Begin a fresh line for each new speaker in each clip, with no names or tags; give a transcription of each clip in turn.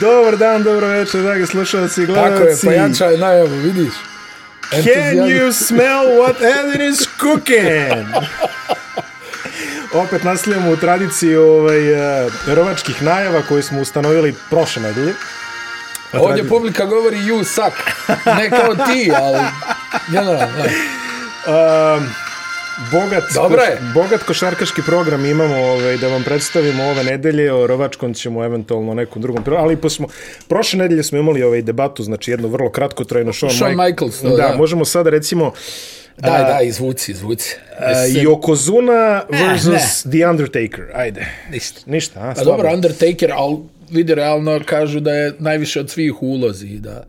Dobar dan, dobro večer, dragi slušalci i gledalci.
Tako je, pojačaj najavu, vidiš.
Can you smell what Edwin is cooking? Opet nastavljamo u tradiciji ovaj, eh, rovačkih najava koju smo ustanovili prošle nedelje. Pa
Ovdje
tradi-
publika govori you suck. Ne kao ti, ali generalno. da.
Um, bogat,
Dobro je.
bogat košarkaški program imamo ovaj, da vam predstavimo ove nedelje, o Rovačkom ćemo eventualno nekom drugom programu, ali posmo, prošle nedelje smo imali ovaj debatu, znači jednu vrlo kratkotrajnu Shawn,
Shawn
Mike-
Michaels, to,
da,
da.
možemo sada recimo
Daj, daj, izvuci, izvuci.
uh, Yokozuna versus The Undertaker, ajde.
Ništa.
Ništa, a,
Eh, Pa
slabo.
dobro, Undertaker, ali vidi, realno kažu da je najviše od svih u ulozi, i da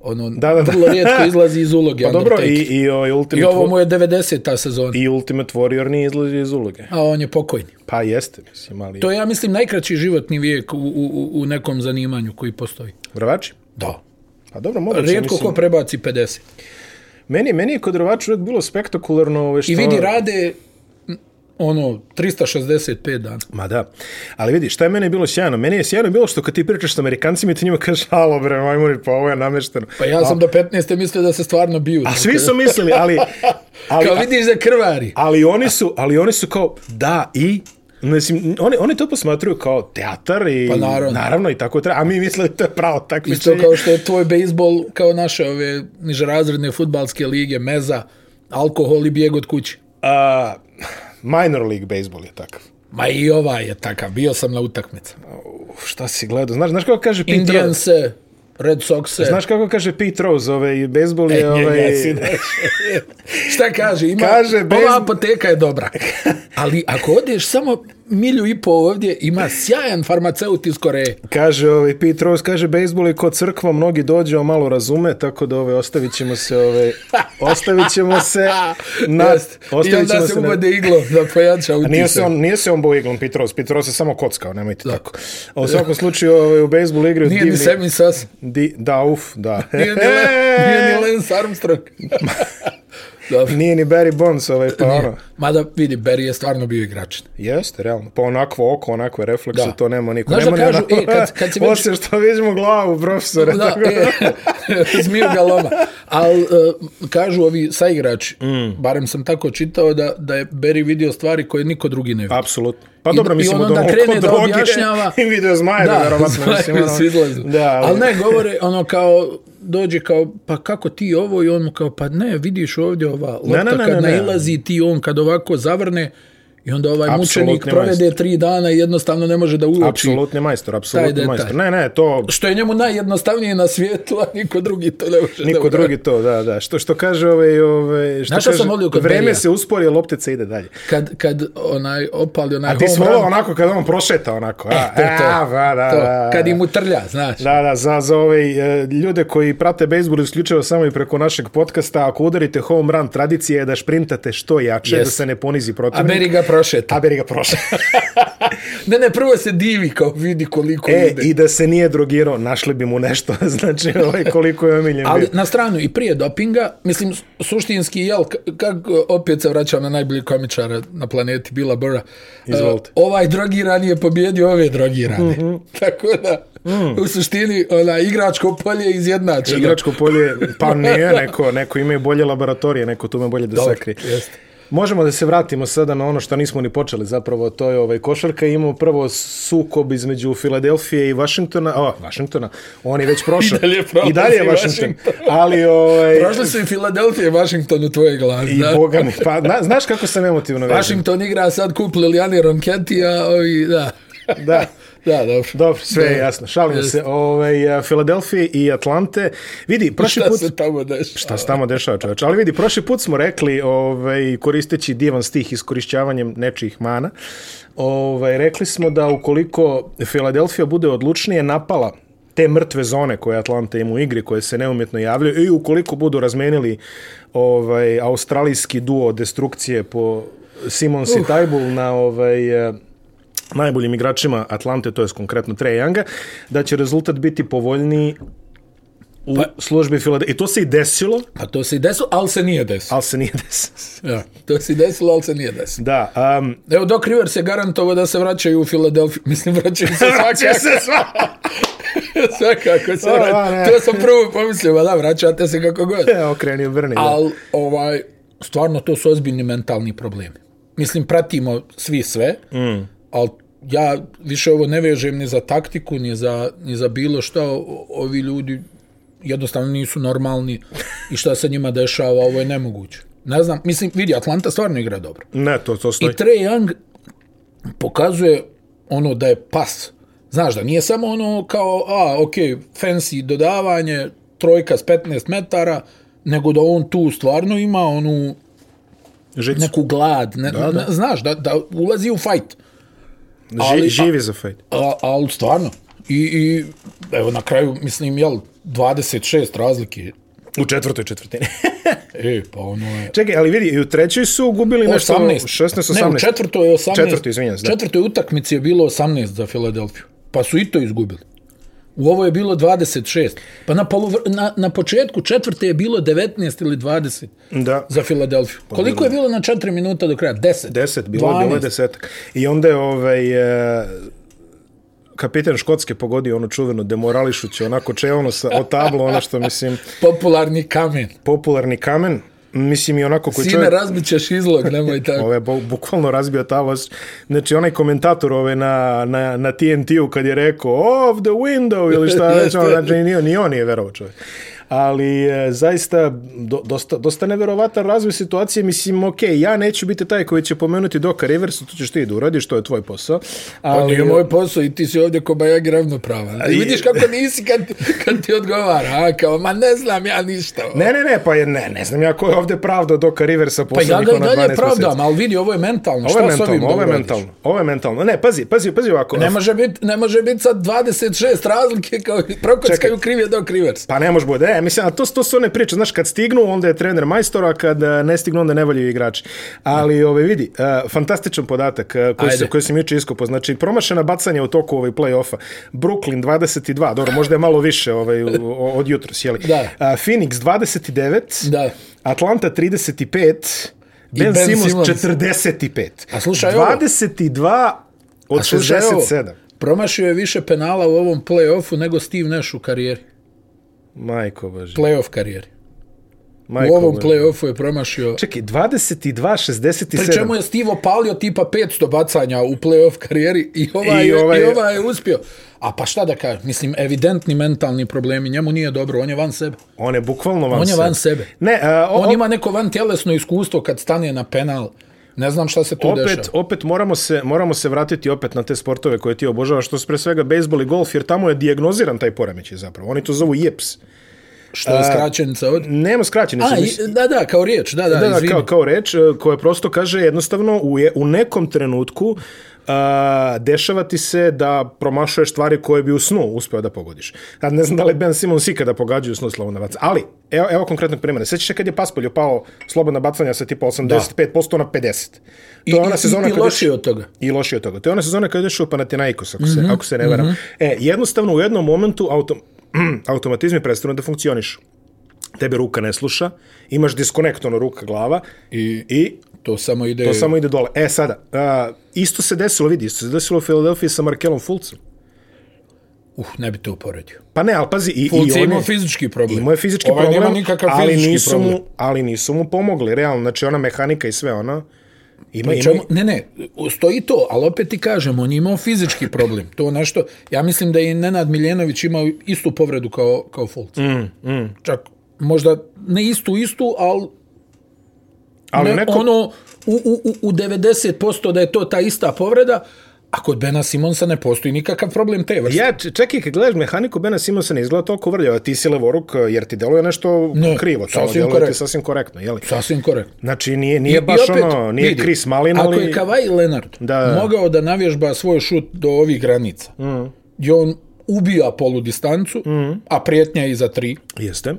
ono,
Da, da, da.
vrlo rijetko izlazi iz uloge
Pa dobro, i,
Undertaker.
i, ovaj
I
Ultimate,
ovo
Wa-
mu je 90-ta sezona,
i Ultimate Warrior nije izlazio iz uloge.
a on je pokojni.
Pa jeste, mislim, ali...
To je, ja mislim, najkraći životni vijek u, u, u nekom zanimanju koji postoji.
Drvači?
Da.
Pa dobro, moguće,
Rijetko
mislim.
ko prebaci 50.
Meni, meni je kod Rovača uvijek bilo spektakularno ovaj, što...
I vidi, rade m, ono, 365 dana.
Ma da. Ali vidi, šta je meni bilo sjajno? Meni je sjajno bilo što kad ti pričaš s Amerikancima i ti njima kažeš, alo bre, majmuri, pa ovo je namešteno.
Pa ja sam do 15. mislio da se stvarno biju.
A svi su mislili, ali... ali
Kao vidiš da krvari.
Ali oni su, ali oni su kao, da, i... Mislim, oni, oni to posmatruju kao teatar i
Pa naravno.
naravno i tako treba, a mi mislili da to je pravo
Isto
takmičenje.
kao što je tvoj bejsbol, kao naše ove nižerazredne futbalske lige, meza, alkohol i bijeg od kuće.
A, minor league baseball je takav.
Ma i ovaj je takav, bio sam na utakmicama.
Uf, šta si gledao? Znaš, znaš kako kaže Pete Rose?
Indijanse, Red Soxe,
Znaš kako kaže Pete Rose, ovaj, baseball je...
E, njega
ovaj,
si šta kaže? Ima,
Kaže, bez-
ova apoteka je dobra. Ali ako odeš samo milju i po ovdje, ima sjajan farmaceut iz Koreje.
Kaže ovaj Pete Rose, kaže bejsbol je kod crkva, mnogi dođu, a malo razume, tako da ovaj ostavit ćemo se ovaj ostavit ćemo se na
Jest. I
ostavit ćemo
onda
se
se
na-
uvode iglo da pojača
A
utisak.
Nije se on nije se on bojao iglom Pete Rose, Pete Rose je samo kockao, nemojte tako. A u svakom slučaju ovaj u bejsbolu igraju
Nije ni
divni.
Sammy Sosa.
Di, da, uf, da.
Nije ni, Le, nije ni Lance Armstrong. Dobro.
Nije ni Barry Bonds, ovaj, pa ono.
Mada vidi, Barry je stvarno bio igračin.
Jeste, realno. Pa onakvo oko, onakve reflekse,
Da.
to nema niko.
Znaš da
nema ni
kažu,
ono-
e, kad- kad si već-
Osim što vidimo glavu profesora.
Da,
tako
e, zmiju ga loma. Ali kažu ovi saigrači,
Mm.
barem sam tako čitao, da, da je Barry vidio stvari koje niko drugi ne vidi.
Apsolutno. Pa
I-
dobro,
i
mislim,
on
od
onda
onog
krene
kod
da
droge
objašnjava.
I video zmaje, da, verovatno. mislim,
mislim,
ono-
svi izlazu.
Da,
ali...
ali-
ne, govore, ono kao, dođe kao, pa kako ti ovo i on mu kao, pa ne, vidiš ovdje ova lopta
ne, ne,
kad
ne, ne.
nailazi ti on kad ovako zavrne i onda ovaj
Apsolutni
mučenik provede
majstor.
tri dana i jednostavno ne može da uoči.
Apsolutni majstor, apsolutni
detalj.
majstor. Ne, ne, to...
Što je njemu najjednostavnije na svijetu, a niko drugi to ne može da
Niko
uradi.
drugi to, da, da. Što što kaže ovaj, ovaj što
Znaš šta
kaže,
sam volio kod
vreme
Berija?
se uspori, a loptica ide dalje.
Kad, kad onaj opali onaj
A ti
home
si
run,
volao onako kad on prošeta onako. A,
E, to je to.
a, ba, da,
to,
da,
kad
da.
im utrlja, znaš.
Da, da, za, za ove ljude koji prate bejsbol isključivo samo i preko našeg podcasta, ako udarite home run, tradicija je da šprintate što jače,
Yes.
da se ne ponizi
A
protivnik.
Beri ga prošeta.
A Beri ga prošao.
Ne, ne, prvo se divi kao vidi koliko
E,
ide.
i da se nije drogirao, našli bi mu nešto, znači ovaj, koliko je omiljen
Ali
bio.
na stranu i prije dopinga, mislim, su- suštinski, jel, k- kako opet se vraćam na najbolji komičara na planeti, Bila Burra,
Izvolite. Mhm.
E, ovaj drogirani je pobjedio ove drogirane. Tako da, u suštini, ona, igračko polje je izjednačeno.
Mm. Igračko polje, pa nije, neko, neko ima i bolje laboratorije, neko tu me bolje da
Dobro,
sakrije.
jeste.
Možemo da se vratimo sada na ono što nismo ni počeli zapravo, to je ovaj košarka. Imamo prvo sukob između Filadelfije i Vašingtona. O, Vašingtona, on je već prošao. I
I dalje prolazi
dalje je Washington.
Washington.
Ali, ovaj,
Prošli su i Filadelfija i Washington u tvoje glavi.
i
da.
boga mi, pa, na, znaš kako sam emotivno vezan?
Washington igra sad kup Lilijani Ronketi, a ovi, da.
Da.
Da, dobro.
Dobro, sve je jasno. Šalim se. Ovaj, a, Filadelfije i Atlante. Vidi, prošli
Šta
put...
se tamo dešava?
Šta se tamo dešava, čoveče? Ali vidi, prošli put smo rekli, ovaj, koristeći divan stih iskorišćavanjem nečijih mana, ovaj, rekli smo da ukoliko Filadelfija bude odlučnije napala te mrtve zone koje Atlanta ima u igri, koje se neumjetno javljaju i ukoliko budu razmenili ovaj, australijski duo destrukcije po Simons i Tybull na ovaj, eh, najboljim igračima Atlante, to je konkretno Trae Younga, da će rezultat biti povoljniji u
Pa-
službi Filadelfije. I to se i desilo,
A to se i desilo, ali se nije desilo.
ali se nije desilo.
Ja, to se i desilo, ali se nije desilo.
Da, um,
Evo, Doc Rivers je garantovo da se vraćaju u Filadelfiju. Mislim, vraćaju se svakako.
sva.
Svakako se
O,
vrati.
a, ne.
To sam prvo pomislio, ma da, vraćate se kako god.
E, okreni Brni.
Ali, ovaj, stvarno, to su ozbiljni mentalni problemi. Mislim, pratimo svi sve, mm. ali ja više ovo ne vežem ni za taktiku, ni za, ni za bilo šta. O- Ovi ljudi jednostavno nisu normalni i šta se njima dešava, ovo je nemoguće. Ne znam, mislim, vidi, Atlanta stvarno igra dobro.
Ne, to, to stoji.
I Trae Young pokazuje ono da je pas. Znaš da nije samo ono kao, a, ok, fancy dodavanje, trojka s 15 metara, nego da on tu stvarno ima onu
Žicu.
neku glad. Ne, da, da. Ne, znaš, da, da ulazi u fight.
Ži,
ali-
živi za fight.
A, ali stvarno. I, I evo na kraju, mislim, jel, 26 razlike.
U četvrtoj četvrtini.
E, pa ono je...
Čekaj, ali vidi, i u trećoj su gubili nešto...
18.
16, 18.
Ne, u četvrtoj je 18.
Četvrtoj, izvinjam se, da.
Četvrtoj utakmici je bilo 18 za Filadelfiju. Pa su i to izgubili. U ovo je bilo 26. Pa na, polu, na, na početku četvrte je bilo 19 ili 20
Da.
za Filadelfiju. Koliko je bilo na 4 minuta do kraja? 10.
10, Pa bilo, je- bilo je
12.
desetak. I onda je ovaj, e, kapitan Škotske pogodio onu čuvenu demorališuću, onako čelno sa, o tablo, ono što mislim,
Popularni kamen.
popularni kamen, mislim i onako koji
Sine,
čovjek...
razbićeš izlog, nemoj tako.
Ove, bu, bukvalno razbio tablo. Znači, onaj komentator ove na, na, na TNT-u kad je rekao off the window ili šta već, ono, znači, ni, ni on nije verovao čovjek. Ali e, zaista do, dosta, dosta neverovatan razvoj situacije. Mislim, ok, ja neću biti taj koji će pomenuti Doka Riversa, to ćeš ti da uradiš, to je tvoj posao.
Pa
Ali,
nije moj posao i ti si ovdje ko Bajagi ravnopravan. I vidiš kako nisi kad, kad ti odgovara. A, kao, ma ne znam ja ništa. ono.
Ne, ne, ne, pa je, ne, ne znam ja ko je ovdje pravda Doka Riversa
Pa ja
poslednjih
ga i
ono 12
dalje
mjeseci.
pravdam, ali vidi, ovo je mentalno.
Ovo je
Šta s ovim
mentalno, ovo je
da
mentalno,
uradiš?
ovo je mentalno. Ne, pazi, pazi, pazi ovako.
Ne može biti ne može biti sad 26 razlike kao prokockaju krivje do krivers.
Pa ne može bude. E, mislim, a to, to su one priče. Znaš, kad stignu, onda je trener majstor, a kad e, ne stignu, onda ne valjaju igrači. Ali, ove, vidi, e, fantastičan podatak e, koji, se,
Ajde.
koji sam juče iskopao. Znači, promašena bacanja u toku ovaj play-offa. Brooklyn 22, dobro, možda je malo više ovaj, u- o- od jutra, sjeli.
Da.
E, Phoenix 29,
Da.
Atlanta 35,
I
Ben,
Ben
Simmons,
Simmons.
45.
A slušaj ovo.
22 od
A slušaj ovo,
67.
Promašio je više penala u ovom play-offu nego Steve Nash u karijeri.
Majko Bože.
Play-off karijeri.
Majko
U ovom
Bože.
play-offu je promašio...
Čekaj, 22, 67.
Pri čemu je Steve opalio tipa 500 bacanja u play-off karijeri i ovaj,
I
I
ovaj-
ovaj, i ovaj je uspio. A pa šta da kažem, mislim, evidentni mentalni problemi, njemu nije dobro, on je van sebe.
On je bukvalno van
On je
sebe.
van sebe.
Ne, a, o,
On ima neko van tjelesno iskustvo kad stane na penal. Ne znam šta se tu
opet,
dešava.
opet moramo, se, moramo se vratiti opet na te sportove koje ti obožavaš, što su pre svega bejsbol i golf, jer tamo je diagnoziran taj poremećaj zapravo. Oni to zovu JEPS.
Što je skraćenica od...
Nema skraćenice.
A,
e, mislim-
i, da, da, kao riječ, da, da,
da, da,
izvini.
kao, kao reč e, koja prosto kaže jednostavno u, je, u nekom trenutku a, dešava ti se da promašuješ stvari koje bi u snu uspeo da pogodiš. Ja ne znam da li Ben Simons ikada pogađa u snu slobodna bacanja, ali evo, evo konkretnog primjera. Sjećaš se kad je Paspolju pao slobodna bacanja sa tipa 85% na 50%. To
I, i, i
kad je-
lošije od toga.
I lošije od toga. To je ona sezona kada je išao u Panathinaikos, ako se,
Mhm,
mm -hmm, ako se ne varam. Mm -hmm. E, jednostavno u jednom momentu autom, automatizmi prestanu da funkcionišu. Tebe ruka ne sluša, imaš diskonekt, ono ruka, glava,
I-
i
To samo ide...
to samo ide dole. E, sada, a, isto se desilo, vidi, isto se desilo u Filadelfiji sa Markelom Fulcom.
Uh, ne bi to uporedio.
Pa ne, ali pazi, i, i
Fulci
on
imao
je...
fizički problem.
Imao je fizički
ovaj
problem,
nema nikakav
ali,
fizički
nisu
problem.
mu, ali nisu mu pomogli, realno. Znači, ona mehanika i sve, ono... Ima, ima,
Čemu, ne, ne, stoji to, ali opet ti kažem, on je imao fizički problem. To nešto, ja mislim da je i Nenad Miljenović imao istu povredu kao, kao Fulc. Mm, mm. Čak, možda ne istu, istu, ali
ali
ne,
neko...
ono u, u, u- u 90% da je to ta ista povreda, a kod Bena Simonsa ne postoji nikakav problem te vrste.
Ja, č- čekaj, kad gledaš mehaniku Bena Simonsa ne izgleda toliko vrljava, ti si levoruk, eh, jer ti deluje nešto ne,
Ne,
krivo, tamo
sasvim
deluje ti
korektno.
sasvim korektno, jeli?
Sasvim korektno.
Znači, nije, nije baš ono, nije
vidi,
Chris Malin, ali...
Ako je Kawhi Leonard
Da, da.
mogao da navježba svoj šut do ovih granica, mm. gdje on ubija polu distancu, mm. a prijetnja je i za tri,
Jeste.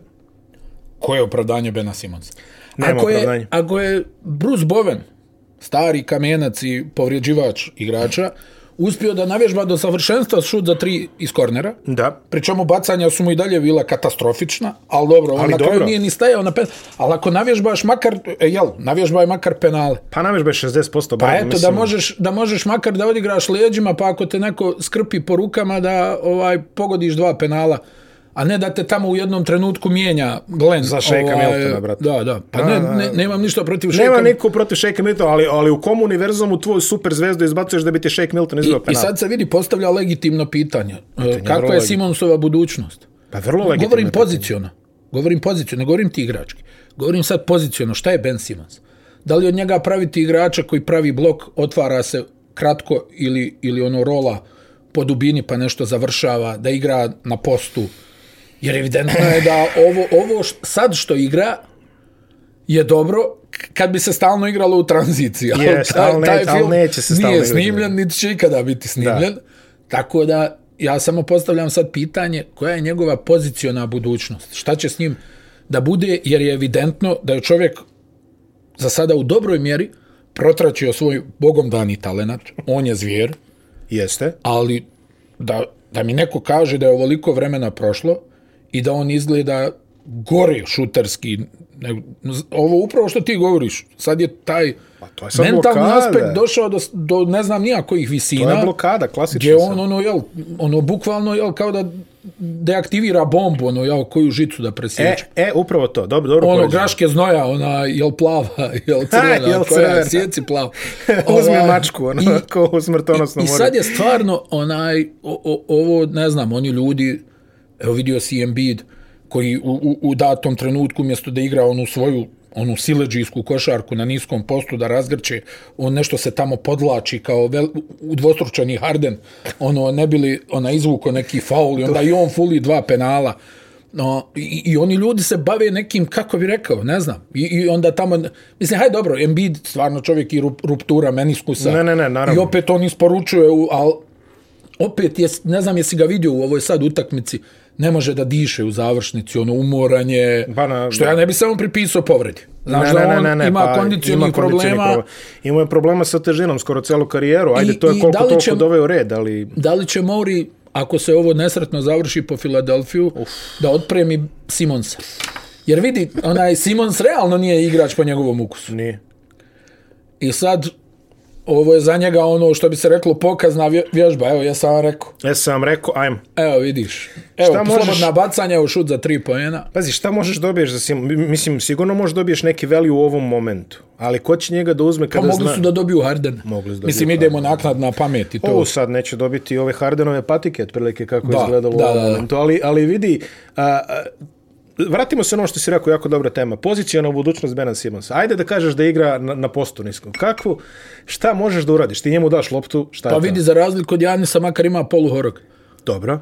koje je opravdanje Bena Simonsa?
Nema
ako
opravdanja.
je, ako je Bruce Bowen, stari kamenac i povrijeđivač igrača, uspio da navežba do savršenstva šut za tri iz kornera.
Da.
Pri čemu bacanja su mu i dalje bila katastrofična, ali dobro, on
Ali
na kraju
dobro.
nije ni stajao na penal. Ali ako navježbaš makar, e, jel, navježba je makar penale.
Pa navežba je 60%.
Pa
bar,
eto, da možeš, da možeš makar da odigraš leđima, pa ako te neko skrpi po rukama da ovaj pogodiš dva penala, a ne da te tamo u jednom trenutku mijenja Glenn. Ovaj,
Za Shakea Miltona, brate.
Da, da. Pa
Da,
ne,
da.
ne, nemam ništa protiv
Nema
Shakea.
niko protiv Shake Miltona, ali, ali u kom univerzumu tvoju super zvezdu izbacuješ da bi ti Shake Milton izbio
I
penal?
sad se vidi, postavlja legitimno pitanje. E,
vrlo
Kakva je
legitimno.
Simonsova budućnost?
Pa vrlo legitimno.
Govorim poziciono. Govorim poziciono, ne govorim ti igrački. Govorim sad poziciono. Šta je Ben Simmons? Da li od njega praviti igrača koji pravi blok, otvara se kratko ili, ili ono rola po dubini pa nešto završava, da igra na postu? Jer evidentno je da ovo, ovo š, sad što igra je dobro k- kad bi se stalno igralo u tranziciji. ali
Jest, ali ne- ali neće se stalno
nije
igrati.
snimljen, niti će ikada biti snimljen. Da. Tako da ja samo postavljam sad pitanje koja je njegova poziciona budućnost. Šta će s njim da bude, jer je evidentno da je čovjek za sada u dobroj mjeri protračio svoj bogom dani talenat. On je zvijer,
Jeste.
ali da, da mi neko kaže da je ovoliko vremena prošlo i da on izgleda gori šuterski. nego- Ovo upravo što ti govoriš. Sad je taj
Pa to je sad
mentalni
blokada.
aspekt došao do, do ne znam nija kojih
To je
visina.
blokada, klasično.
Gdje on, ono, jel, ono, bukvalno, jel, kao da deaktivira bombu, ono, jel, koju žicu da
E,
presječe.
e, upravo to. Dobro, dobro.
ono,
poređenje.
graške znoja, ona, jel, plava, jel, crvena,
jel,
koja
crvena.
je, sjeci plava.
Uzme
Ovaj,
mačku, ono,
i-
ko u smrtonosnom
I
moru.
sad je stvarno onaj, o, o, ovo, ne znam, oni ljudi, evo vidio si Embiid, koji u, u, u datom trenutku, umjesto da igra onu svoju onu sileđijsku košarku na niskom postu da razgrče, on nešto se tamo podlači kao vel, udvostručeni Harden, ono ne bili ona izvuko neki faul i onda i on fuli dva penala. No, i, i oni ljudi se bave nekim, kako bi rekao, ne znam. I, i onda tamo, mislim, hajde dobro, Embiid stvarno čovjek i rup, ruptura meniskusa.
Ne, ne, ne, naravno.
I opet on isporučuje, u- al opet je, ne znam jesi ga vidio u ovoj sad utakmici, ne može da diše u završnici, ono umoranje,
Pa na-
što ja ne bi samo pripisao povredi. Znaš
Ne,
da
ne,
on
ne, ne, ne,
ima
pa,
kondicionih
ima kondicionih
problema,
problema. Ima je problema sa težinom skoro celu karijeru. Ajde,
I-
to je
i
koliko
da li
toliko
će-
doveo u red, ali...
da li će Mori, ako se ovo nesretno završi po Filadelfiju, Uf. da otpremi Simonsa. Jer vidi, onaj Simons realno nije igrač po njegovom ukusu.
Nije.
I sad, ovo je za njega ono što bi se reklo pokazna vje- vježba. Evo, ja sam vam rekao.
Ja E, sam vam rekao, ajmo.
Evo, vidiš. Evo,
Šta možeš-
slobodna bacanja, evo šut za tri pojena.
Pazi, šta možeš dobiješ za Sim... Mislim, sigurno možeš dobiješ neki value u ovom momentu. Ali ko će njega da uzme
Pa
kada
mogli
zna...
su da dobiju Harden.
Mogli su da
Mislim,
dobiju
idemo naknad na pamet i to.
Ovo sad neće dobiti ove Hardenove patike, otprilike kako
Da,
je izgledalo
da,
u ovom
da, da.
momentu. Ali, ali vidi, a, a, vratimo se na ono što si rekao, jako dobra tema. Pozicijona budućnost Bena Simonsa. Ajde da kažeš da igra na, na postu niskom. Kako? Šta možeš da uradiš? Ti njemu daš loptu, šta
Pa
je to?
vidi, za razliku od Janisa, makar ima poluhorog.
Dobro.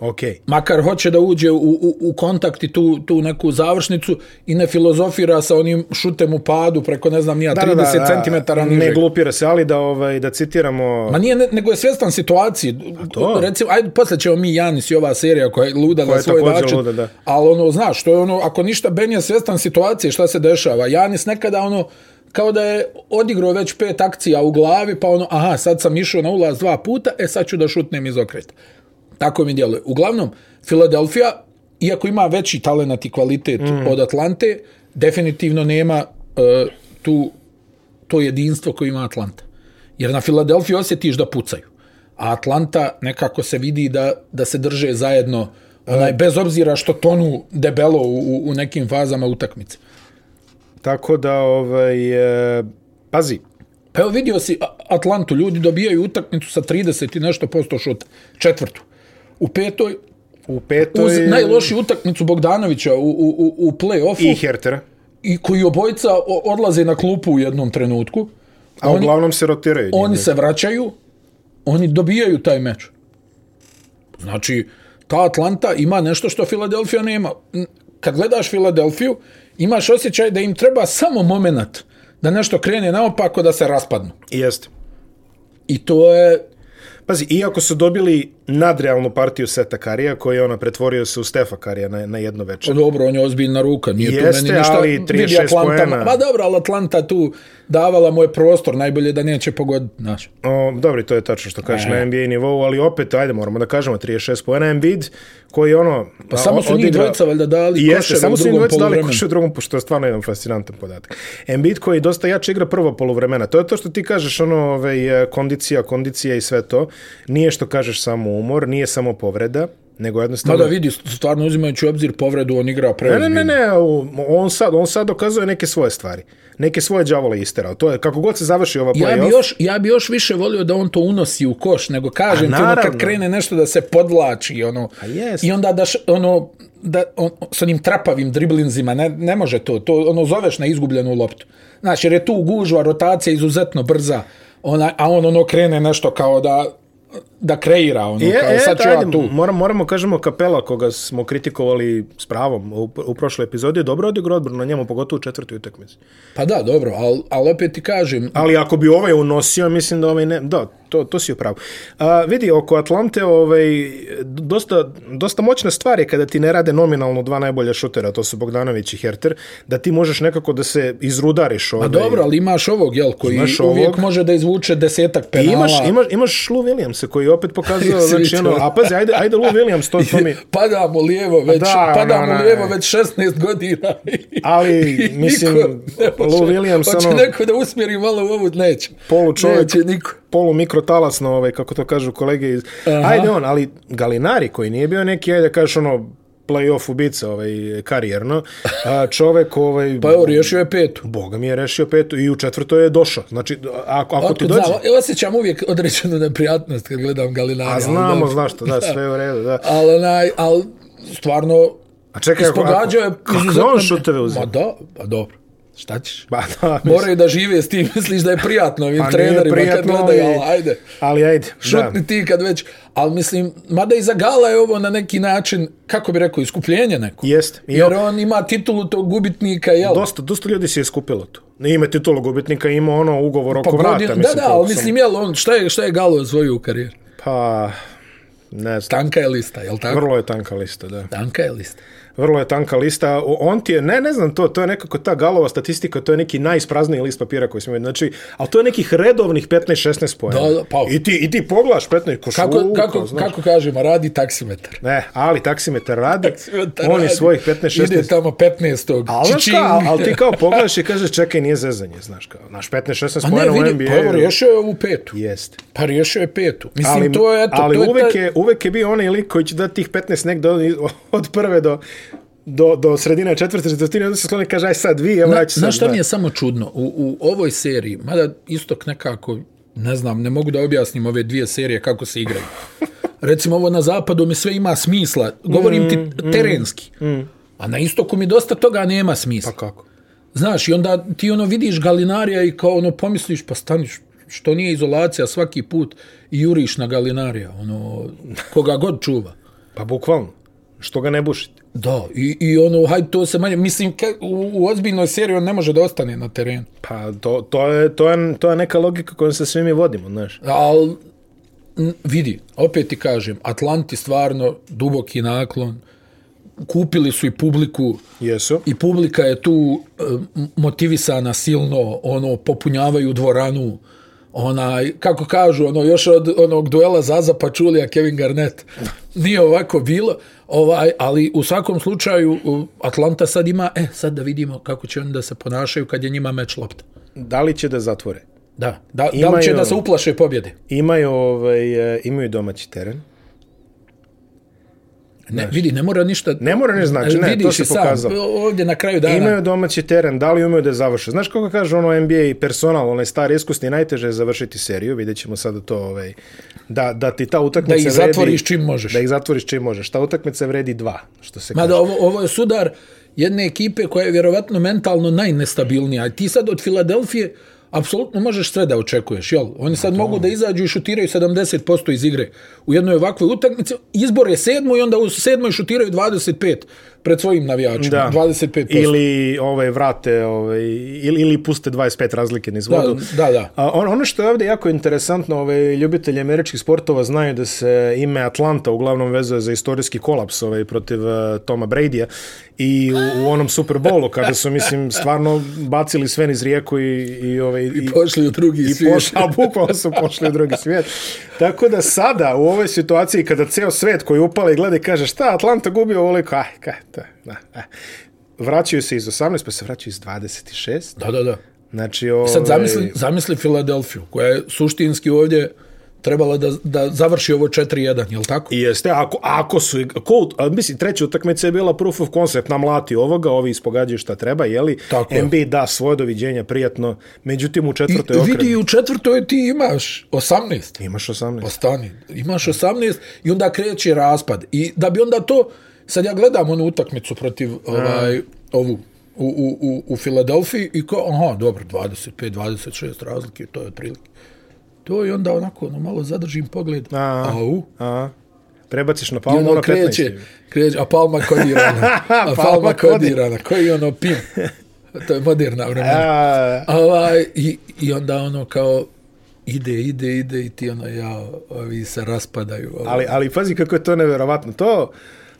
Okej.
Makar hoće da uđe u, u, u kontakt i tu, tu neku završnicu i ne filozofira sa onim šutem u padu preko, ne znam, nija, 30 centimetara
Ne
nižeg.
glupira se, ali da, ovaj, da citiramo...
Ma nije, ne- nego je svjestan situaciji.
to.
Recimo, ajde, posle ćemo mi Janis i ova serija koja je luda
Koja
na
je
svoj
također
način.
luda, da.
Ali ono, znaš, to je ono, ako ništa, Ben je svjestan situacije šta se dešava. Janis nekada ono, kao da je odigrao već pet akcija u glavi, pa ono, aha, sad sam išao na ulaz dva puta, e sad ću da šutnem iz okreta. Tako mi djeluje. Uglavnom, Filadelfija, iako ima veći talenat i kvalitet mm. od Atlante, definitivno nema e, tu to jedinstvo koje ima Atlanta. Jer na Filadelfiji osjetiš da pucaju. A Atlanta nekako se vidi da, da se drže zajedno, onaj, bez obzira što tonu debelo u, u- u nekim fazama utakmice.
Tako da, ovaj, e, pazi,
Pa evo vidio si A- Atlantu, ljudi dobijaju utakmicu sa 30 i nešto posto šuta, četvrtu. U petoj,
u petoj...
uz najlošiju utakmicu Bogdanovića u, u, u- u play-offu,
I
i,
Hertera.
i koji obojica o- odlaze na klupu u jednom trenutku,
A
Oni-
uglavnom se rotiraju.
oni
njih.
se vraćaju, oni dobijaju taj meč. Znači, ta Atlanta ima nešto što Filadelfija nema. N- Kad gledaš Filadelfiju, imaš osjećaj da im treba samo moment da nešto krene naopako da se raspadnu.
Jeste.
I to je
Pazi, iako su dobili nadrealnu partiju Seta Karija, koju je ona pretvorio se u Stefa Karija na, na jedno
Pa
večer.
dobro, on je ozbiljna ruka, nije
Jeste,
tu meni ništa.
ali
vidi
36
Atlanta,
poena.
Ma dobro, ali Atlanta tu davala mu je prostor, najbolje da neće pogoditi, znaš.
O, dobro, i to je tačno što
E.
kažeš na NBA nivou, ali opet, ajde, moramo da kažemo 36 poena Embiid, koji ono...
Pa samo su njih dvojica valjda dali
Jeste,
koševe
samo
u
su njih
drugom
dvojica dali
poluvremenu.
koše u drugom, pošto je stvarno jedan fascinantan podatak. Embiid koji je dosta jače igra prva poluvremena. To je to što ti kažeš, ono, ovaj, eh, kondicija, kondicija i sve to. Nije što kažeš samo umor, nije samo povreda, nego
Ma
jednostavno
da vidi, stvarno uzimajući u obzir povredu, on igrao
Ne, ne, ne,
preozbiljno.
ne, on sad, on sad dokazuje neke svoje stvari. Neke svoje đavole isterao. To je, kako god se završi ova
Ja
play-off,
bi, još, ja bi još više volio da on to unosi u koš, nego kažem ti ono
naravno.
kad krene nešto da se podlači ono,
jest.
i onda daš ono, da, on, s onim trapavim driblinzima, ne, ne može to, to ono zoveš na izgubljenu loptu. Znači, jer je tu gužva, rotacija izuzetno brza, ona, a on ono krene nešto kao da da kreira ono,
Je,
kao
e,
sad ću ja
ajde,
tu.
moram, moramo kažemo kapela koga smo kritikovali s pravom u, u prošloj epizodi je dobro odigrao odbranu na njemu, pogotovo u četvrtoj utakmici.
Pa da, dobro, ali al opet ti kažem,
Ali ako bi ovaj unosio, mislim da ovaj ne... Da, to, to si upravo. A, vidi, oko Atlante, ovaj, dosta, dosta moćna stvar je kada ti ne rade nominalno dva najbolja šutera, to su Bogdanović i Herter, da ti možeš nekako da se izrudariš. Ovaj.
a dobro, ali imaš ovog, jel, koji
Imaš
uvijek
ovog.
može da izvuče desetak penala.
I imaš, imaš, imaš Lou Williamsa koji je opet pokazao,
Jesi
znači, ono,
vidio?
a pazi, ajde, ajde Lou Williams, to, to mi...
pada mu lijevo već,
Da,
da, pada
ono,
mu
ne.
lijevo već 16 godina.
Ali,
I
mislim,
niko ne može.
Lou Williams,
Hoće
ono-
neko da usmjeri malo u ovu, neće.
Polu čovjek.
Neće niko.
polu mikrotalasno, ovaj, kako to kažu kolege iz...
Aha.
Ajde on, ali Galinari koji nije bio neki, ajde da kažeš ono, playoff ubica ovaj, karijerno, a čovek ovaj,
Pa evo, riješio je petu.
Boga mi je rešio petu i u četvrtoj je došao. Znači, ako, ako ti
Otkud
dođe...
znam, osjećam uvijek određenu neprijatnost kad gledam Galinari.
A znamo, znaš što, da, sve je u redu, da.
Ali, onaj, ali stvarno,
A čekaj, ako... ako
ispogađao je...
kako
izuzetno-
on šuteve uzima?
Ma da, pa dobro. Šta ćeš?
Ba, da, mislim,
Moraju da žive s tim, misliš da je prijatno ovim
Pa nije
trenerima kad
prijatno,
gledaju,
ali-
ali ajde.
ali ajde, da.
Šutni ti kad već, ali mislim, mada i za Gala je ovo na neki način, kako bi rekao, iskupljenje neko.
Jeste. I
Jer on ima titulu tog gubitnika, jel?
Dosta, dosta ljudi se je skupilo tu. Ne ime titulu gubitnika, ima ono ugovor oko vrata.
godin-
mislim,
Pa da, da,
koliko
ali
sam-
mislim, jel, on, šta je, šta je Galo osvojio u karijeri?
Pa, ne znam.
Tanka je lista, jel tako?
Vrlo je tanka lista, da.
Tanka je lista.
Vrlo je tanka lista. O- On ti je, ne, ne znam to, to je nekako ta galova statistika, to je neki najisprazniji list papira koji smo imali. Znači, ali to je nekih redovnih 15-16 pojena.
Da, da, pa-
I ti, i ti poglaš 15 košu,
Kako, kako, kako kažemo, radi taksimetar.
Ne, ali taksimetar radi,
Taksimetar
on je
radi.
svojih 15-16
Ide tamo 15.
Ali, znaš
čičing.
kao, ali, ali ti kao pogledaš i kažeš, čekaj, nije zezanje, znaš kao, naš 15-16
A Pa ne,
pojena ono u
vidi,
NBA.
pa evo, riješio je ovu petu.
Jeste.
Pa riješio je petu. Mislim,
Ali,
to je, eto,
ali
to je
uvek,
ta...
je, uvek je bio onaj lik koji će dati tih 15 negdje od, od prve do, do, do sredine četvrte četvrtine, onda se skloni i kaže, aj sad vi, evo ja ću sad.
Znaš šta
da.
mi je samo čudno? U, u ovoj seriji, mada istok nekako, ne znam, ne mogu da objasnim ove dvije serije kako se igraju. Recimo ovo na zapadu mi sve ima smisla, govorim ti terenski. A na istoku mi dosta toga nema smisla.
Kako?
Znaš, i onda ti ono vidiš Galinarija i kao ono pomisliš, pa staniš, što nije izolacija svaki put i juriš na Galinarija, ono, koga god čuva.
Pa bukvalno. Što ga ne bušite?
Da, i, i ono, hajde, to se manje, mislim, ka, u, u ozbiljnoj seriji on ne može da ostane na terenu.
Pa to, to, je, to, je, to je neka logika kojom se svi mi vodimo, znaš.
Ali, vidi, opet ti kažem, Atlanti stvarno duboki naklon, kupili su i publiku,
Jesu.
i publika je tu e, m- motivisana silno, ono, popunjavaju dvoranu, onaj, kako kažu, ono, još od onog duela Zaza Pačulija, Kevin Garnett, nije ovako bilo, ovaj, ali u svakom slučaju u, Atlanta sad ima, e, sad da vidimo kako će oni da se ponašaju kad je njima meč lopta.
Da li će da zatvore?
Da, da, da
Imaju-
li će da se uplaše pobjede?
Imaju, ovaj, e, imaju domaći teren.
Ne, vidi, ne mora ništa...
Ne mora ne znači, ne,
vidiš
to se
i sam,
pokazalo.
Ovdje na kraju dana.
Imaju domaći teren, da li umeju da završe? Znaš kako kaže ono NBA personal, onaj stari iskusni, najteže je završiti seriju, vidjet ćemo sada to, ovaj, da, da ti ta utakmica
Da ih
vredi-
zatvoriš čim možeš.
Da ih zatvoriš čim možeš. Ta utakmica vredi dva, što se kaže.
Mada ovo, ovo je sudar jedne ekipe koja je vjerovatno mentalno najnestabilnija. I ti sad od Filadelfije apsolutno možeš sve da očekuješ, jel? Oni sad mogu da izađu i šutiraju 70% iz igre u jednoj ovakvoj utakmici, izbore sedmu i onda u sedmoj šutiraju 25. pred svojim navijačima,
Da.
da. 25%.
Ili ove, vrate, ove, ili, ili puste 25 razlike niz vodu.
Da, da, da.
A, on, ono što je ovdje jako interesantno, ove, ljubitelji američkih sportova znaju da se ime Atlanta uglavnom vezuje za istorijski kolaps ovaj, protiv uh, Toma Bradya i u, u onom Super Bowlu kada su, mislim, stvarno bacili sve niz rijeku i, i, ovaj, i,
Pošli u drugi
i
svijet.
pošli, a bukvalno su pošli u drugi svijet. Tako da sada, u ovoj situaciji, kada ceo svet koji upale i gleda i kaže šta, Atlanta gubi ovoliko, aj, kaj, to, je, da, aj. Vraćaju se iz 18, pa se vraćaju iz 26.
Da, da, da.
Znači, ove,
Sad zamisli, zamisli Filadelfiju, koja je suštinski ovdje trebala da, da završi ovo 4-1, jel tako?
Jeste, ako, ako su, ko, a, mislim, treća utakmica je bila proof of concept, namlati ovoga, ovi ispogađaju šta treba, jeli?
Tako je.
MB da svoje doviđenja, prijatno, međutim u
I,
četvrtoj okrenju.
vidi, u četvrtoj ti imaš 18.
Imaš 18.
Ostani, imaš 18 i onda kreće raspad. I da bi onda to, sad ja gledam onu utakmicu protiv ovaj, ovu, u, u, u, u Filadelfiji i ko, aha, dobro, 25, 26 razlike, to je otprilike. To i onda onako, ono, malo zadržim pogled.
A.
Au.
A, prebaciš na
I
palmu
ono
na 15.
kreće, kreće, a palma kodirana. A
Palma
palma
kodi.
kodirana, koji ono pin. To je moderna vremena.
A,
A Ovaj, i, I onda ono kao ide, ide, ide i ti ono ja, ovi se raspadaju. Ovaj.
Ali, ali pazi kako je to neverovatno. To,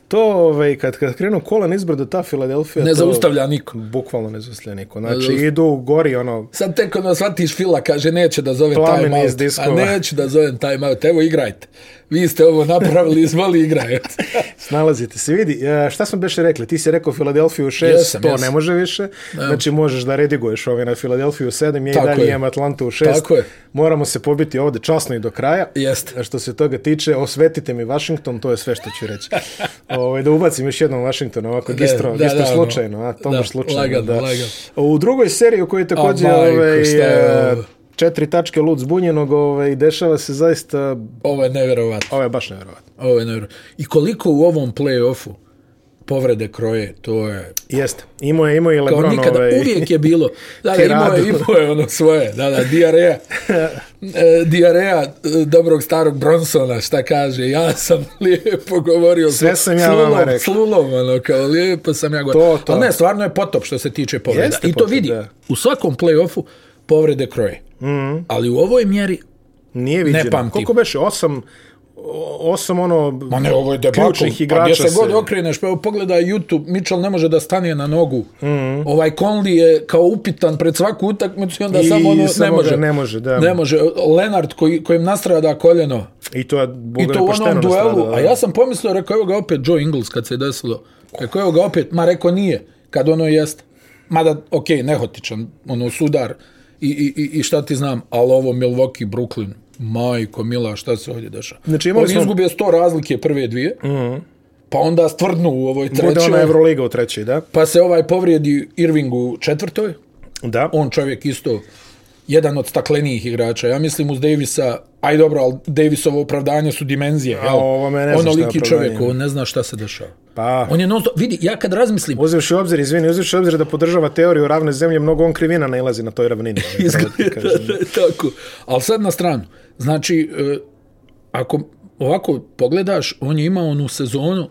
to ovaj, kad, kad krenu kola nizbrdo, ta Filadelfija...
Ne
to,
zaustavlja niko.
Bukvalno ne zaustavlja niko. Znači,
zaustavlja.
idu gori, ono,
Sad tek ono shvatiš Fila, kaže neće da zovem
Plamen
time
iz
out.
diskova.
A neću da zovem time out. Evo igrajte. Vi ste ovo napravili, izvoli igrajte.
snalazite se. Vidi, e, šta smo beše rekli? Ti si rekao Filadelfiju 6,
Jesam,
to
jesam.
ne može više. Znači, možeš da rediguješ ove na Filadelfiju 7, ja i
Tako
dalje
je.
imam Atlantu u 6.
Tako je.
Moramo se pobiti ovde časno i do kraja.
Jeste.
A Što se toga tiče, osvetite mi Washington, to je sve što ću reći. Ove, da ubacim još jednom Washington, ovako, gistro,
da,
gistro
da, ono.
slučajno, a to
Da,
baš slučajno.
lagano,
da.
lagano.
U drugoj seriji u kojoj je takođe
A, majko,
ovaj,
šta je
e,
ovo?
četiri tačke lud zbunjenog, ovaj, dešava se zaista,
Ovo je nevjerovatno.
ovo je baš nevjerovatno.
Ovo je nevjerovatno. I koliko u ovom play-offu povrede kroje, to je...
Jeste, imao je, imao je
Kao
Lebron.
nikada,
ovaj,
uvijek je bilo. Da, da, imao je,
Tiradu.
imao je ono svoje. Da, da, diareja. E, diareja e, dobrog starog Bronsona, šta kaže. Ja sam lijepo govorio.
Sve sam ja
slulom,
vama rekao.
Slulom, ono, kao lijepo sam ja govorio.
To, to.
Ali ne, stvarno je potop što se tiče povreda.
Jeste
I to
potop,
vidi.
da. Mhm.
U svakom play-offu povrede kroje. Mm. Ali u ovoj mjeri
Nije viđeno.
Ne pamtim.
Koliko beše? Osam, o- osam ono
Ma ne, ovo je debakl.
ključnih
Pa gdje
igrača
se god okreneš, pa evo pogledaj YouTube, Mitchell ne može da stane na nogu. Mm
Mhm.
-hmm. Ovaj Conley je kao upitan pred svaku utakmicu i onda
I
samo ono
samo
ne može.
ga ne može, da.
Ne može. Lenard koji, kojem nastrada koljeno.
I to je,
I
boga
to u onom duelu.
nastradao,
A ja sam pomislio, rekao, evo ga opet Joe Ingles kad se je desilo. Rekao, evo ga opet, ma rekao nije, kad ono jeste. Mada, okej, nehotičan, ono, sudar i, i, i- i šta ti znam, ali ovo Milwaukee, Brooklyn, majko, mila, šta se ovdje dešava?
Znači, imali
Oni
smo- Mhm.
izgube 100 razlike prve dvije, mm -hmm. pa onda stvrdnu u ovoj
Bude ona
trećoj, Evro...
Euroliga u trećoj, da?
pa se ovaj povrijedi Irving u četvrtoj,
Da.
on čovjek isto jedan od staklenijih igrača. Ja mislim uz Davisa, aj dobro, ali Davisovo opravdanje su dimenzije.
A
Jel?
ovo me ne znam
ono
šta je
liki
opravdanje.
čovjek, on ne zna šta se dešava.
Pa.
On je non stop, vidi, ja kad razmislim,
Uzevši u obzir, izvini, uzevši u obzir da podržava teoriju ravne zemlje, mnogo on krivina nailazi na toj ravnini.
izgleda
Pravo ti kažem.
da je tako. Ali sad na stranu, znači, e, ako ovako pogledaš, on je imao onu sezonu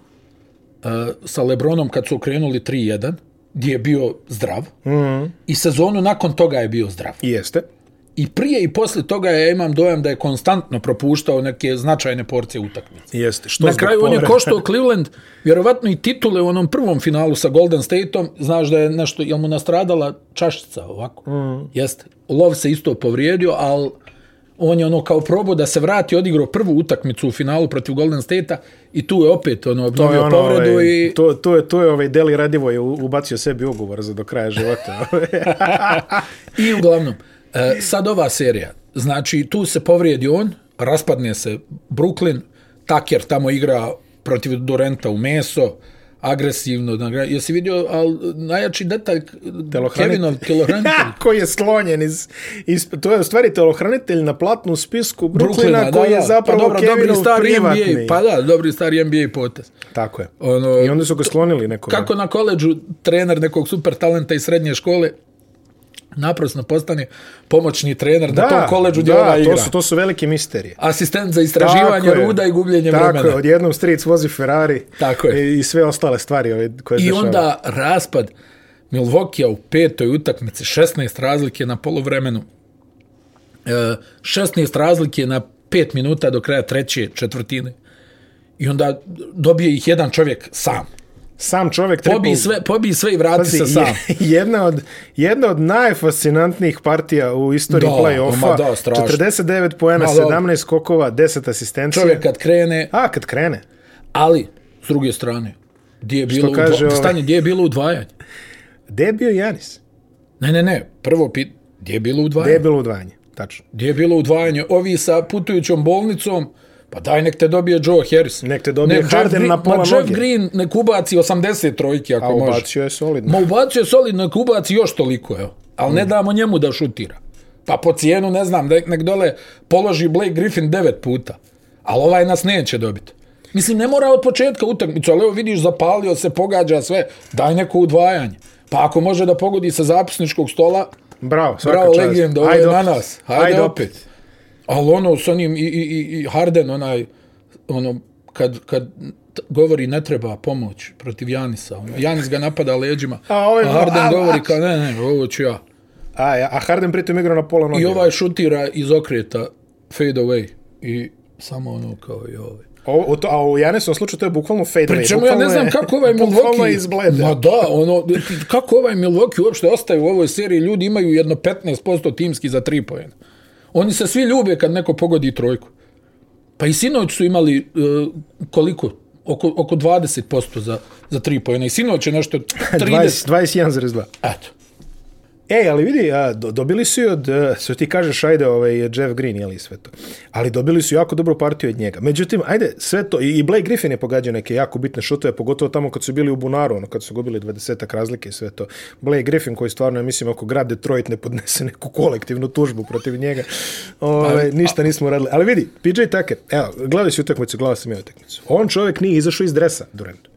e, sa Lebronom kad su okrenuli 3-1, gdje je bio zdrav, mm
Mhm.
-hmm. i sezonu nakon toga je bio zdrav.
I Jeste.
I prije i posle toga ja imam dojam da je konstantno propuštao neke značajne porcije utakmice.
i Jeste. Što
Na
zbog
kraju on je
povreda-
koštao Cleveland, vjerovatno i titule u onom prvom finalu sa Golden Stateom, znaš da je nešto, jel mu nastradala čašica ovako? Mm. Jeste. Lov se isto povrijedio, ali on je ono kao probao da se vrati, odigrao prvu utakmicu u finalu protiv Golden Statea i tu je opet ono
To je
obnovio
ono,
povredu
ovaj,
i...
to, to je, to je ovaj Deli Radivo je u- ubacio sebi ugovor za do kraja života.
I uglavnom, e, sad ova serija, znači tu se povrijedi on, raspadne se Brooklyn, Tucker tamo igra protiv Dorenta u meso, agresivno. na gra- Jesi vidio, ali najjači detalj,
Telohranitelj.
Kevinov telohranitelj.
koji je sklonjen iz, iz, to je u stvari telohranitelj na platnu spisku Brooklyna
Brooklyna,
koji
da,
je
da.
zapravo
pa, dobro, dobri
Kevinov
stari
privatni.
NBA, pa da, dobri stari NBA potez.
Tako je.
Ono,
I onda su ga sklonili nekoga.
kako na koleđu trener nekog super talenta iz srednje škole naprosno postane pomoćni trener da, na tom koleđu gdje
da,
ona igra.
to su, to su velike misterije.
Asistent za istraživanje
je.
ruda i gubljenje
Tako
vremena.
je, odjednom stric vozi Ferrari
Tako je.
i, i sve ostale stvari ove koje se
I
dešavaju.
onda raspad Milvokija u petoj utakmici, 16 razlike na polovremenu, e, 16 razlike na 5 minuta do kraja treće četvrtine. I onda dobije ih jedan čovjek sam.
Sam čovjek
Pobiji sve, pobiji sve i vrati
Pazi,
se sam.
je- jedna od, jedna od najfascinantnijih partija u istoriji
Da, ma
play-offa.
da, strašno.
49 poena,
Ma da.
17 skokova, 10 asistencija.
Čovjek kad krene,
A, kad krene.
ali s druge strane, gdje je bilo,
kaže
udva...
ovaj-
stanje, gdje je bilo udvajanje?
Gde je bio Janis?
Ne, ne, ne, prvo pit, gdje je bilo
Gde je
udvajanje?
bilo udvajanje? Tačno.
Gdje je bilo udvajanje? Ovi sa putujućom bolnicom, pa daj nek te dobije Joe Harris.
Nek te dobije Harden
Green,
na pola
ma Jeff
noge.
Green nek ubaci 80 trojki ako
A
Pa može.
Pa ubacio je solidno.
Ma ubacio je solidno, nek ubaci još toliko, evo. Ali
Mm.
ne damo njemu da šutira. Pa po cijenu, ne znam, nek, nek dole položi Blake Griffin devet puta. Ali ovaj nas neće dobiti. Mislim, ne mora od početka utakmicu, ali evo vidiš, zapalio se, pogađa sve. Daj neko udvajanje. Pa ako može da pogodi sa zapisničkog stola,
Bravo, svaka
Bravo,
čast.
legend, ovo je
Ajde
na
opet.
nas. Hajde, opet. Ali ono s onim i, i, i- i Harden, onaj, ono, kad, kad t- govori ne treba pomoć protiv Janisa. Ono, Janis ga napada leđima,
A
a,
ovaj-
Harden
a-
govori kao ne, ne, ovo ću ja.
A, a Harden pritom igra na pola noge.
I ovaj šutira iz okreta, fade away. I samo ono kao i ovaj.
O, o to, a u Janisovom slučaju to je bukvalno fade
Pri čemu ja ne znam kako ovaj
Bukvalno je
Milwaukee...
izblede.
Ma da, ono, ti- kako ovaj Milwaukee uopšte ostaje u ovoj seriji, ljudi imaju jedno 15% timski za tri pojena. Oni se svi ljube kad neko pogodi trojku. Pa i sinoć su imali e, koliko? Oko, oko 20% za, za tri pojena. I sinoć je nešto 30.
20, 21,2.
Eto.
Ej, E, ali vidi, a, do, dobili su i od, e, sve ti kažeš, ajde, ovaj, Jeff Green, jeli sve to. Ali dobili su jako dobru partiju od njega. Međutim, ajde, sve to, i, i Blake Griffin je pogađao neke jako bitne šutove, pogotovo tamo kad su bili u bunaru, ono, kad su gubili 20 razlike i sve to. Blake Griffin, koji stvarno, ja mislim, ako grad Detroit ne podnese neku kolektivnu tužbu protiv njega, ove, ništa nismo radili. Ali vidi, PJ Tucker, evo, gledaj si utakmicu, gledaj sam ja utakmicu. On čovjek nije izašao iz dresa, Durant.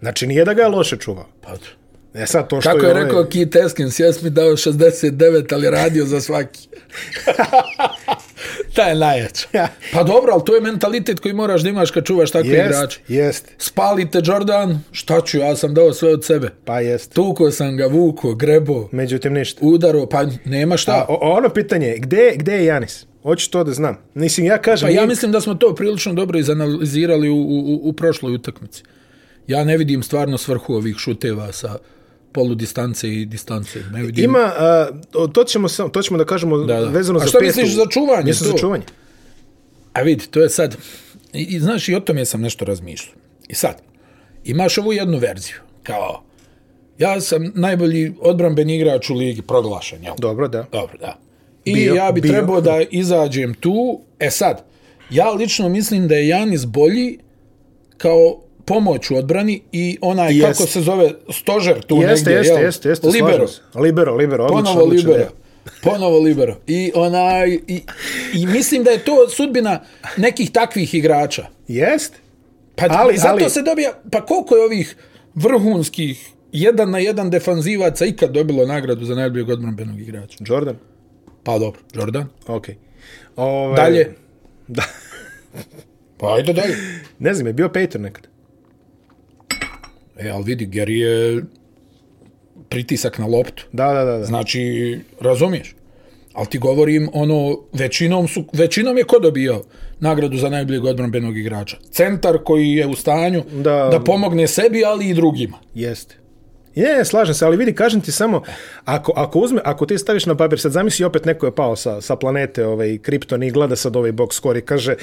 Znači, nije da ga je loše čuvao.
Pa, eto.
E sad to što
Kako
je
je
ovaj-
rekao Keith Eskins, jes mi dao 69, ali radio za svaki. Ta je najjača. Pa dobro, ali to je mentalitet koji moraš da imaš kad čuvaš takve yes.
Jest,
igrače.
jest,
Spalite Jordan, šta ću, ja sam dao sve od sebe.
pa jest.
Tuko sam ga, vuko, grebo,
Međutim, ništa.
udaro, pa nema šta.
A, o, ono pitanje, je, gde, gde je Janis? Hoću to da znam. Mislim, ja kažem...
Pa ja
mi-
mislim da smo to prilično dobro izanalizirali u, u, u prošloj utakmici. Ja ne vidim stvarno svrhu ovih šuteva sa polu distance i distance. Ne vidim.
Ima, a, o, to, ćemo, sam, to ćemo da kažemo da, da.
da.
vezano
A
za
šta
petu.
misliš za čuvanje,
Mislim za
to?
čuvanje.
A vidi, to je sad, i, i znaš, i o tome sam nešto razmišljao. I sad, imaš ovu jednu verziju, kao, ja sam najbolji odbranbeni igrač u ligi, proglašen, jel?
Dobro, da.
Dobro, da. I
Bio,
bio, ja bi
bio.
bio. trebao da izađem tu. E sad, ja lično mislim da je Janis bolji kao pomoć u odbrani i onaj,
Jest.
kako se zove, stožer tu
Jeste,
negdje,
jeste,
jel?
jeste, jeste,
Libero.
slažem se. Libero, libero, odlično.
Ponovo
odlično,
libero.
da.
Ponovo libero. I onaj, i, i mislim da je to sudbina nekih takvih igrača.
Jest?
Pa,
Ali-
ali, i zato
ali-
ali, se dobija, pa koliko je ovih vrhunskih jedan na jedan defanzivaca ikad dobilo nagradu za najboljeg odbranbenog igrača?
Jordan?
Pa dobro, Jordan.
Okej. Ovaj,
Dalje.
Da.
Pa ajde dalje.
Ne znam, je bio Peyton nekad.
E, ali vidi, Gary je pritisak na loptu.
Da, da, da. da.
Znači, razumiješ? Ali ti govorim, ono, većinom, su, većinom je ko dobijao nagradu za najboljeg odbranbenog igrača? Centar koji je u stanju
Da.
da, da pomogne sebi, ali i drugima.
Jeste. Je, slažem se, ali vidi, kažem ti samo, ako, ako, uzme, ako ti staviš na papir, sad zamisli opet neko je pao sa, sa planete ovaj, Krypton i gleda sad ovaj box score i kaže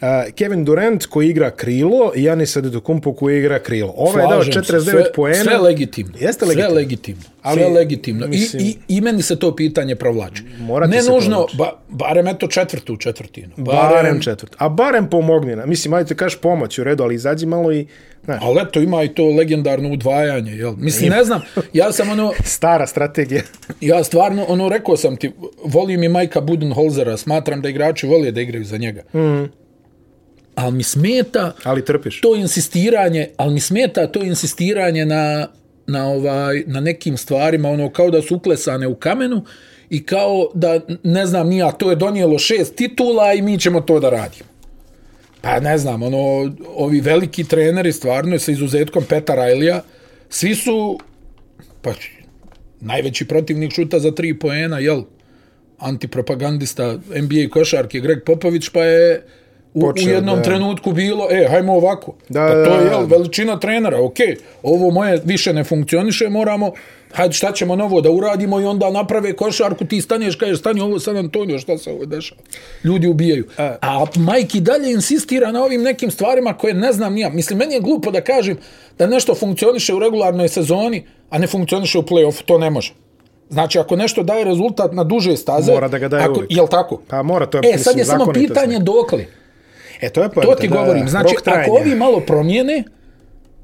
uh, Kevin Durant koji igra krilo i Janis Adetokumpo koji igra krilo. Ovaj je dao
Slažem se,
49
sve,
poena.
Sve legitimno.
Jeste
Sve
legitimno.
legitimno.
Ali,
Ali, sve legitimno.
mislim-
I, i, I meni se to pitanje provlači.
Mora ti
ne
se
nužno,
provlači.
ba, barem eto četvrtu četvrtinu.
Barem četvrt. A barem pomogni nam. Mislim, ajde ti kažeš pomoć u redu, ali izađi malo i, znaš,
Ali eto, ima i to legendarno udvajanje, jel? Mislim, ne znam, ja sam ono,
stara strategija.
ja stvarno, ono, rekao sam ti, volim i Majka Budenholzera, smatram da igrači vole da igraju za njega. Mm. Ali mi smeta
ali trpiš.
to insistiranje, ali mi smeta to insistiranje na, na, ovaj, na nekim stvarima, ono kao da su uklesane u kamenu i kao da, ne znam, nija, to je donijelo šest titula i mi ćemo to da radimo. Pa ne znam, ono, ovi veliki treneri stvarno, sa izuzetkom Peta Rajlija, svi su, pa najveći protivnik šuta za tri poena, jel? Antipropagandista NBA košarke Greg Popović, pa je u, Počeo, u
Počeo,
jednom
da.
da. trenutku bilo, e, hajmo ovako.
Da,
pa to
da,
je
da.
jel, veličina trenera, ok, ovo moje više ne funkcioniše, moramo, hajde šta ćemo novo da uradimo i onda naprave košarku, ti staneš, kažeš, stani ovo San Antonio, šta se ovo dešava? Ljudi ubijaju.
E.
A, A Mike i dalje insistira na ovim nekim stvarima koje ne znam nija. Mislim, meni je glupo da kažem da nešto funkcioniše u regularnoj sezoni, a ne funkcioniše u play-offu, to ne može. Znači, ako nešto daje rezultat na duže staze...
Mora da ga daje
ako,
uvijek.
Jel tako?
Pa mora, to je,
E, sad je
mislim,
samo
zakonitost
pitanje dokle.
E, to je
To
poenta,
ti
da,
govorim.
da.
Znači,
Rok trajanja.
ako ovi malo promijene,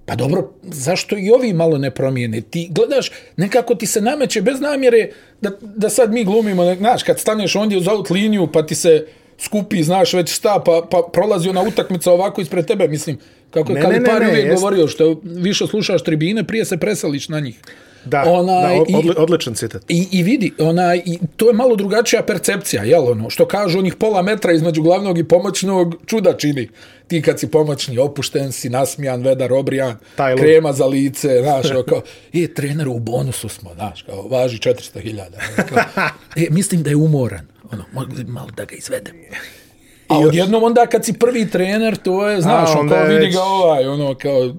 pa dobro, zašto i ovi malo ne promijene? Ti gledaš, nekako ti se nameće bez namjere da, da sad mi glumimo, ne- znaš, kad staneš ondje uz out liniju, pa ti se skupi, znaš već šta, pa, pa prolazi ona utakmica ovako ispred tebe, mislim, kako
Ne,
je
ne, ne,
Kalipari
ne,
uvijek
jest.
govorio, što više slušaš tribine, prije se preseliš na njih.
Da, da
Onaj,
o-
i-
odli, odličan citat.
I, I vidi, ona, i to je malo drugačija percepcija, jel ono, što kažu onih pola metra između glavnog i pomoćnog čuda čini. Ti kad si pomoćni, opušten si, nasmijan, vedar, obrijan,
Taj lud.
krema za lice, znaš, ono kao, e, treneru, u bonusu smo, znaš, kao, važi 400.000. ono, kao, E, mislim da je umoran, ono, mogu li malo da ga izvedem. A odjednom onda kad si prvi trener, to je, znaš,
A,
on
onda
kao
je
vidi
već-
ga ovaj, ono, kao,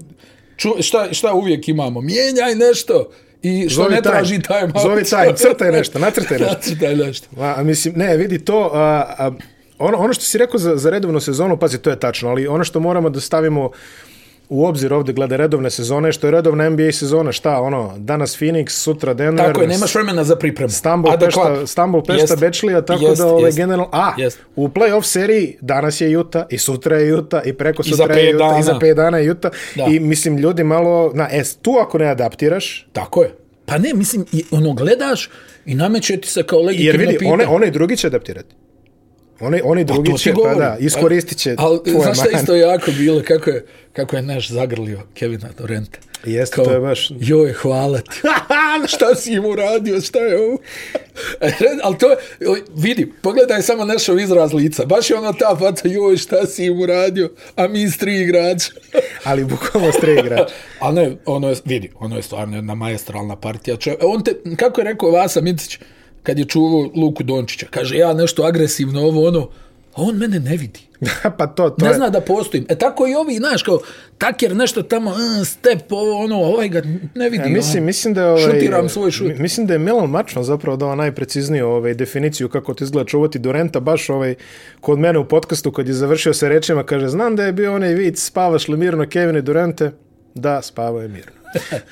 ču, šta, šta uvijek imamo? Mijenjaj nešto i što
Zovi
ne
time.
traži taj malo.
Zovi time, crtaj nešto, nacrtaj nešto.
nacrtaj nešto.
A, mislim, ne, vidi to, a, a, ono, ono što si rekao za, za redovnu sezonu, pazi, to je tačno, ali ono što moramo da stavimo u obzir ovde glede redovne sezone, što je redovna NBA sezona, šta, ono, danas Phoenix, sutra Denver,
Tako je, nemaš vremena za pripremu.
Stambul
Adekvatno.
Pešta, Stambul Pešta
Jeste.
Bečlija, tako
Jeste,
da ovaj
jeste.
generalno... A,
Jeste.
u play-off seriji danas je Juta, i sutra je Juta, i preko
za
sutra je
pet
Juta, i za
dana.
pet dana je Juta.
Da.
I mislim, ljudi malo... Na, es, tu ako ne adaptiraš,
Tako je. Pa ne, mislim, i ono, gledaš i nameće ti se kao legitimno
jer vidi,
pitanje.
one, one i drugi će adaptirati. One, one i drugi
To ti
će, pa
govorim.
da, iskoristit će
Al,
tvoje
znaš šta
mane.
isto jako bilo, kako je, kako je naš zagrlio Kevina Dorenta.
Jeste, to je baš-
Joj, hvala ti. šta si im uradio, šta je ovo? Ali E, to je, oj, vidi, pogledaj samo našo izraz lica. Baš je ona ta faca, joj, šta si im uradio, a mi s tri igrača.
Ali bukvalno s tri igrača.
A ne, ono je, vidi, ono je stvarno jedna maestralna partija. Čo, on te, kako je rekao Vasa Micić, kad je čuvao Luku Dončića, kaže, ja nešto agresivno, ovo, ono, a on mene ne vidi.
pa to, to
Ne
je...
zna da postojim. E tako i ovi, znaš, kao taker nešto tamo, mm, step, ovo, ono, ovaj ga ne vidi.
Ja, E, mislim,
ono.
mislim da je ovaj,
Šutiram svoj šut.
mi- Mislim da je Milan Mačno zapravo dao najprecizniju ovaj definiciju kako ti izgleda čuvati Dorenta baš ovaj kod mene u podcastu kad je završio sa rečima kaže znam da je bio onaj vic spavaš li mirno Kevine Dorente da spavao je mirno.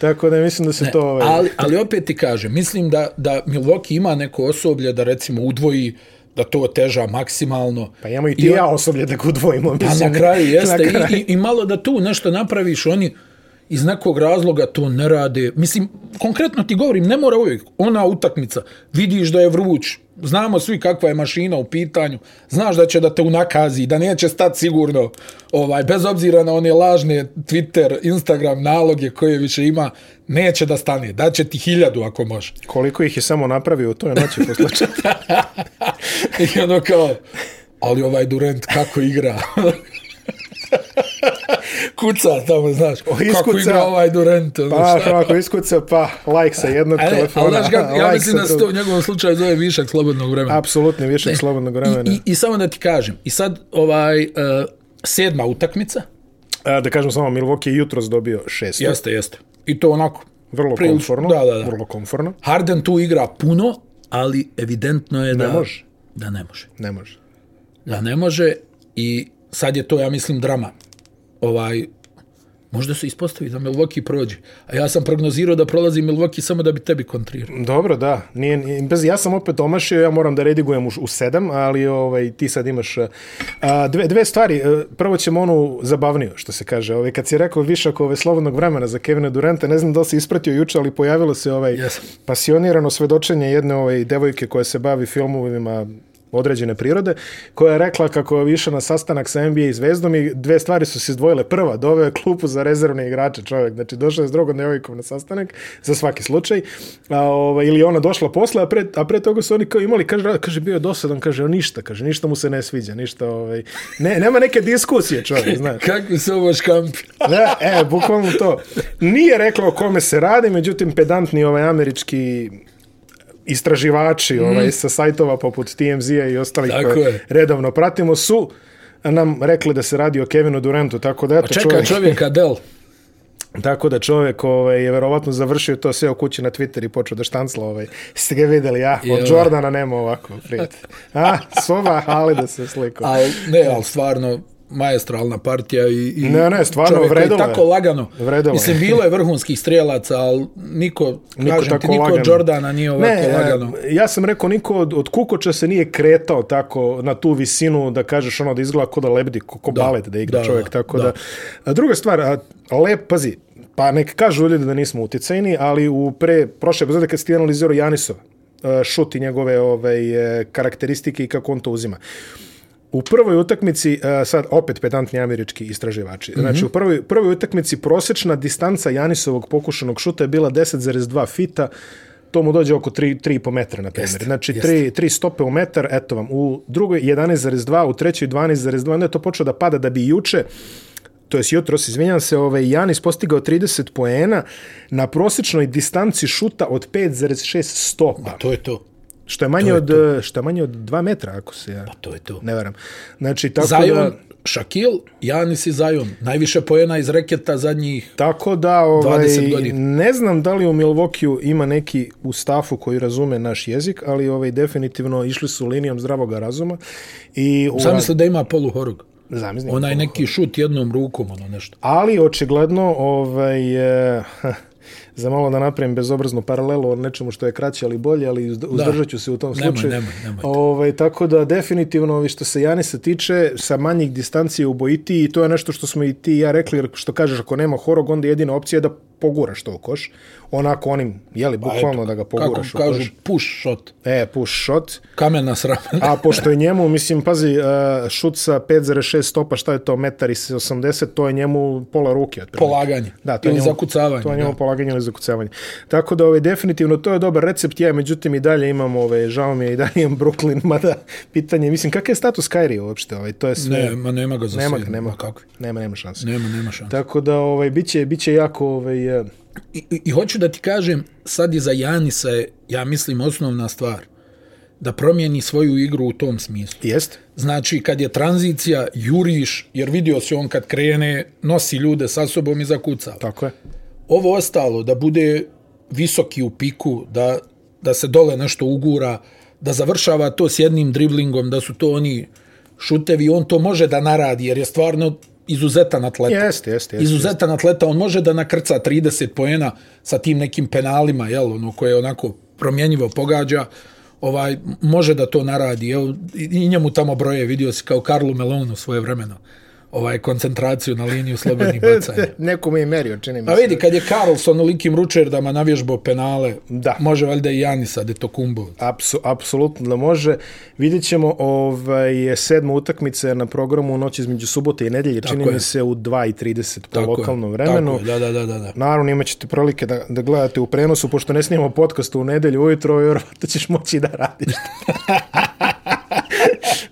Tako da mislim da se to ovaj
E, Ali, ali opet ti kažem, mislim da, da Milwaukee ima neko osoblje da recimo udvoji, da to oteža maksimalno.
pa imamo i ti i ja osoblje da ga udvojimo.
Pa
mislim.
na kraju jeste.
Na kraju.
I, i, I malo da tu nešto napraviš, oni iz nekog razloga to ne rade. Mislim, konkretno ti govorim, ne mora uvijek. Ona utakmica, vidiš da je vruć, znamo svi kakva je mašina u pitanju, znaš da će da te unakazi, da neće stat sigurno, ovaj, bez obzira na one lažne Twitter, Instagram naloge koje više ima, neće da stane, daće ti hiljadu ako može.
Koliko ih je samo napravio u toj noći posle četiri.
I ono kao, ali ovaj Durant kako igra. Kuca tamo, znaš, kako
iskuca.
igra ovaj Durant. ono
Pa,
šta.
ako iskuca, pa like sa jednog
E,
telefona.
ali znaš kako, ja
like
mislim
sa
da se to u
drugog.
njegovom slučaju zove višak slobodnog vremena.
Apsolutni
E,
višak slobodnog vremena.
I, i, I samo da ti kažem, i sad ovaj uh, sedma utakmica,
A, E, da kažem samo, Milwaukee je jutros dobio šest.
jeste, jeste, i to onako.
Vrlo
prilično-
komforno.
Da, da, da.
Vrlo komforno.
Harden tu igra puno, ali evidentno je da...
može.
Da ne može.
Ne može.
da ne može i sad je to, ja mislim, drama. Ovaj, možda se ispostavi da Milwaukee prođe. A ja sam prognozirao da prolazi Milwaukee samo da bi tebi kontrirao.
Dobro, da. Nije, nije, bez, ja sam opet omašio, ja moram da redigujem u, u sedam, ali ovaj, ti sad imaš a, a, dve, dve stvari. E, Prvo ćemo onu zabavniju, što se kaže. Ovaj, kad si rekao višak ove slobodnog vremena za Kevina Duranta, ne znam da li si ispratio juče, ali pojavilo se ovaj
Jesam.
pasionirano svedočenje jedne ovaj, devojke koja se bavi filmovima određene prirode, koja je rekla kako je išla na sastanak sa NBA zvezdom i dve stvari su se izdvojile. Prva, doveo je klupu za rezervne igrače čovjek, znači došao je s drugom devojkom na sastanak, za svaki slučaj, a, ova, ili ona došla posle, a pre, a pre toga su oni kao imali, kaže, kaže bio je dosadan, kaže, ništa, kaže, ništa mu se ne sviđa, ništa, ovaj, ne, nema neke diskusije čovjek, znaš.
Kakvi su ovo škampi?
Da, e, bukvalno to. Nije rekla o kome se radi, međutim, pedantni ovaj američki istraživači ovaj, sa sajtova poput TMZ-a i ostalih
Mhm. Tako
koje
je.
redovno pratimo su nam rekli da se radi o Kevinu Durantu, tako da eto,
Čeka čovjek Adel.
tako da čovjek ovaj, je verovatno završio to sve u kući na Twitter i počeo da štancla. Ovaj. Ste ga videli, ja? Od
Jel?
Jordana nema ovako, prijatelj. A, soba, ali da se slikao.
Al, ne, ali stvarno maestralna partija i, i
Ne, ne, stvarno,
čovjek koji
vredelo je.
tako lagano.
Vredelo je.
Mislim, bilo je vrhunskih strijelaca, ali niko, niko, kažem ti, niko od Jordana nije ovako
e,
lagano.
Ja sam rekao, niko od, od Kukoča se nije kretao tako na tu visinu da kažeš ono da izgleda ko da lebdi, ko, ko da, balet da igra
da,
da, čovjek. Tako
da.
da. da. A druga stvar, a, lep, pazi, pa nek kažu ljudi da nismo uticajni, ali u pre, prošle epizode kad ste analizirao Janisova, e, šut i njegove ovaj, e, karakteristike i kako on to uzima. U prvoj utakmici, e, sad opet pedantni američki istraživači,
Mhm.
znači u prvoj, prvoj utakmici prosečna distanca Janisovog pokušanog šuta je bila 10,2 fita, to mu dođe oko 3, 3,5 metra, na primjer. znači, 3, 3 stope u metar, eto vam, u drugoj 11,2, u trećoj 12,2, onda je to počelo da pada da bi juče to jest jutros, izvinjam se, ovaj, Janis postigao 30 poena na prosječnoj distanci šuta od 5,6 stopa,
To je to.
što je manje, od, eh, što je manje od 2 metra, ako se ja
Pa To je to.
ne varam. Znači, tako
Zion,
da...
Shaquille, Janis i Zion. Najviše pojena iz reketa zadnjih
Tako da, ovaj,
20 godina.
ne znam da li u Milvokiju ima neki u stafu koji razume naš jezik, ali ovaj, definitivno išli su linijom zdravoga razuma. I u,
Zamisli da ima polu horog.
Zamisli.
Onaj neki šut jednom rukom, ono nešto.
Ali očigledno ovaj e, za malo da napravim bezobraznu paralelu o nečemu što je kraće ali bolje, ali uzd- uzdržat ću se u tom
Nemoj,
slučaju.
nemoj, nemojte.
Ovaj, tako da definitivno ovi što se Janisa tiče sa manjih distancije ubojiti i to je nešto što smo i ti i ja rekli, jer što kažeš ako nema horog onda jedina opcija je da poguraš to u koš. Onako onim, jeli, bukvalno da ga
Pa Kako
poguraš u
kažu,
koš.
push shot.
E, push shot.
Kamena s ramena.
A pošto je njemu, mislim, pazi, e, šut sa 5,6 stopa, šta je to, metar i 80, to je njemu pola ruke. Otprilike.
Polaganje.
Da, to je
Ili
njemu-
zakucavanje,
To je njemu
da.
polaganje ili zakucavanje. Tako da, ovaj, definitivno, to je dobar recept. Ja, međutim, i dalje imam, ovaj, žao mi je, i dalje imam Brooklyn, mada pitanje, mislim, kakav je status Kyrie uopšte? Ovaj, to je sve...
Ne, ma nema ga za
nema
sve.
ga, nema.
ma Kakvi?
Nema, nema šanse.
Nema, nema šanse.
Tako da, ovaj, biće, biće jako, ovaj, e,
I, i, I hoću da ti kažem, sad i za Janisa je, ja mislim, osnovna stvar da promijeni svoju igru u tom smislu.
jest?
Znači, kad je tranzicija, juriš, jer vidio se on kad krene, nosi ljude sa sobom i zakucava.
Tako je.
ovo ostalo da bude visoki u piku, da, da se dole nešto ugura, da završava to s jednim driblingom, da su to oni šutevi, on to može da naradi, jer je stvarno izuzetan atleta.
Jeste, jeste, jeste.
Izuzetan atleta, on može da nakrca 30 poena sa tim nekim penalima, jel, ono koje onako promjenjivo pogađa, ovaj m- može da to naradi. Jel, i, i njemu tamo broje, vidio si kao Karlu Melonu svoje vremeno, ovaj koncentraciju na liniju slobodnih bacanja.
Nekom je merio, čini mi
Pa
se.
vidi, kad je Karlsson likim ručerdama navježbao penale,
Da.
može valjda i Janisa Detokumbo.
Apsu, apsolutno da može. Vidjet ćemo ovaj, sedma utakmica je na programu u noći između subote i nedelje, čini
je.
mi se u 2.30 po
Tako je,
lokalnom vremenu.
Tako je, da, da, da, da. da.
Naravno imat ćete prilike da, da gledate u prenosu, pošto ne snimamo podcast u nedelju ujutro, vjerovatno ćeš moći da radiš.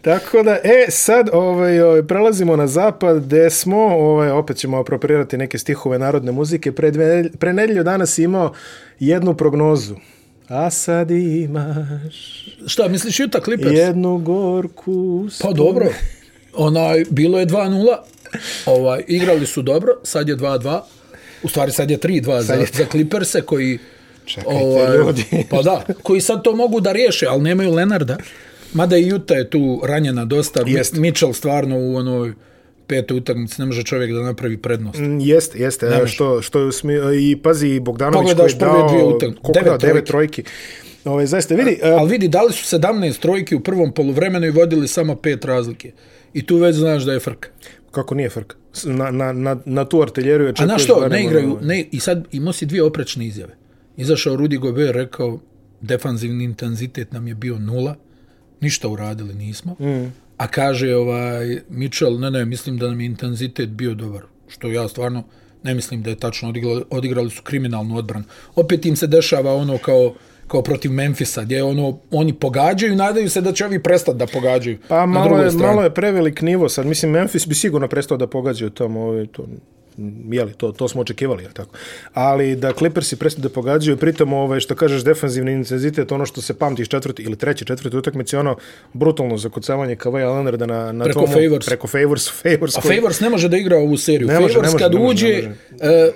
Tako da, e, sad ovaj, ovaj, prelazimo na zapad gde smo, ovaj, opet ćemo aproprirati neke stihove narodne muzike. Pre, dve, pre nedelju danas je imao jednu prognozu. A sad imaš
Šta, misliš Juta Clippers?
jednu gorku...
Pa
spomenu.
dobro. Onaj, bilo je 2-0, ovaj, igrali su dobro, sad je 2-2, u stvari sad je 3-2 za, za Clipperse koji...
Čekajte, ljudi.
pa da, koji sad to mogu da riješe, ali nemaju Lenarda. Mada i Juta je tu ranjena dosta. Mi-
Jeste.
Mitchell stvarno u onoj petoj utakmici ne može čovjek da napravi prednost.
Mm, Jeste, jeste, evo što, što je usmi... I pazi, i Bogdanović koji
Pogledaš
je
prve
dao...
dvije utakmice,
Koliko je dao?
devet
Devet trojki. Ove, zaista, vidi, a,
Ali vidi, dali su 17 trojki u prvom poluvremenu i vodili samo pet razlike. I tu već znaš da je frka.
kako nije frka? S- Na, na, na, na tu artiljeriju je
A
čekuješ...
na što,
da
ne
nema
igraju,
nove.
ne, i sad imao si dvije oprečne izjave. Izašao Rudi Gobert, rekao, defanzivni intenzitet nam je bio nula, ništa uradili nismo. Mm. A kaže ovaj Mitchell, ne, ne, mislim da nam je intenzitet bio dobar. Što ja stvarno ne mislim da je tačno odigrali, odigrali su kriminalnu odbranu. Opet im se dešava ono kao kao protiv Memfisa, gdje ono, oni pogađaju, nadaju se da će ovi prestati da pogađaju.
Pa
na
malo
drugoj
je,
strani.
malo je prevelik nivo sad. Mislim, Memphis bi sigurno prestao da pogađaju tamo. Ovaj, to, jeli, to, to smo očekivali, jel tako? Ali da Clippersi prestaju da pogađaju, pritom, ovaj, što kažeš, defanzivni intenzitet, ono što se pamti iz četvrte ili treće, četvrte utakmice, ono brutalno zakucavanje Kavaja Leonarda na, na
Preko
tomu-
Favors.
Preko Favors. Favors,
A
koji-
Favors ne može da igra ovu seriju.
Ne može,
Favors
ne može,
kad
ne može,
uđe,
ne
e,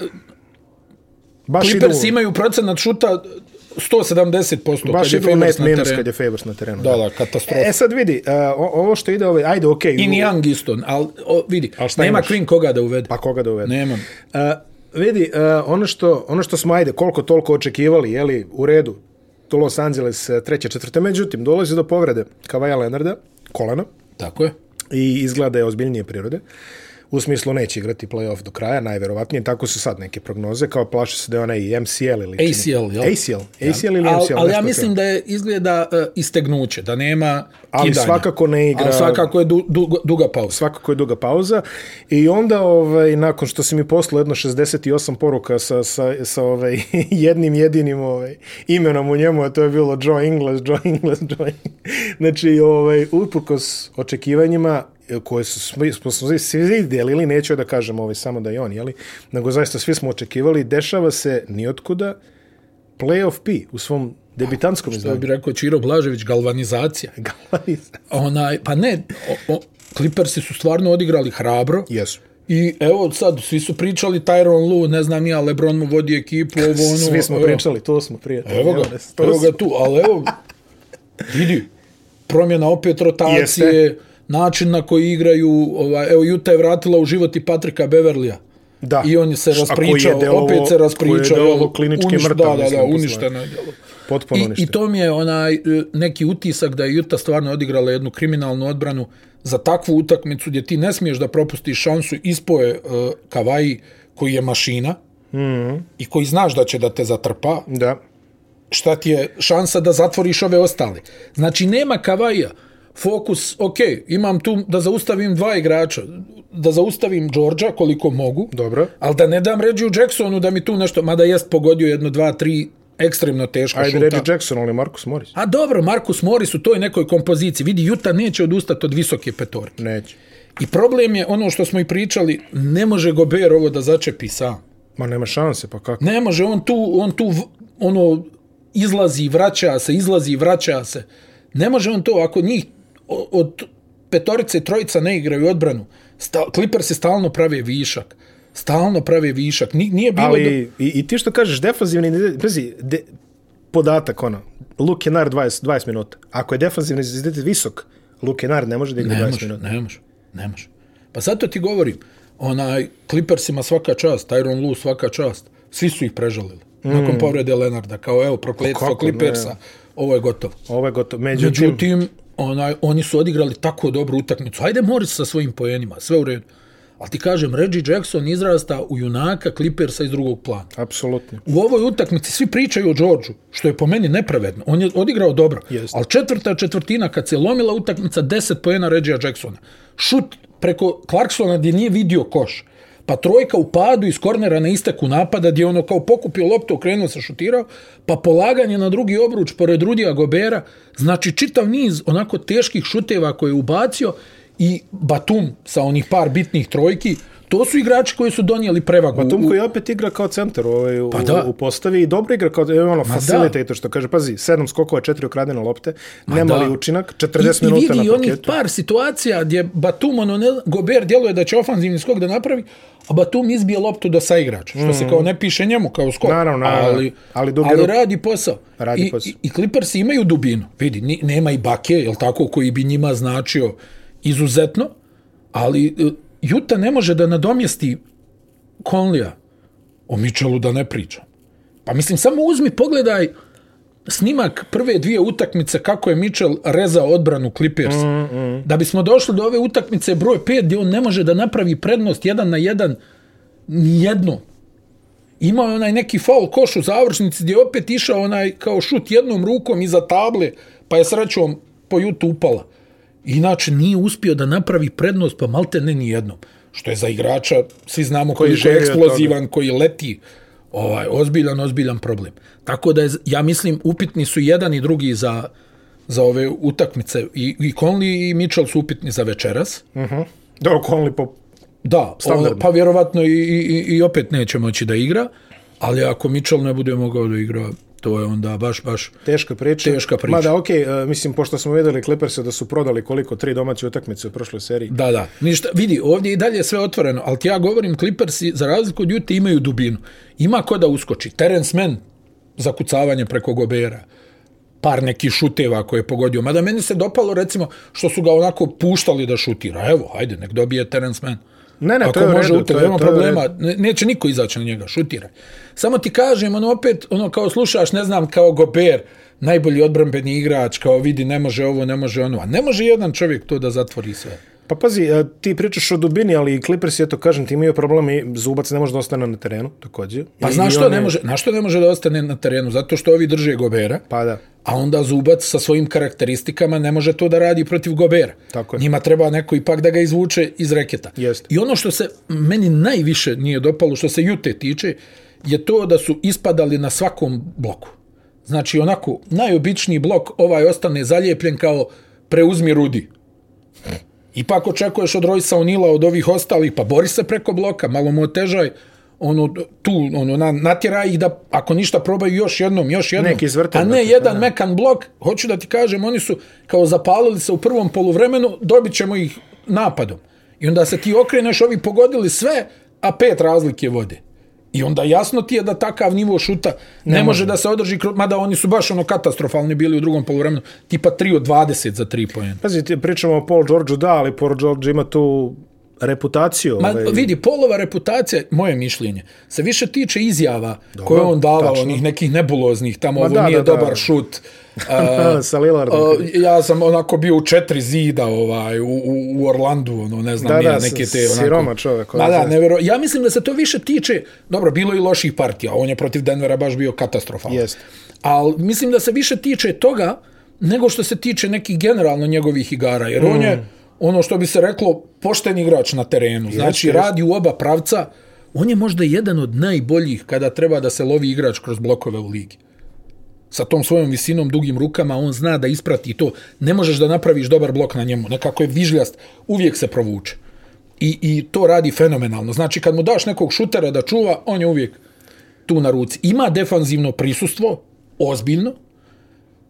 baš idu,
Clippers imaju procenat šuta 170%.
baš
kad
idu
je
u
Favors
net
na
minus
terenu.
kad je Favors na terenu.
Da, da, katastrofa.
E sad vidi, uh, o- ovo što ide, ovaj, ajde, okej.
I ni Young isto, ali o, vidi,
Al šta
nema
imaš?
Queen koga da uvede.
Pa koga da uvede?
Nemam.
Uh, vidi, uh, ono, što, ono što smo, ajde, koliko toliko očekivali, jeli, u redu, to Los Angeles eh, treće, četvrte, međutim, dolazi do povrede Kavaja Leonarda, kolena,
Tako je.
i izgleda je ozbiljnije prirode. U smislu neće igrati play-off do kraja, najverovatnije, tako su sad neke prognoze, kao plaše se da je onaj MCL ili... čini-
ACL, jel?
ACL, ACL ili
Ali
MCL.
al ja
nešto
mislim da je izgleda e, istegnuće, da nema
Ali
kidanja.
svakako ne igra-
Ali svakako je du, dugo, duga pauza.
svakako je duga pauza i onda ovaj nakon što se mi poslao jedno 68 poruka sa sa sa ovaj jednim jedinim ovaj imenom u njemu a to je bilo Joe Ingles Joe Ingles Joe Ingles. znači ovaj uprkos očekivanjima e, koje su smi- smo, smo svi delili, neću ja da kažem ovaj, samo da je on, jeli? nego zaista svi smo očekivali, dešava se nijotkuda playoff P u svom debitantskom
To
izdanju.
bi rekao Čiro Blažević, galvanizacija. Onaj, pa ne, o, o, Clippersi su stvarno odigrali hrabro.
Jesu.
I evo sad, svi su pričali Tyron Lu, ne znam ja, Lebron mu vodi ekipu, ovo ono.
Svi smo
evo,
pričali, to smo prijatelji.
Evo ga,
to
evo
smo-
ga tu, ali evo, vidi, promjena opet rotacije,
Jeste.
način na koji igraju, ovaj, evo, Juta je vratila u život i Patrika Beverlija.
Da.
I on je se
Š- a koji je
raspričao,
delovo-
opet se
koji je
raspričao.
delovo
jel,
klinički
uniš-
mrtav,
Da, da,
mislim,
da,
posle.
uništeno je djelo.
Potpuno
I, I
uništeno.
to mi je onaj e, neki utisak da je Juta stvarno odigrala jednu kriminalnu odbranu za takvu utakmicu gdje ti ne smiješ da propustiš šansu ispoje uh, Kavaji koji je mašina mm
Mhm.
-hmm. i koji znaš da će da te zatrpa,
Da.
šta ti je šansa da zatvoriš ove ostale. Znači, nema Kavaja. Fokus, ok, imam tu da zaustavim dva igrača, da zaustavim Đorđa koliko mogu,
Dobro.
ali da ne dam Reggie Jacksonu da mi tu nešto, mada jest pogodio jedno, dva, tri ekstremno teška
Ajde
šuta.
Reggie Jackson, ali Marcus Morris.
A dobro, Markus Morris u toj nekoj kompoziciji. Vidi, Juta neće odustati od visoke petorke.
Neće.
I problem je ono što smo i pričali, ne može Gober ovo da začepi sam.
Ma nema šanse, pa kako?
Ne može, on tu, on tu v- ono, izlazi, vraća se, izlazi, vraća se. Ne može on to, ako njih o- od petorice, trojica ne igraju odbranu, sta, Clippers stalno prave višak. Stalno prave višak. Ni- Nije bilo da-
Ali i, i ti što kažeš, defanzivni, identitet- pazi, de, podatak ono, Luke Kennard 20, 20 minuta. Ako je defanzivni identitet visok, Luke Kennard ne može da igra
Ne
20
može,
minuta.
ne može, ne može. Pa zato ti govorim, onaj, Clippersima svaka čast, Tyron Lu svaka čast, svi su ih prežalili. Mm. Nakon povrede Lenarda, kao evo, prokletstvo
kako ne?
Clippersa, ovo je gotovo.
Ovo je gotovo. Međutim,
Međutim, onaj, oni su odigrali tako dobru utakmicu. Ajde Morris sa svojim poenima, sve u redu. Ali ti kažem, Reggie Jackson izrasta u junaka Clippersa iz drugog plana.
apsolutno.
U ovoj utakmici svi pričaju o Đorđu, što je po meni nepravedno. On je odigrao dobro,
Jeste.
ali četvrta četvrtina, kad se lomila utakmica, 10 pojena Regija Jacksona. Šut preko Clarksona gdje nije vidio koš. Pa trojka u padu iz kornera na isteku napada gdje je ono kao pokupio loptu, okrenuo se, šutirao, pa polaganje na drugi obruč pored Rudija Gobera, znači čitav niz onako teških šuteva koje je ubacio i Batum sa onih par bitnih trojki, to su igrači koji su donijeli prevagu.
Tom
u- Pa
koji opet igra kao centar ovaj, u,
da.
u postavi i dobro igra kao e, ono, facilitator, što kaže, pazi, sedam skokova, četiri ukradene lopte, nemali
da.
učinak, 40
I, i
minuta
vidi i
na
onih pa-
paketu.
par situacija gdje Batum, ono, ne, Gober djeluje da će ofanzivni skok da napravi, a Batum izbije loptu do saigrača, što se kao ne piše njemu kao skok.
Mm. Naravno, naravno.
ali,
Ali
ali,
duge
ali
ruke.
radi posao.
Radi
I,
posao.
I, I Clippers imaju dubinu. Vidi, ni, nema i Bake, jel tako, koji bi njima značio izuzetno, ali e, Juta ne može da nadomjesti Conlija. O Mitchellu da ne pričam. Pa mislim, samo uzmi, pogledaj snimak prve dvije utakmice kako je Mitchell rezao odbranu Clippers. Mm, mm. Da bismo došli do ove utakmice broj 5 gdje on ne može da napravi prednost jedan na jedan nijedno. Imao je onaj neki faul koš u završnici gdje je opet išao onaj kao šut jednom rukom iza table pa je srećom po Jutu upala. Inače nije uspio da napravi prednost, pa malte ne ni jednom. Što je za igrača, svi znamo koji, koji
koji
je
je
eksplozivan, koji leti, ovaj, ozbiljan, ozbiljan problem. Tako da, je, ja mislim, upitni su jedan i drugi za, za ove utakmice. I, i Conley i Mitchell su upitni za večeras.
Mhm. Dobro, Conley po...
Da, o,
Standardno.
pa vjerovatno i, i, i- i opet neće moći da igra, ali ako Mitchell ne bude mogao da igra, to je onda baš, baš...
Teška priča.
Teška priča.
Mada, okej, okay, mislim, pošto smo videli Clippersa da su prodali koliko tri domaće utakmice u prošloj seriji.
Da, da, ništa, vidi, ovdje je i dalje sve otvoreno, ali ti ja govorim, Clippersi, za razliku od Jute, imaju dubinu. Ima ko da uskoči. Terence Mann za kucavanje preko Gobera, par nekih šuteva koje je pogodio. Mada meni se dopalo, recimo, što su ga onako puštali da šutira. Evo, hajde, nek dobije Terence Mann.
Ne, ne,
Ako
to je u
može
redu.
utak,
to je-
nema
to je u redu.
problema, ne- neće niko izaći na njega, šutira. Samo ti kažem, ono opet, ono kao slušaš, ne znam, kao Gober, najbolji odbrambeni igrač, kao vidi, ne može ovo, ne može ono, a ne može jedan čovjek to da zatvori sve.
Pa pazi, e, ti pričaš o dubini, ali i Clippers, eto, kažem ti, imaju problem i Zubac ne može da ostane na terenu, takođe.
Pa
I- i
znaš što
one-
ne može, znaš što ne može da ostane na terenu? Zato što ovi drže Gobera,
Pa da.
a onda Zubac sa svojim karakteristikama ne može to da radi protiv Gobera.
Tako je.
Njima treba neko ipak da ga izvuče iz reketa.
Jeste.
I ono što se meni najviše nije dopalo, što se Jute tiče, je to da su ispadali na svakom bloku. Znači, onako, najobičniji blok, ovaj ostane zalijepljen kao preuzmi Rudi. Ipak očekuješ od Rojsa Onila, od ovih ostalih, pa bori se preko bloka, malo mu otežaj, ono, tu, ono, na, natjera ih da, ako ništa, probaju još jednom, još jednom.
Neki izvrte, pa
A ne
brate,
jedan mekan blok, hoću da ti kažem, oni su kao zapalili se u prvom poluvremenu, dobit ćemo ih napadom. I onda se ti okreneš, ovi pogodili sve, a pet razlike vode. I onda jasno ti je da takav nivo šuta ne, ne može da se održi, kro- mada oni su baš ono katastrofalni bili u drugom poluvremenu, tipa 3 od 20 za 3 poena.
Pazi, ti pričamo o Paul Georgeu, da, ali Paul George ima tu reputaciju.
Ma
ovaj,
vidi, polova reputacija, moje mišljenje, se više tiče izjava koje je on davao,
tačno.
onih nekih nebuloznih, tamo ovo
da,
nije
da, da.
dobar šut.
a, pa, sa Lillardom.
O, ja sam onako bio u četiri zida ovaj u, u, u Orlandu, ono ne znam,
Da,
nije,
da,
neke
s-
te onako.
siroma čovjek, ono,
Ma da,
zaista.
nevjero, ja mislim da se to više tiče, dobro, bilo je i loših partija, on je protiv Denvera baš bio katastrofalan.
Jeste.
Ali mislim da se više tiče toga nego što se tiče nekih generalno njegovih igara, jer mm. on je ono što bi se reklo pošten igrač na terenu. Znači
jeste.
radi u oba pravca. On je možda jedan od najboljih kada treba da se lovi igrač kroz blokove u ligi sa tom svojom visinom, dugim rukama, on zna da isprati to. Ne možeš da napraviš dobar blok na njemu. Nekako je vižljast, uvijek se provuče. I, I to radi fenomenalno. Znači, kad mu daš nekog šutera da čuva, on je uvijek tu na ruci. Ima defanzivno prisustvo, ozbiljno.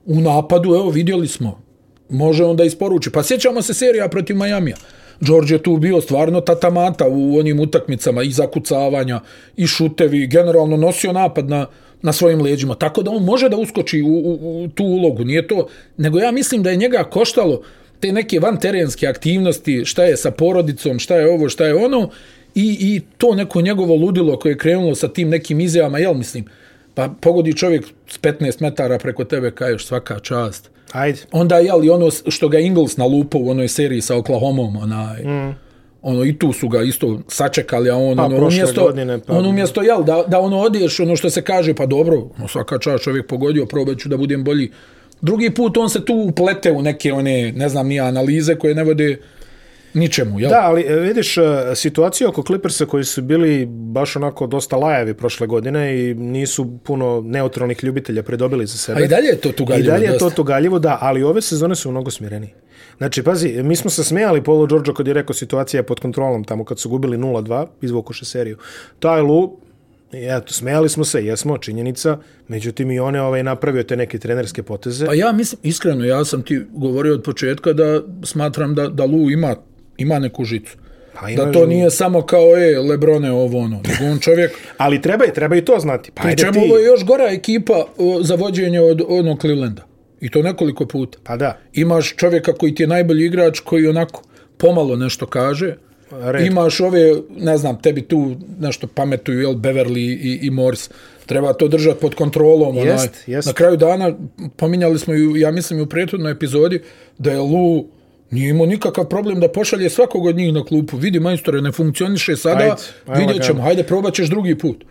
U napadu, evo, vidjeli smo. Može onda isporuči. Pa sjećamo se serija protiv Majamija. George je tu bio stvarno tatamata u onim utakmicama i zakucavanja i šutevi, generalno nosio napad na, na svojim leđima. Tako da on može da uskoči u, u, u tu ulogu, nije to. Nego ja mislim da je njega koštalo te neke vanterenske aktivnosti, šta je sa porodicom, šta je ovo, šta je ono, i, i to neko njegovo ludilo koje je krenulo sa tim nekim izjavama, jel mislim, pa pogodi čovjek s 15 metara preko tebe, kaješ svaka čast.
Ajde.
Onda je ali ono što ga Ingles nalupao u onoj seriji sa Oklahomom, onaj, mm. ono i tu su ga isto sačekali, a on,
Pa,
ono,
prošle
umjesto,
godine, pa-
on umjesto jel, da, da ono odeš, ono što se kaže, pa dobro, ono, svaka čast čovjek pogodio, probat ću da budem bolji. Drugi put on se tu uplete u neke one, ne znam, nije analize koje ne vode ničemu, jel?
Da, ali e, vidiš, e, situacija oko Clippersa koji su bili baš onako dosta lajavi prošle godine i nisu puno neutralnih ljubitelja pridobili za sebe.
A i dalje je to tugaljivo.
I dalje je to
dosta.
tugaljivo, da, ali ove sezone su mnogo smirenije. Znači, pazi, mi smo se smejali Polo Đorđo kad je rekao situacija je pod kontrolom tamo kad su gubili 0-2, izvokuše seriju. Taj Lu, eto, smejali smo se, jesmo, činjenica, međutim i on je ovaj, napravio te neke trenerske poteze.
Pa ja mislim, iskreno, ja sam ti govorio od početka da smatram da, da Lu ima, ima neku žicu.
Pa
Da
ima-
to nije samo kao, e, Lebrone ovo ono, nego on čovjek,
Ali treba, i- treba i to znati. Pa
pri
ajde
čemu
ti.
ovo je još gora ekipa o, za vođenje od onog Clevelanda. I to nekoliko puta.
Pa da.
Imaš čovjeka koji ti je najbolji igrač, koji onako pomalo nešto kaže.
Red.
Imaš ove, ne znam, tebi tu nešto pametuju, jel, Beverly i, i Morse. Treba to držati pod kontrolom. onaj.
Jest, jest.
Na kraju dana, pominjali smo, i u- ja mislim, i u prethodnoj epizodi, da je Lu nije imao nikakav problem da pošalje svakog od njih na klupu. Vidi, majstore, ne funkcioniše sada,
Ajde,
ajde,
ajde,
vidjet ćemo, hajde, probat ćeš drugi put.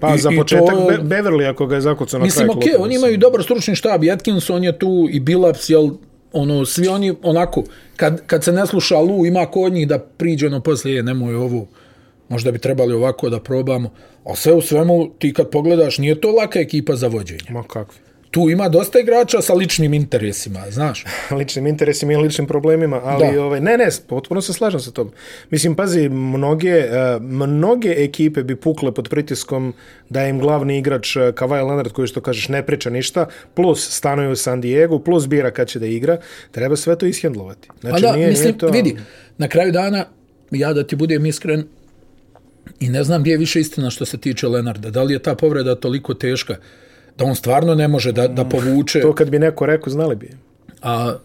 Pa
I-
za
i to
početak
je-
Be Beverly ako ga je zakucao na
Pa Mislim,
kraju
okej, okay,
klupa,
oni
mislim.
imaju dobar stručni štab, Jetkinson je tu i Bilaps, jel, ono, svi oni, onako, kad, kad se ne sluša Lu, ima ko od njih da priđe ono poslije, "E, nemoj ovo, možda bi trebali ovako da probamo, a sve u svemu, ti kad pogledaš, nije to laka ekipa za vođenje.
Ma kakvi.
Tu ima dosta igrača sa ličnim interesima, znaš.
ličnim interesima i ličnim problemima, ali
Da.
ovaj ne, ne, potpuno se slažem sa tom. Mislim pazi, mnoge eh, mnoge ekipe bi pukle pod pritiskom da im glavni igrač eh, Kawhi Leonard koji što kažeš ne priča ništa, plus stanuje u San Diego, plus bira kad će da igra, treba sve to ishendlovati. Znači,
Pa da, mislim, vidi, na kraju dana, ja da ti budem iskren, i ne znam gdje je više istina što se tiče Lenarda. Da li je ta povreda toliko teška da on stvarno ne može da, da povuče,
To kad bi neko rekao, znali bi.
a
A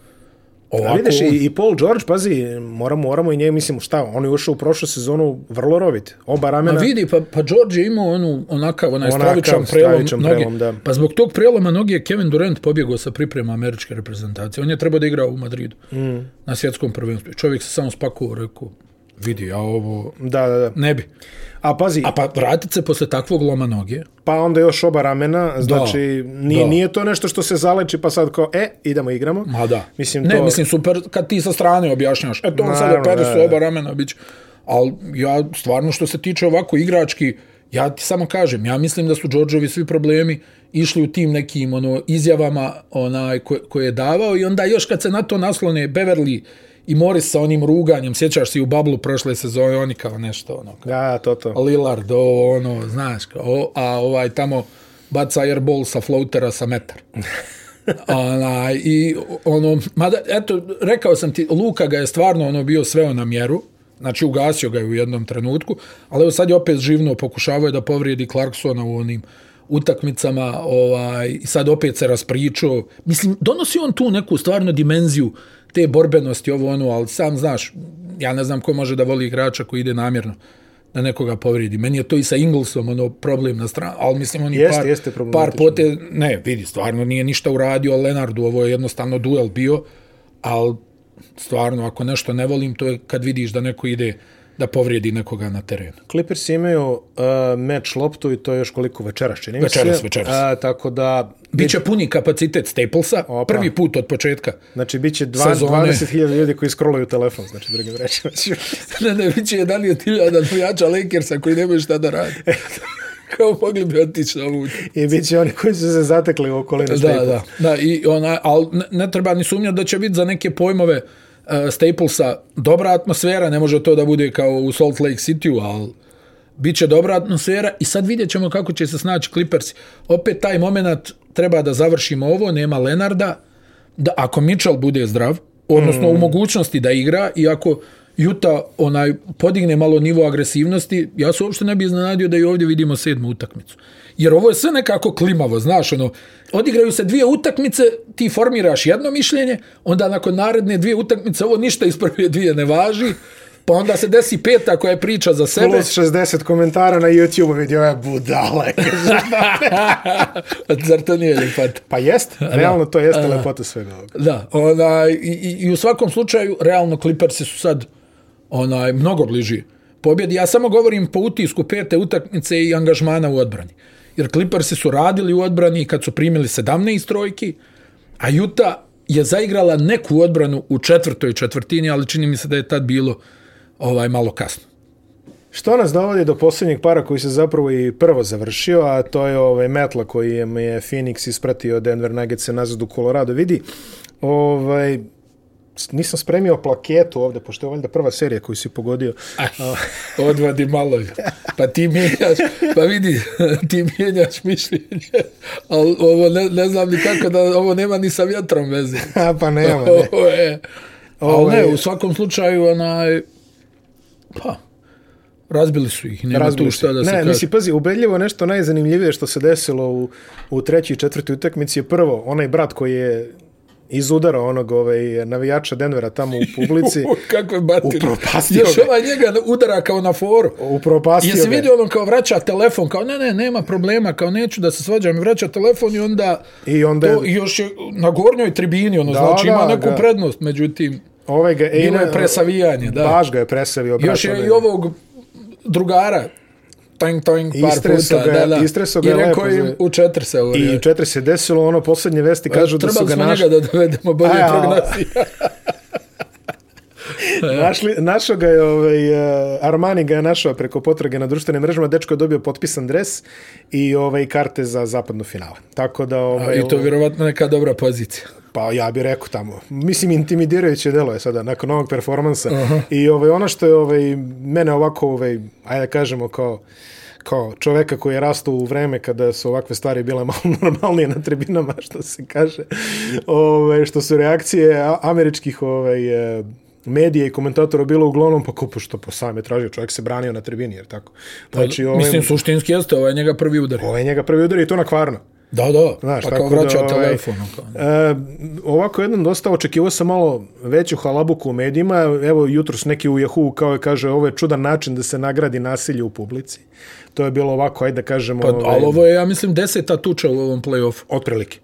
ovako...
vidiš, i, i Paul George, pazi, moramo, moramo i nje, mislim, šta, on je ušao u prošlu sezonu vrlo rovit. Oba ramena,
Pa vidi, pa, pa George je imao onu, onakav, onaj
Onakav,
stravičan prelom,
stravičan
noge.
prelom, da.
Pa zbog tog preloma noge je Kevin Durant pobjegao sa priprema američke reprezentacije. On je trebao da igra u Madridu mm. na svjetskom prvenstvu. I Čovjek se samo spakovao, rekao, vidi, ja ovo
da, da, da.
ne bi.
A pazi,
A pa vratit se posle takvog loma noge,
pa onda još oba ramena, znači nije,
da.
nije to nešto što se zaleči pa sad kao, e, idemo igramo.
ma da.
Mislim,
ne,
to-
mislim, super kad ti sa strane objašnjaš. E to on sad
Naravno,
opere
da, da.
su oba ramena, bić. Ali ja stvarno što se tiče ovako igrački, ja ti samo kažem, ja mislim da su Đorđevi svi problemi išli u tim nekim ono izjavama onaj ko, koje je davao i onda još kad se na to naslone Beverly i Morris sa onim ruganjem, sjećaš se i u bablu prošle sezone, oni kao nešto ono,
Da, to to.
Lillard, ovo, ono, znaš, kao, o, a ovaj tamo baca airball sa floatera sa metar. Ona, i ono, mada, eto, rekao sam ti, Luka ga je stvarno ono bio sveo na mjeru, znači ugasio ga je u jednom trenutku, ali evo sad je opet živno pokušavao je da povrijedi Clarksona u onim utakmicama, ovaj, i sad opet se raspričao. Mislim, donosi on tu neku stvarno dimenziju te borbenosti, ovo ono, ali sam znaš, ja ne znam ko može da voli igrača koji ide namjerno da nekoga povrijedi. Meni je to i sa Inglesom ono problem na stranu, ali mislim on
Jeste,
par,
jeste
par
problematično.
pote, ne, vidi, stvarno nije ništa uradio Lenardu, ovo je jednostavno duel bio, ali stvarno ako nešto ne volim, to je kad vidiš da neko ide da povrijedi nekoga na terenu.
Clippers imaju uh, meč loptu i to je još koliko večeras, čini mi se.
Večeras, večeras.
A, tako da,
Biće puni kapacitet Staplesa,
Opa.
Opa. prvi put od početka.
znači, bit će dva-
Sezone.
20.000 ljudi koji scrolluju telefon, znači, drugim rečima.
ne, ne, biće 11.000 navijača Lakersa koji nemaju šta da radi. Kao mogli bi otići na ovu
I bit će oni koji su se zatekli u okolini
Da,
Staplesa.
da, da, i ona, ali ne, ne treba ni sumnjati da će biti za neke pojmove uh, Staplesa dobra atmosfera, ne može to da bude kao u Salt Lake City-u, ali bit će dobra atmosfera i sad vidjet ćemo kako će se snaći Clippers. Opet taj moment treba da završimo ovo, nema Lenarda, da ako Mitchell bude zdrav, odnosno u mogućnosti da igra i ako Juta onaj podigne malo nivo agresivnosti, ja se uopšte ne bi iznenadio da i ovdje vidimo sedmu utakmicu. Jer ovo je sve nekako klimavo, znaš, ono, odigraju se dvije utakmice, ti formiraš jedno mišljenje, onda nakon naredne dvije utakmice ovo ništa iz prve dvije ne važi, pa onda se desi peta koja je priča za sebe.
Plus 60 komentara na YouTube-u vidio "E, je budala.
Zar to nije ljepat?
pa jest, realno to jeste lepota svega ovoga.
Da, ona, i, i- i u svakom slučaju, realno, Clippersi su sad onaj, mnogo bliži pobjedi. Ja samo govorim po utisku pete utakmice i angažmana u odbrani. Jer Clippersi su radili u odbrani kad su primili 17 trojki, a Utah je zaigrala neku odbranu u četvrtoj četvrtini, ali čini mi se da je tad bilo ovaj malo kasno.
Što nas dovodi do posljednjeg para koji se zapravo i prvo završio, a to je ovaj metla koji je mi je Phoenix ispratio Denver Nuggets nazad u Colorado. Vidi, ovaj, s- nisam spremio plaketu ovde, pošto je valjda prva serija koju si pogodio.
Odvadi malo. Pa ti mijenjaš, pa vidi, ti mijenjaš mišljenje. Ali ovo ne, ne znam ni kako da, ovo nema ni sa vjetrom veze.
A, pa nema, ne.
Ovo je,
Ovo
ali ne,
je-
u svakom slučaju, onaj, pa, razbili su ih, nema
Razbili
tu
se.
šta da se
ne,
kaže.
mislim, pazi, ubedljivo nešto najzanimljivije što se desilo u, u trećoj i četvrtoj utakmici je prvo, onaj brat koji je izudarao onog ovaj, navijača Denvera tamo u publici,
Kako je batir.
Upropastio
Još
ga.
ovaj njega udara kao na foru.
upropastio
Jesi
ga.
vidio ono kao vraća telefon, kao ne, ne, nema problema, kao neću da se svađam i vraća telefon i onda
I onda je
To još je na gornjoj tribini, ono,
Da,
da, znači ima
da,
neku
da.
prednost, međutim,
ovaj ga...
bilo je presavijanje, da.
Baš ga je presavio. brat,
još je
onaj-
i ovog drugara tank, tank, par
Istresao
puta.
ga-
da, da.
istresao ga
I
je
rekao
lepo
im,
za-
u četiri se ovo.
I
je.
četiri se desilo, ono, poslednje vesti kažu da su
Trebali
ga
smo
našli.
njega da dovedemo bolje
Ajao.
prognozi.
Našli, našao ga je, ovaj, eh, Armani ga je našao preko potrage na društvenim mrežama, dečko je dobio potpisan dres i ovaj, karte za zapadnu finale. Tako da, ovaj,
I to je vjerovatno neka dobra pozicija.
pa ja bih rekao tamo, mislim intimidirajuće delo je sada nakon ovog performansa i ovaj, ono što je ovaj, mene ovako, ovaj, ajde da kažemo kao kao čoveka koji je rastao u vreme kada su ovakve stvari bile malo normalnije na tribinama, što se kaže, ove, što su reakcije a- američkih ovaj, e, medija i komentatora bilo uglavnom pa kupo što po sam je tražio, čovjek se branio na tribini, jer tako. Znači, ovaj,
Mislim, suštinski jeste, ovaj je njega prvi udar.
ovaj njega prvi udar i to na kvarno.
Da, da,
Znaš,
pa kao
tako da,
vraća
ovaj,
telefon. ono Kao.
E, ovako jedan dosta očekivao sam malo veću halabuku u medijima. Evo jutros neki u Yahoo kao je kaže ovo je čudan način da se nagradi nasilje u publici. To je bilo ovako, ajde da kažemo, ovaj,
Pa, ali ovo je, ja mislim, deseta tuča u ovom play-offu.
otprilike.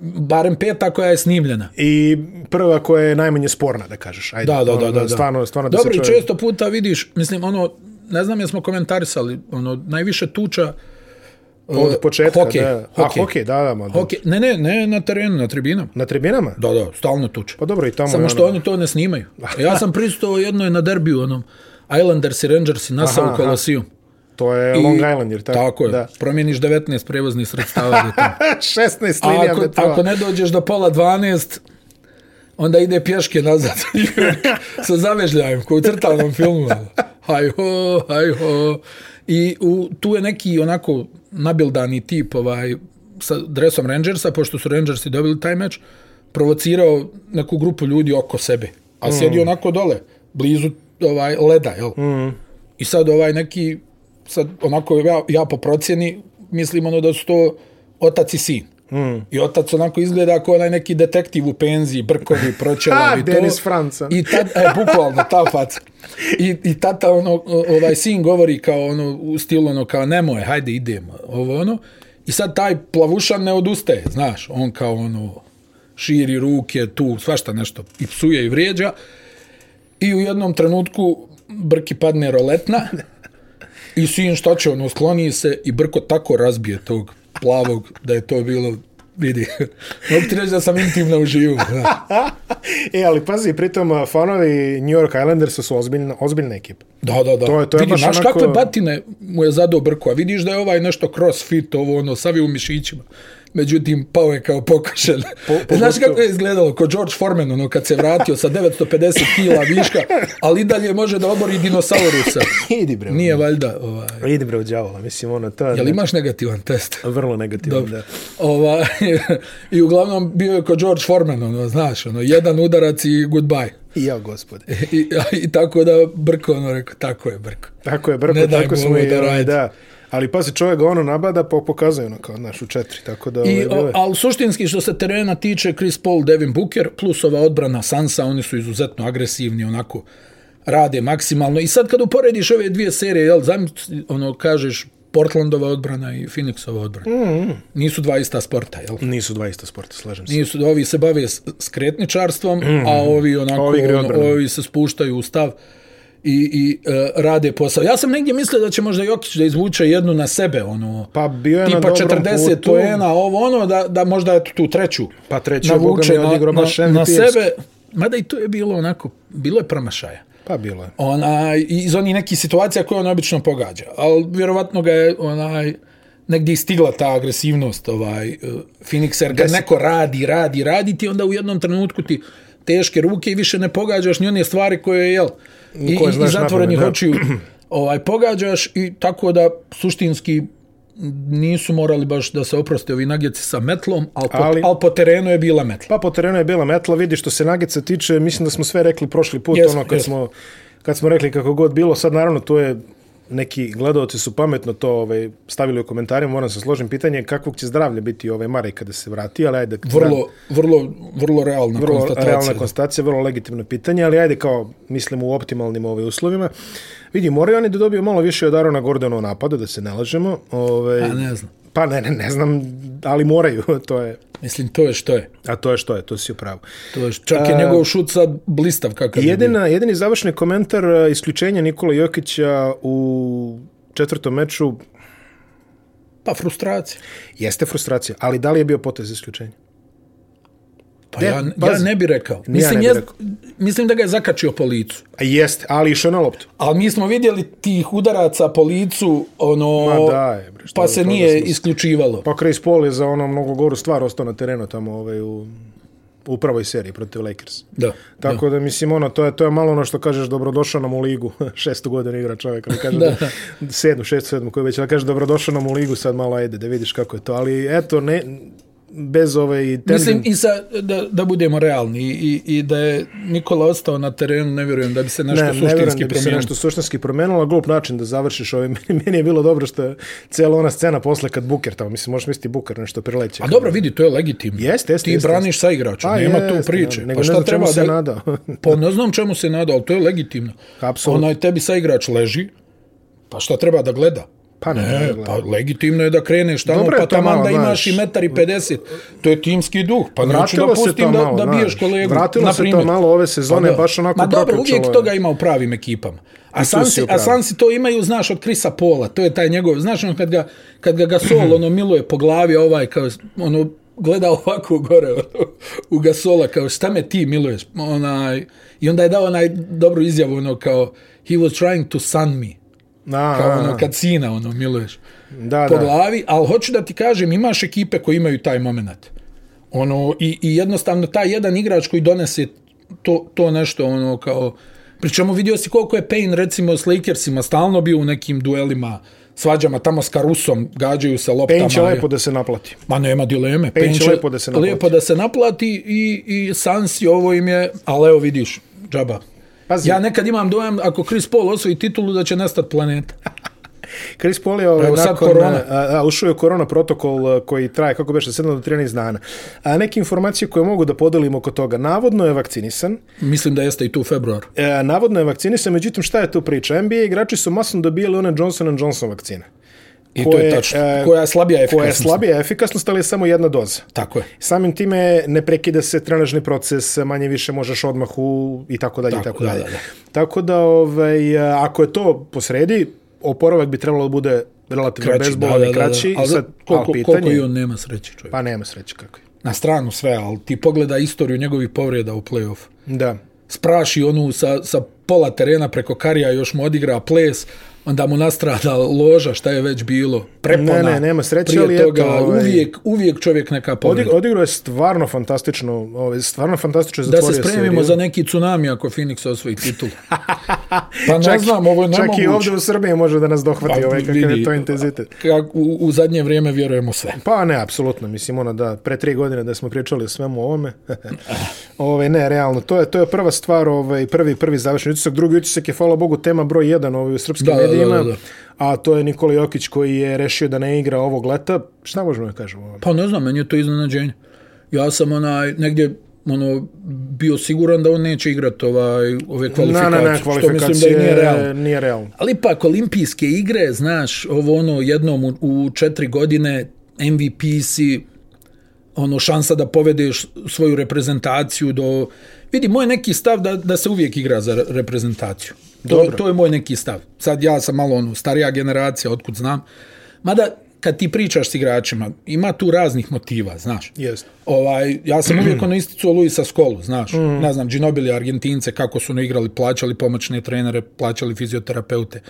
Barem peta koja je snimljena.
I prva koja je najmanje sporna, da kažeš. Ajde,
Da, da,
ono,
da, da. da.
Stvarno, stvarno da
Dobro,
se
i
čuje...
često puta vidiš, mislim, ono, ne znam jesmo komentarisali, ono, najviše tuča
Od početka,
hokej,
da.
hokej.
A, hokej, da, da, ma, da.
Hoke, ne, ne, ne na terenu, na tribinama.
Na tribinama?
Da, da, stalno tuče.
Pa dobro, i tamo... je
Samo što
ono-
oni to ne snimaju. Ja sam pristao jednoj na derbiju, onom, Islanders i Rangers i NASA
Aha,
u
aha.
Kolosiju.
To je
I-
Long Island, jer tako?
Tako je.
Da.
Promijeniš 19 prevoznih sredstava. do tamo.
16
A
linija
ako,
do toga.
ako ne dođeš do pola 12, onda ide pješke nazad sa zavežljajem, kao u crtanom filmu. Haj ho, haj ho. I u, tu je neki onako nabildani tip ovaj, sa dresom Rangersa, pošto su Rangersi dobili taj meč, provocirao neku grupu ljudi oko sebe. A sjedi onako dole, blizu ovaj leda, jel? I sad ovaj neki, sad onako ja, ja po procjeni, mislim ono da su to otac i sin. Mm. I otac onako izgleda kao onaj neki detektiv u penziji, brkovi, pročelavi.
A,
to.
Denis Franca.
I tad, e, bukvalno, ta faca. I, I tata, ono, o- ovaj sin govori kao ono, u stilu ono, kao nemoj, hajde idemo, ovo ono. I sad taj plavušan ne odustaje, znaš, on kao ono, širi ruke, tu, svašta nešto, i psuje i vrijeđa. I u jednom trenutku Brki padne roletna i sin šta će, ono, skloni se i Brko tako razbije tog plavog da je to bilo, vidi, mogu ti reći da sam intimno uživo. Da,
E, ali pazi, pritom a, fanovi New York Islandersa su ozbiljna, ozbiljna ekipa.
da, da. da.
To je- to je
vidi,
baš
znaš
onako-
kakve batine mu je zadao Brko, a vidiš da je ovaj nešto crossfit, ovo ono, savi u mišićima. Međutim, pao je kao pokošen. Po, Znaš
pogotovo-
kako je izgledalo? Ko George Foreman, ono, kad se vratio sa 950 kila viška, ali i dalje može da obori dinosaurusa.
Idi bre.
Nije valjda, ovaj,
Idi bre u djavola, mislim, ono, to je
Jel imaš negativan test?
vrlo negativno. Da.
Ova, I uglavnom bio je kod George Foreman, ono, znaš, ono, jedan udarac i goodbye.
I ja, gospode.
I, I tako da Brko, ono, rekao, tako je Brko.
Tako je, brko,
Ne daj
tako
mu
smo
ovo
i,
da
ovaj,
radi.
da. Ali pazi, čovjek ga ono nabada, pa pokazuje ono kao, znaš, u četiri, tako da... ovaj,
I, o,
bile-
ali suštinski što se terena tiče Chris Paul, Devin Booker, plus ova odbrana Sansa, oni su izuzetno agresivni, onako rade maksimalno. I sad kad uporediš ove dvije serije, jel, zamisli, ono, kažeš Portlandova odbrana i Phoenixova odbrana. Nisu dva ista sporta, jel?
Nisu dva ista sporta, slažem se.
Nisu, ovi se bave s- skretničarstvom, a ovi onako,
Mm. Ovi igre
ono,
odbranu.
ovi se spuštaju u stav i, i e, rade posao. Ja sam negdje mislio da će možda Jokić da izvuče jednu na sebe, ono,
Pa bio je na
tipa
dobrom
40
putu.
poena, ovo ono, da, da možda eto tu treću
Pa treću, boga mi, odigrao baš
na, na
MVP -evski.
sebe, mada i to je bilo onako, bilo je promašaja.
Pa bilo je.
Onaj, iz onih nekih situacija koje on obično pogađa, ali vjerovatno ga je onaj, negdje i stigla ta agresivnost ovaj, eh, Phoenix, jer kad
Deset.
neko radi, radi, radi ti, onda u jednom trenutku ti teške ruke i više ne pogađaš ni one stvari koje je, jel, i, i,
Koje
i
znaš
zatvorenih
napamet, da.
očiju ovaj, pogađaš i tako da suštinski nisu morali baš da se oproste ovi nagljeci sa metlom, ali po, ali,
Ali-
po terenu je bila metla.
Pa po terenu je bila metla, vidi što se Nagica tiče, mislim da smo sve rekli prošli put,
Jesmo,
ono kad
jesmo.
smo, kad smo rekli kako god bilo, sad naravno to je neki gledaoci su pametno to ovaj, stavili u komentarima, moram se složim pitanje je kakvog će zdravlja biti ovaj Marej kada se vrati, ali ajde,
Vrlo, vrlo, vrlo realna vrlo
vrlo
konstatacija.
realna konstatacija, vrlo legitimno pitanje, ali ajde kao mislim u optimalnim ovaj uslovima. Vidi, moraju oni da dobiju malo više od Arona Gordona u napadu, da se ne lažemo. Ovaj,
A ne znam.
Pa ne, ne, ne znam, ali moraju, to je,
Mislim, to je što je.
a to je što je, to si u pravu.
To je, čak je njegov šut sad blistav kakav je. bio.
Jedina, jedini završni komentar e, isključenja Nikola Jokića u četvrtom meču
Pa frustracija.
jeste frustracija, ali da li je bio potez isključenja?
Pa
Ne,
ja, ja
pazi.
ne bi rekao.
Ni ja
Mislim,
ne bi
ja
rekao.
mislim da ga je zakačio po licu.
A jeste, ali išao je na loptu.
Ali mi smo vidjeli tih udaraca po licu, ono,
Ma daj, bre, šta
pa
za
se
to
nije
da smo-
isključivalo.
Pa Chris Paul je za ono mnogo goru stvar ostao na terenu tamo ovaj, u, u prvoj seriji protiv Lakers.
Da.
Tako da mislim ono to je to je malo ono što kažeš dobrodošao nam u ligu. Šestu godinu igra čovjek, ne kaže da. sedmu, šestu, sedmu koji već da kaže dobrodošao nam u ligu, sad malo ajde da vidiš kako je to, ali eto ne bez ove i
Mislim,
tendin,
i sa, da, da budemo realni, i, i, i da je Nikola ostao na terenu, ne vjerujem da bi se nešto
ne, ne vjerujem
suštinski
da bi se
promijenilo.
nešto suštinski promijenilo, ali glup način da završiš ove. Meni, meni je bilo dobro što je cijela ona scena posle kad Buker tamo, mislim, možeš misliti Buker nešto prileće.
A dobro, vidi, to je legitimno.
Jeste, jeste,
Ti
jeste, Pa
braniš sa igračom, nema tu
jeste,
priče.
Nego
pa
ne
šta
znam čemu
treba
se
da...
nadao.
Pa ne znam čemu se nada, ali to je legitimno.
Apsolutno.
Onaj tebi sa igrač leži, pa šta treba da gleda?
Pa ne, ne,
E,
gledam.
pa legitimno je da kreneš tamo,
Dobro je
pa
to
taman
malo,
da imaš
znaš.
i metar i 50. To je timski duh, pa neću da
Vratilo se to
pustim da,
malo,
da biješ
znaš.
kolegu.
Vratilo
na
se to
primjer.
malo ove sezone, baš onako
Ma dobro,
prokručalo
uvijek
je.
toga ima u pravim ekipama. A
tu si
Sansi,
u
a
pravu.
Sansi to imaju, znaš, od Krisa Pola, to je taj njegov, znaš, on kad ga, kad ga Gasol, ono, miluje po glavi, a ovaj, kao, ono, gleda ovako gore ono, u Gasola, kao, šta me ti miluješ? Onaj, I onda je dao onaj dobru izjavu, ono, kao, he was trying to sun me.
Na,
Kao,
na,
ono,
na.
kad sina, ono, miluješ
da,
po
da.
glavi, ali hoću da ti kažem, imaš ekipe koji imaju taj moment. Ono, i, i jednostavno taj jedan igrač koji donese to, to nešto, ono, kao... Pričemu vidio si koliko je Payne, recimo, s Lakersima stalno bio u nekim duelima, svađama, tamo s Carusom, gađaju se loptama.
Penć je lepo da se naplati.
Ma nema dileme.
Payne
Payne
će
će
lepo da se naplati.
Lepo da se naplati i, i Sansi ovo im je, ali evo vidiš, džaba.
Pazi.
Ja nekad imam dojam, ako Chris Paul osvoji titulu, da će nestat planeta.
Chris Paul je ovaj,
Evo sad
nakon,
korona.
a, a, ušao je korona protokol a, koji traje, kako beše, 7 do 13 dana. A, neke informacije koje mogu da podelim oko toga. Navodno je vakcinisan,
Mislim da jeste i tu februar.
e, navodno je vakcinisan, međutim šta je tu priča? NBA igrači su masno dobijali one Johnson Johnson vakcine.
I to je tačno.
e,
Koja je slabija
Koja je
efikasnost.
slabija efikasnost, ali je samo jedna doza.
Tako je.
Samim time ne prekida se trenažni proces, manje više možeš odmah u i tako dalje i
Tako,
tako
da,
dalje.
da, da.
Tako da ovaj a, ako je to posredi, oporavak bi trebalo da bude relativno
Znači,
kraći, bezbolan i kraći.
Ali
I sad
koliko,
al pitanje,
koliko i on nema sreće čovjek. Pa.
pa nema sreće kako je.
Na stranu sve, ali ti pogleda istoriju njegovih povreda u play-off.
Da.
Spraši onu sa, sa pola terena preko karija, još mu odigra ples, onda mu nastrada loža, šta je već bilo, prepona.
Ne, ne, nema sreće,
Prije
ali
toga,
eto, ovaj-
uvijek, uvijek čovjek neka
Odig,
povreda.
odigrao je stvarno fantastično, ovaj stvarno fantastično je
Da
zatvorio
se spremimo
seriju.
za neki tsunami ako Phoenix osvoji titul. Pa ne
Čak-
znam, ovo je
Čak
nemoguće.
i ovdje u Srbiji može da nas dohvati
Pa,
ovaj kakav
vidi,
je to intenzitet.
Kak, u, u zadnje vrijeme vjerujemo sve.
Pa ne, apsolutno, mislim ono da pre tri godine da smo pričali o svemu ovome. Ove, ne, realno, to je, to je prva stvar, ovaj, prvi, prvi završni utisak. Drugi utisak je, hvala Bogu, tema broj jedan ovaj, u srpskim
Da, da, da,
medijima,
da, da.
a to je Nikola Jokić koji je rešio da ne igra ovog leta. Šta možemo da kažemo? ovom?
Pa ne znam, meni je to iznenađenje. Ja sam onaj, negdje ono, bio siguran da on neće igrati ovaj, ove
Na,
kvalifikacije,
na, na,
što mislim da i
kvalifikacije
nije realno.
Nije realno.
Ali ipak, olimpijske igre, znaš, ovo ono, jednom u, u četiri godine MVP si, ono, šansa da povedeš svoju reprezentaciju do... Vidi, moj neki stav da, da se uvijek igra za re- reprezentaciju. To, je-
Dobro.
to je moj neki stav. Sad ja sam malo ono, starija generacija, otkud znam. Mada, kad ti pričaš s igračima, ima tu raznih motiva, znaš.
Jeste.
Ovaj, ja sam uvijek ono isticuo Luisa Skolu, znaš. Mm. Ne znam, Ginobili, Argentince, kako su ono igrali, plaćali pomoćne trenere, plaćali fizioterapeute,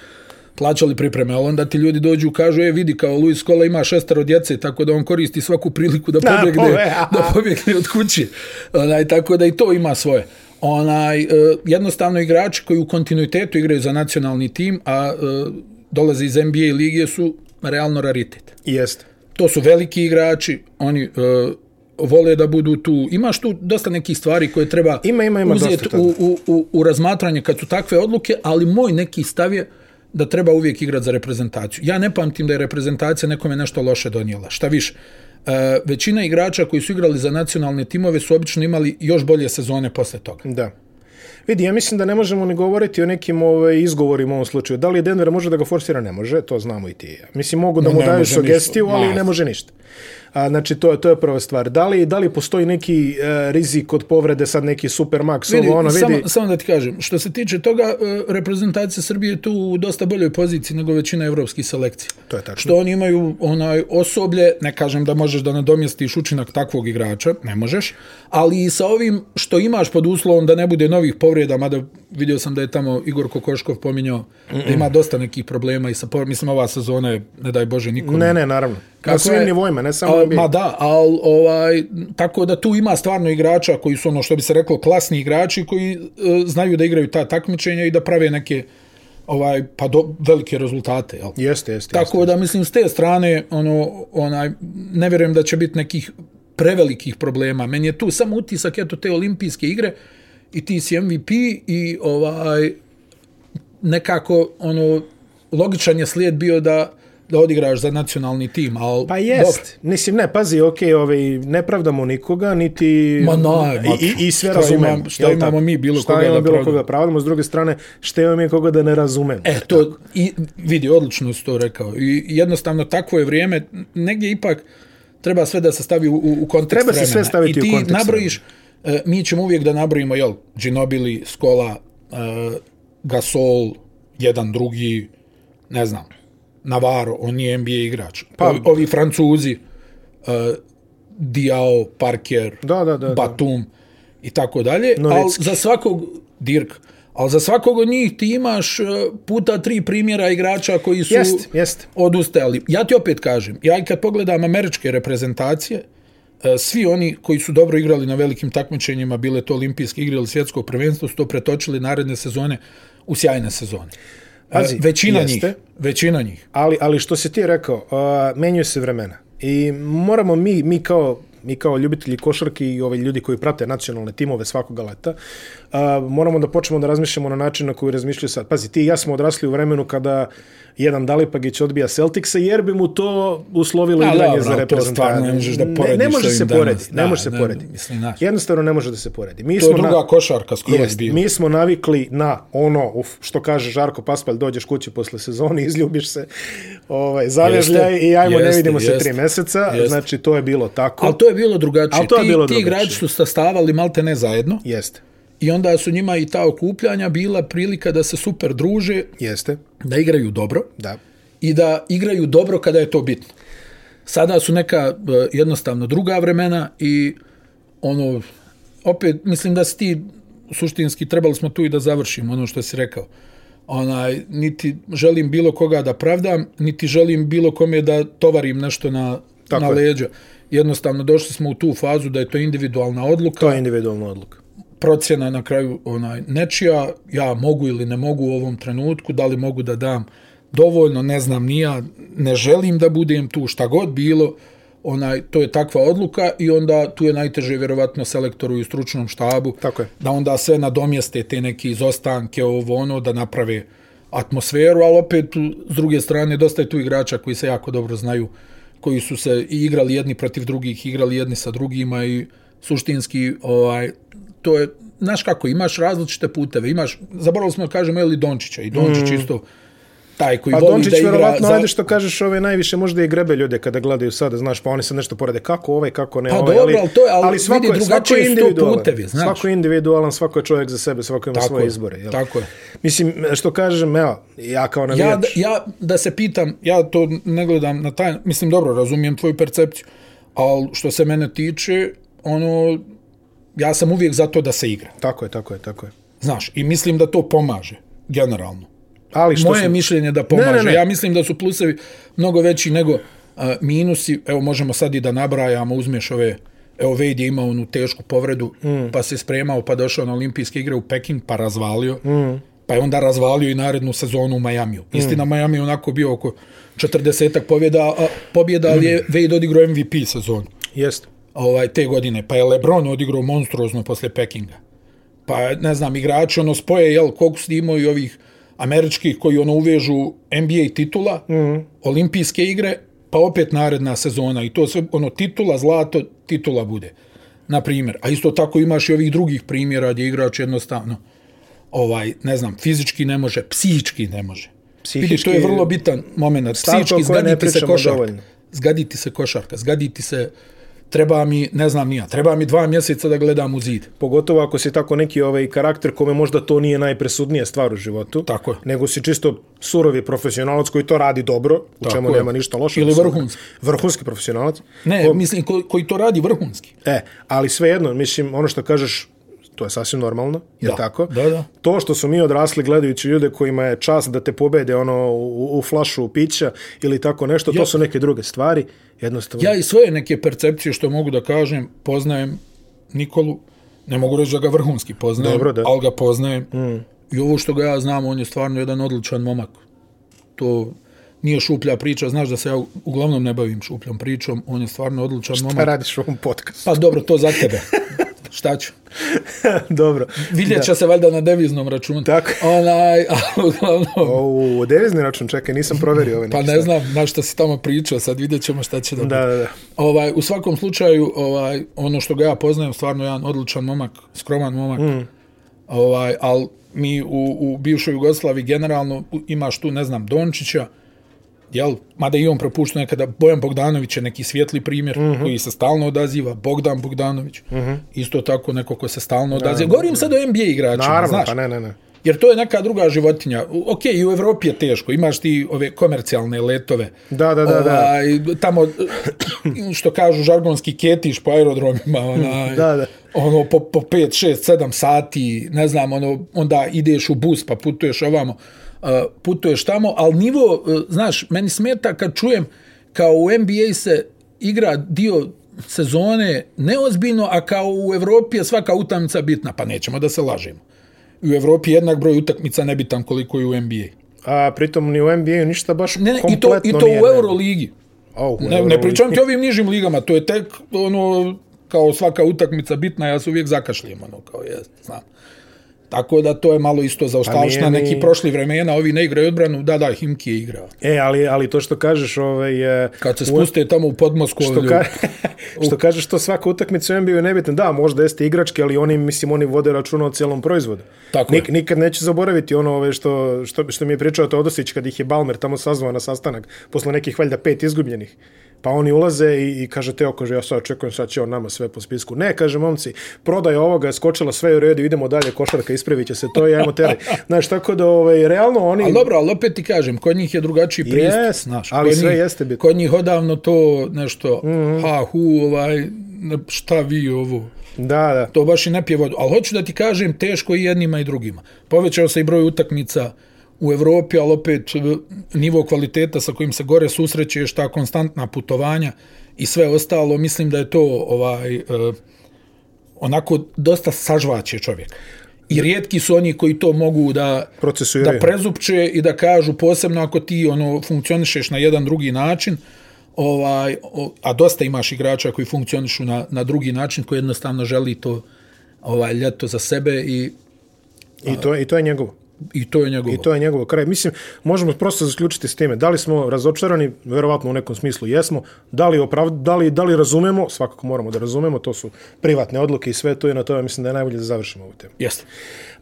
plaćali pripreme, ali onda ti ljudi dođu i kažu, e, vidi, kao Luis Skola ima šestero djece, tako da on koristi svaku priliku da pobjegne,
ove, a.
da pobjegne od kuće. Onaj, tako da i to ima svoje. Onaj, e, jednostavno igrači koji u kontinuitetu igraju za nacionalni tim, a e, dolaze iz NBA lige su realno raritet
Jeste.
to su veliki igrači, oni e, vole da budu tu. Imaš tu dosta nekih stvari koje treba
Ima, ima, ima dosta
uzeti
toga.
u, u, u, u razmatranje kad su takve odluke, ali moj neki stav je da treba uvijek igrati za reprezentaciju. Ja ne pamtim da je reprezentacija nekome nešto loše donijela. Šta više, e, većina igrača koji su igrali za nacionalne timove su obično imali još bolje sezone posle toga.
Da. Vidi, ja mislim da ne možemo ni govoriti o nekim ovaj, izgovorima u ovom slučaju. Da li Denver može da ga forsira? Ne može, to znamo i ti i ja. Mislim, mogu da
Ne,
mu
ne
daju
može
sugestiju,
ništa.
ali
Ma.
ne može ništa. A, znači, to je, to je prva stvar. Da li, da li postoji neki e, rizik od povrede, sad neki supermaks,
Vidi,
ovo ono, vidi...
Samo, samo da ti kažem, što se tiče toga, e, reprezentacija Srbije je tu u dosta boljoj poziciji nego većina evropskih selekcija.
To je tačno.
Što oni imaju onaj osoblje, ne kažem da možeš da nadomjestiš učinak takvog igrača, ne možeš, ali i sa ovim što imaš pod uslovom da ne bude novih povreda, mada vidio sam da je tamo Igor Kokoškov pominjao da ima dosta nekih problema i sa povredama. Mislim, ova sezona je, ne daj Bože, nikom
Ne, ne, naravno.
Kako
Na svim
je?
nivoima, ne samo
A,
NBA.
Ma da, al, ovaj, tako da tu ima stvarno igrača koji su ono što bi se reklo klasni igrači koji e, znaju da igraju ta takmičenja i da prave neke ovaj pa do, velike rezultate. Jel?
Jeste, jeste.
Tako da mislim s te strane ono onaj ne vjerujem da će biti nekih prevelikih problema. Meni je tu samo utisak eto te olimpijske igre i ti si MVP i ovaj nekako ono logičan je slijed bio da da odigraš za nacionalni tim, al
Pa jest. Mislim, ne, pazi, okej, ovaj, ne pravdamo nikoga, niti...
Ma naj, ma,
I, i, i sve
šta
razumemo.
imam- šta
jel tako?
imamo mi bilo
šta
koga da
imamo bilo
pravdamo?
koga pravdamo, s druge strane, šta imamo mi koga da ne razumemo.
E, to, i, vidi, odlično si to rekao. I jednostavno, takvo je vrijeme, negdje ipak treba sve da se stavi u, u u kontekst
Treba se
vremena.
sve staviti
I
u
ti
kontekst
nabrojiš, e, mi ćemo uvijek da nabrojimo, jel, Ginobili, Skola, e, Gasol, jedan drugi, ne znam, Navarro, on nije NBA igrač. Pa, ovi, ovi Francuzi, e, Diao, Parker,
Da, da, da, da.
Batum i tako dalje, ali
Nowitzki.
za svakog Dirk, ali za svakog od njih ti imaš e, puta tri primjera igrača koji su
Jest, jest.
odustajali. Ja ti opet kažem, ja i kad pogledam američke reprezentacije, e, svi oni koji su dobro igrali na velikim takmičenjima, bile to olimpijske igre ili svjetsko prvenstvo, su to pretočili naredne sezone u sjajne sezone. E,
Pazi,
većina
jeste.
njih, većina njih.
Ali, ali što si ti rekao, uh, menjaju se vremena. I moramo mi, mi kao mi kao ljubitelji košarke i ovi ljudi koji prate nacionalne timove svakoga leta, a, moramo da počnemo da razmišljamo na način na koji razmišljaju sad. Pazi, ti i ja smo odrasli u vremenu kada jedan Dalipagić odbija Celticsa jer bi mu to uslovilo
A,
igranje
dobro,
za
to
reprezentaciju.
stvarno ne možeš da
Ne, ne
porediš
može
ovim
se
danas.
porediti. Ne
Da,
može se
da,
porediti.
mislim, znaš.
Jednostavno ne može da se poredi. Mi
To je
smo na-
druga košarka skroz
Jest,
bila.
mi smo navikli na ono, uf, što kaže Žarko Paspalj, dođeš kući posle sezone, izljubiš se, ovaj, zavežljaj i ajmo, ne
jeste,
vidimo se
jeste,
tri meseca.
jeste.
Znači, to je bilo tako.
Ali to je bilo drugačije.
Ali to je
ti,
bilo
ti
drugačije.
igrači su sastavali malte ne zajedno
Jeste,
i onda su njima i ta okupljanja bila prilika da se super druže,
jeste,
da igraju dobro
da.
i da igraju dobro kada je to bitno. Sada su neka e, jednostavno druga vremena i ono, opet mislim da si ti suštinski trebali smo tu i da završimo ono što si rekao. Onaj, niti želim bilo koga da pravdam, niti želim bilo kome da tovarim nešto na,
Tako
na
je.
leđa. Jednostavno došli smo u tu fazu da je to individualna odluka
To je individualna odluka.
procjena na kraju onaj nečija, ja mogu ili ne mogu u ovom trenutku, da li mogu da dam dovoljno, ne znam ni ja, ne želim da budem tu, šta god bilo, onaj, to je takva odluka i onda tu je najteže vjerovatno selektoru i stručnom štabu
Tako je.
da onda sve nadomjeste te neke izostanke, ovo ono, da naprave atmosferu, ali opet tu, s druge strane dosta je tu igrača koji se jako dobro znaju, koji su se i igrali jedni protiv drugih, igrali jedni sa drugima i suštinski ovaj, to je, znaš kako, imaš različite puteve, imaš, zaboravili smo da kažemo ili Dončića i Dončić mm. isto taj koji
Pa
voli
Dončić
da igra
verovatno,
za-
ajde što kažeš, ove najviše možda i grebe ljude kada gledaju sada, znaš, pa oni se nešto porede kako ovaj, kako ne
Pa
ovaj,
dobro, ali to je- ali vidi,
je-
drugačiji
je
su to
individualan.
putevi, znaš.
Svako je individualan, svako je čovjek za sebe, svako ima
Tako
svoje
je,
izbore. Jel?
tako je.
Mislim, što kažem, evo, ja kao navijač...
Ja, da- ja da se pitam, ja to ne gledam na taj, mislim dobro, razumijem tvoju percepciju, ali što se mene tiče, ono, ja sam uvijek za to da se igra.
Tako je, tako je, tako je.
Znaš, i mislim da to pomaže, generalno.
Ali što
Moje
sam-
mišljenje da pomaže.
Ne, ne, ne.
Ja mislim da su plusevi mnogo veći nego a, minusi. Evo, možemo sad i da nabrajamo, uzmeš ove... Evo, Wade je imao onu tešku povredu, mm. pa se spremao, pa došao na olimpijske igre u Peking, pa razvalio. Mm. Pa je onda razvalio i narednu sezonu u Majamiju.
Mm.
Istina, Miami je onako bio oko 40-ak pobjeda, a, pobjeda, ali
Mm.
je Wade odigrao MVP sezonu
Jeste.
ovaj, te godine, pa je Lebron odigrao monstruozno posle Pekinga. Pa, ne znam, igrači ono spoje, jel, koliko su imao i ovih američkih koji ono uvežu NBA titula, mm. olimpijske igre, pa opet naredna sezona i to sve, ono, titula, zlato, titula bude, na primjer. A isto tako imaš i ovih drugih primjera gdje igrač jednostavno ovaj, ne znam, fizički ne može, psihički ne može.
Psihički-
Psihički, Vidi, to je vrlo bitan moment.
Stavka o
Psihički
kojoj ne
zgadi ti se
pričamo
košarka.
dovoljno.
Zgadi ti se košarka, zgadi ti se treba mi, ne znam nija, treba mi dva mjeseca da gledam u zid.
Pogotovo ako si tako neki ovaj karakter kome možda to nije najpresudnija stvar u životu.
Tako je.
Nego si čisto surovi profesionalac koji to radi dobro, u
Tako
čemu
je.
nema ništa loše.
Ili vrhunski.
Vrhunski profesionalac.
Ne, mislim, ko, koji to radi vrhunski.
E, ali svejedno, mislim, ono što kažeš, to je sasvim normalno, je
Da.
tako?
Da, da.
To što su mi odrasli gledajući ljude kojima je čast da te pobede ono u, u flašu pića ili tako nešto, to
Ja.
su neke druge stvari, jednostavno.
Ja i svoje neke percepcije što mogu da kažem, poznajem Nikolu, ne mogu reći da ga vrhunski poznajem,
Dobro, da.
ali ga poznajem. Mm. I ovo što ga ja znam, on je stvarno jedan odličan momak. To nije šuplja priča, znaš da se ja uglavnom ne bavim šupljom pričom, on je stvarno odličan
Šta
momak.
radiš u ovom podcastu?
Pa dobro, to za tebe. Šta ću?
Dobro.
Vidjet će se valjda na deviznom računu.
Tako.
Onaj, ali uglavnom,
O, u devizni račun, čekaj, nisam proverio ove
pa
neke
ne
stvari.
znam na šta si tamo pričao, sad vidjet ćemo šta će da bude.
Da, da, da.
Ovaj, u svakom slučaju, ovaj, ono što ga ja poznajem, stvarno jedan odličan momak, skroman momak, mm. ovaj, ali mi u, u bivšoj Jugoslavi generalno u- imaš tu, ne znam, Dončića, jel, mada i on propušta nekada, Bojan Bogdanović je neki svijetli primjer mm
Mhm.
-hmm. koji se stalno odaziva, Bogdan Bogdanović, mm -hmm. isto tako neko ko se stalno odaziva. Govorim sad o NBA igračima,
Naravno,
znaš,
pa ne, ne, ne.
jer to je neka druga životinja. U- Ok, i u Evropi je teško, imaš ti ove komercijalne letove,
Da, da, da, da.
ovaj, tamo što kažu žargonski ketiš po aerodromima onaj,
Da, da.
ono po, po 5, 6, 7 sati ne znam ono onda ideš u bus pa putuješ ovamo uh, putuješ tamo ali nivo uh, znaš meni smeta kad čujem kao u NBA se igra dio sezone neozbiljno a kao u Evropi je svaka utakmica bitna pa nećemo da se lažemo u Evropi je jednak broj utakmica nebitan koliko i u NBA
A pritom ni u NBA-u ništa baš
ne, ne, i to,
kompletno
i to
nije,
u Euroligi
Au, u
Ne, ne
Euroligi.
pričam ti o ovim nižim ligama, to je tek ono kao svaka utakmica bitna, ja se uvijek zakašljem, ono kao jest, znam. Tako da to je malo isto zaostavština,
Pa nije ni-
neki prošli vremena, ovi ne igraju odbranu, da, da, Himki je igrao.
E, ali, ali to što kažeš, ovaj, e,
Kad se spuste tamo u podmosku,
što,
ovi
ka,
ljudi,
što kažeš to svaka utakmica u NBA-u je nebitna. Da, možda jeste igrački, ali oni, mislim, oni vode računa o cijelom proizvodu.
Tako je.
Nik, nikad neće zaboraviti ono ove što, što, što mi je pričao Teodosić kad ih je Balmer tamo sazvao na sastanak posle nekih valjda pet izgubljenih. Pa oni ulaze i, i kaže Teo, kaže, ja sad očekujem, sad će on nama sve po spisku. Ne, kaže, momci, prodaja ovoga je skočila sve u redu, idemo dalje, košarka ispravit će se to, ja ajmo teri. Znaš, tako da, ovaj, realno oni...
Ali dobro, ali opet ti kažem, kod njih je drugačiji pristup.
Jest,
znaš,
ali
kod
sve
njih,
jeste bitno. Mhm.
Kod njih odavno to nešto, mm -hmm. ha, hu, ovaj, ne- šta vi ovo.
Da, da.
to baš i ne pije vodu. Ali hoću da ti kažem, teško i jednima i drugima. Povećao se i broj utakmica u Evropi, ali opet e, nivo kvaliteta sa kojim se gore susrećeš, ta konstantna putovanja i sve ostalo, mislim da je to ovaj e, onako dosta sažvaće čovjek. I rijetki su oni koji to mogu da
Procesuiraju.
da prezupče i da kažu posebno ako ti ono funkcionišeš na jedan drugi način, ovaj o, a dosta imaš igrača koji funkcionišu na na drugi način koji jednostavno želi to ovaj ljeto za sebe i
I to, I to je njegovo.
i to je njegovo.
I to je njegov kraj. Mislim, možemo prosto zaključiti s time. Da li smo razočarani, verovatno u nekom smislu jesmo, da li, opravd, da li, da li razumemo, svakako moramo da razumemo, to su privatne odluke i sve to i na tome mislim da je najbolje da završimo ovu temu.
Jeste.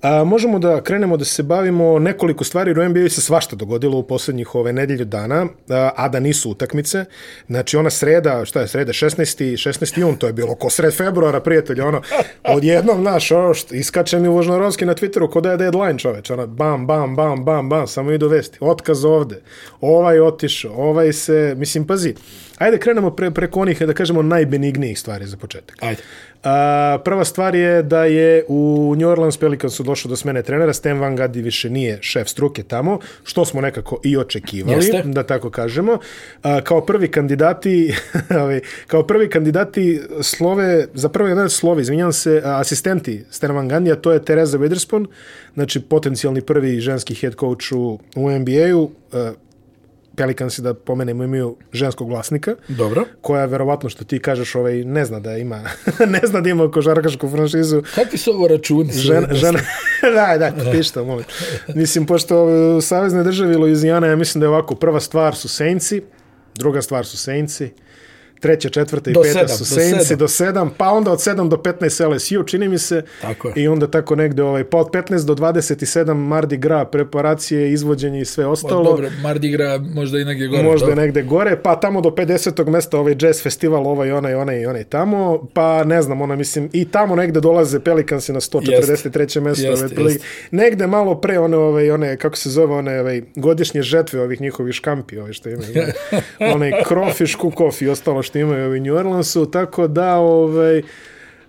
A, možemo da krenemo da se bavimo nekoliko stvari, jer u NBA se svašta dogodilo u posljednjih ove nedelju dana, a, a da nisu utakmice. Znači ona sreda, šta je sreda, 16. 16. jun, to je bilo ko sred februara, prijatelj, ono, odjednom, znaš, ono, što, iskače mi Vožnorovski na Twitteru, ko da je deadline čoveč, ono, bam, bam, bam, bam, bam, samo idu vesti, otkaz ovde, ovaj otišao, ovaj se, mislim, pazi, ajde krenemo pre, preko onih, da kažemo, najbenignijih stvari za početak.
Ajde.
A, prva stvar je da je u New Orleans Pelicansu došlo do smene trenera, Stan Van Gundy više nije šef struke tamo, što smo nekako i očekivali,
Jeste.
da tako kažemo. A, kao prvi kandidati ovaj, kao prvi kandidati slove, za prvo jedan slove, izvinjam se, a, asistenti Stan Van Gundy, a to je Teresa Witherspoon, znači potencijalni prvi ženski head coach u, u NBA-u, A, Pelicansi, da pomenemo, imaju ženskog vlasnika
Dobro.
koja verovatno što ti kažeš ovaj ne zna da ima ne zna da ima košarkašku franšizu
Kakvi su ovo računi?
žena žena da da pišta molim mislim pošto e, u saveznoj državi Luizijana ja mislim da je ovako prva stvar su Saintsi druga stvar su Saintsi treća, četvrta i
Do
peta
sedam,
su
do
Saintsi
sedam.
do 7, pa onda od 7 do 15 LSU, čini mi se.
Tako je.
I onda tako negde, ovaj, pa od 15 do 27 Mardi Gras, preparacije, izvođenje i sve ostalo.
Dobro, Mardi Gras možda i negdje gore.
možda
dobro.
negde gore, pa tamo do 50. mesta ovaj jazz festival, ovaj, onaj, onaj, onaj tamo, pa ne znam, ono, mislim, i tamo negde dolaze Pelikansi na 143. mesto.
Jeste,
ovaj, otprilike. Negde malo pre one, ove, one, kako se zove, one ovaj, godišnje žetve ovih njihovih škampi, ovaj, što imaju, onaj, onaj krofiš, kukof i ostalo što imaju ovaj, New Orleansu, tako da, ovaj,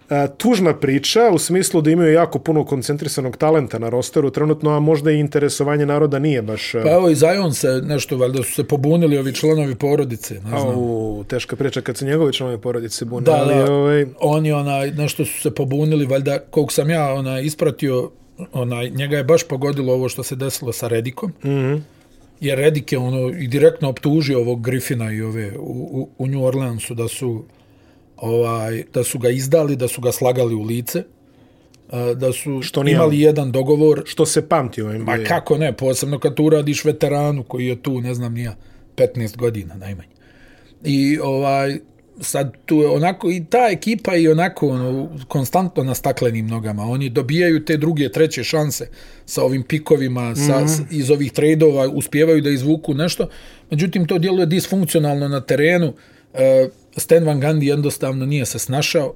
a, tužna priča u smislu da imaju jako puno koncentrisanog talenta na rosteru trenutno, a možda i interesovanje naroda nije baš... a,
Pa evo i Zion se nešto, valjda su se pobunili ovi članovi porodice, ne znam.
Au, teška priča kad se njegovi članovi porodice bune,
Da,
ali
da.
ovaj,
Oni onaj, nešto su se pobunili, valjda koliko sam ja onaj, ispratio, onaj, njega je baš pogodilo ovo što se desilo sa Redikom. Mm
Mhm.
-hmm. Jer Redik je ono, i direktno optužio ovog Griffina i ove u, u, u New Orleansu da su ovaj da su ga izdali, da su ga slagali u lice, a, da su
Što nije-
imali jedan dogovor
što se pamti u NBA.
Ma kako ne, posebno kad to uradiš veteranu koji je tu, ne znam, nija 15 godina najmanje. I ovaj, sad tu je onako, i ta ekipa je onako ono, konstantno na staklenim nogama. Oni dobijaju te druge, treće šanse sa ovim pikovima, sa, mm -hmm. iz ovih tradova, uspjevaju da izvuku nešto. Međutim, to djeluje disfunkcionalno na terenu. E, Stan Van Gundy jednostavno nije se snašao.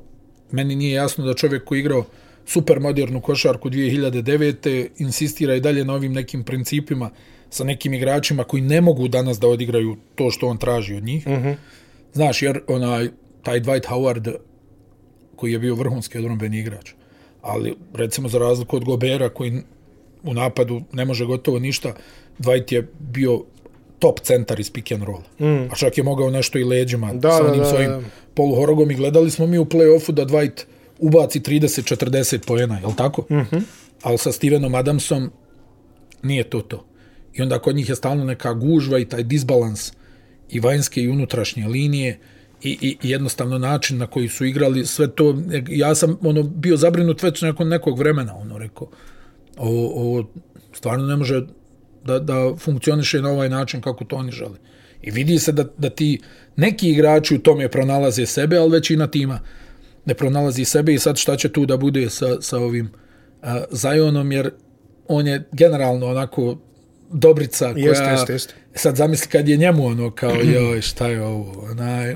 Meni nije jasno da čovjek koji je igrao super modernu košarku 2009. insistira i dalje na ovim nekim principima sa nekim igračima koji ne mogu danas da odigraju to što on traži od njih. Mm -hmm. Znaš, jer onaj, taj Dwight Howard koji je bio vrhunski odrombeni igrač, ali recimo za razliku od Gobera koji u napadu ne može gotovo ništa, Dwight je bio top centar iz pick and roll. Mm. A čak je mogao nešto i leđima
Da,
sa
da,
onim
da,
svojim
da.
poluhorogom i gledali smo mi u play-offu da Dwight ubaci 30-40 pojena, je li tako? Mm
Mhm.
-hmm. Ali sa Stevenom Adamsom nije to to. I onda kod njih je stalno neka gužva i taj disbalans i vanjske i unutrašnje linije i, i, i jednostavno način na koji su igrali sve to. Ja sam ono bio zabrinut već nakon nekog vremena, ono rekao, ovo, ovo stvarno ne može da, da funkcioniše na ovaj način kako to oni žele. I vidi se da, da ti neki igrači u tome pronalaze sebe, ali većina tima ne pronalazi sebe i sad šta će tu da bude sa, sa ovim a, Zajonom, jer on je generalno onako dobrica koja...
Jeste, jeste, jeste.
Sad zamisli kad je njemu ono kao, joj, šta je ovo, onaj,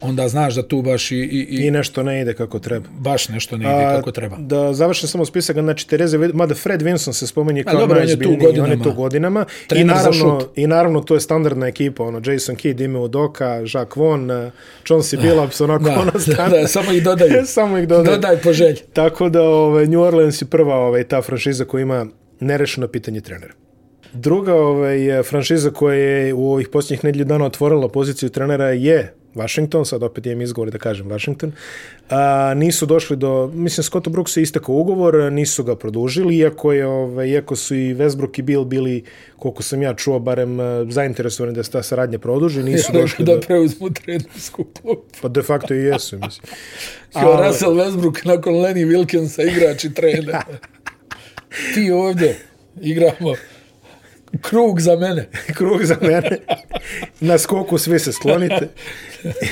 onda znaš da tu baš i, i,
I
i
nešto ne ide kako treba.
baš nešto ne ide kako treba.
Da završim samo spisak, znači Tereze, Vid- mada Fred Vinson se spominje kao
dobro, on je tu
najozbiljniji, on je
godinama.
tu godinama. I
Trener za
naravno,
šut.
I naravno to je standardna ekipa, ono, Jason Kidd, Ime Udoka, Jacques Vaughn, eh, Chauncey Billups, onako
Da,
ona
da,
standard.
da, samo ih dodaju.
samo ih dodaj.
Dodaj po želji.
Tako da ovaj, New Orleans je prva ovaj, ta franšiza koja ima nerešeno pitanje trenera. Druga ovaj, je franšiza koja je u ovih posljednjih nedlju dana otvorila poziciju trenera je Washington, sad opet imam izgovor da kažem Washington, a, nisu došli do, mislim, Scott Brooks je istekao ugovor, nisu ga produžili, iako, je, ovaj, iako su i Westbrook i Bill bili, koliko sam ja čuo, barem eh, zainteresovani da se ta saradnja produži, nisu došli
da
do,
preuzmu trenersku klupu.
pa de facto i jesu, mislim.
Kao
Ali-
Russell Westbrook nakon Lenny Wilkinsa igrač i trener. Ti ovdje igramo krug za mene.
krug za mene. Na skoku svi se sklonite.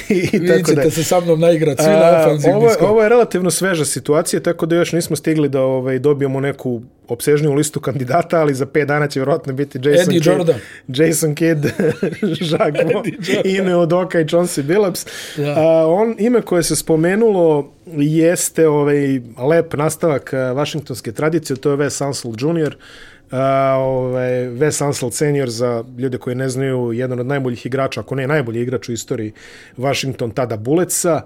I, i
Vi
tako da.
ćete se sa mnom naigrat, svi na
A, ovo,
ofanzivni
je-
skok.
ovo je relativno sveža situacija, tako da još nismo stigli da ovaj, dobijemo neku obsežniju listu kandidata, ali za 5 dana će vjerojatno biti Jason
Eddie
Kidd,
Jordan.
Jason Kidd, Jacques Vaughn, Ime Odoka i Chauncey Billups.
Da.
A, on, ime koje se spomenulo jeste ovaj lep nastavak a, vašingtonske tradicije, to je Wes Ansel Jr., A, ovaj, Wes Ansel senior za ljude koji ne znaju, jedan od najboljih igrača, ako ne najbolji igrač u istoriji Washington tada Buleca,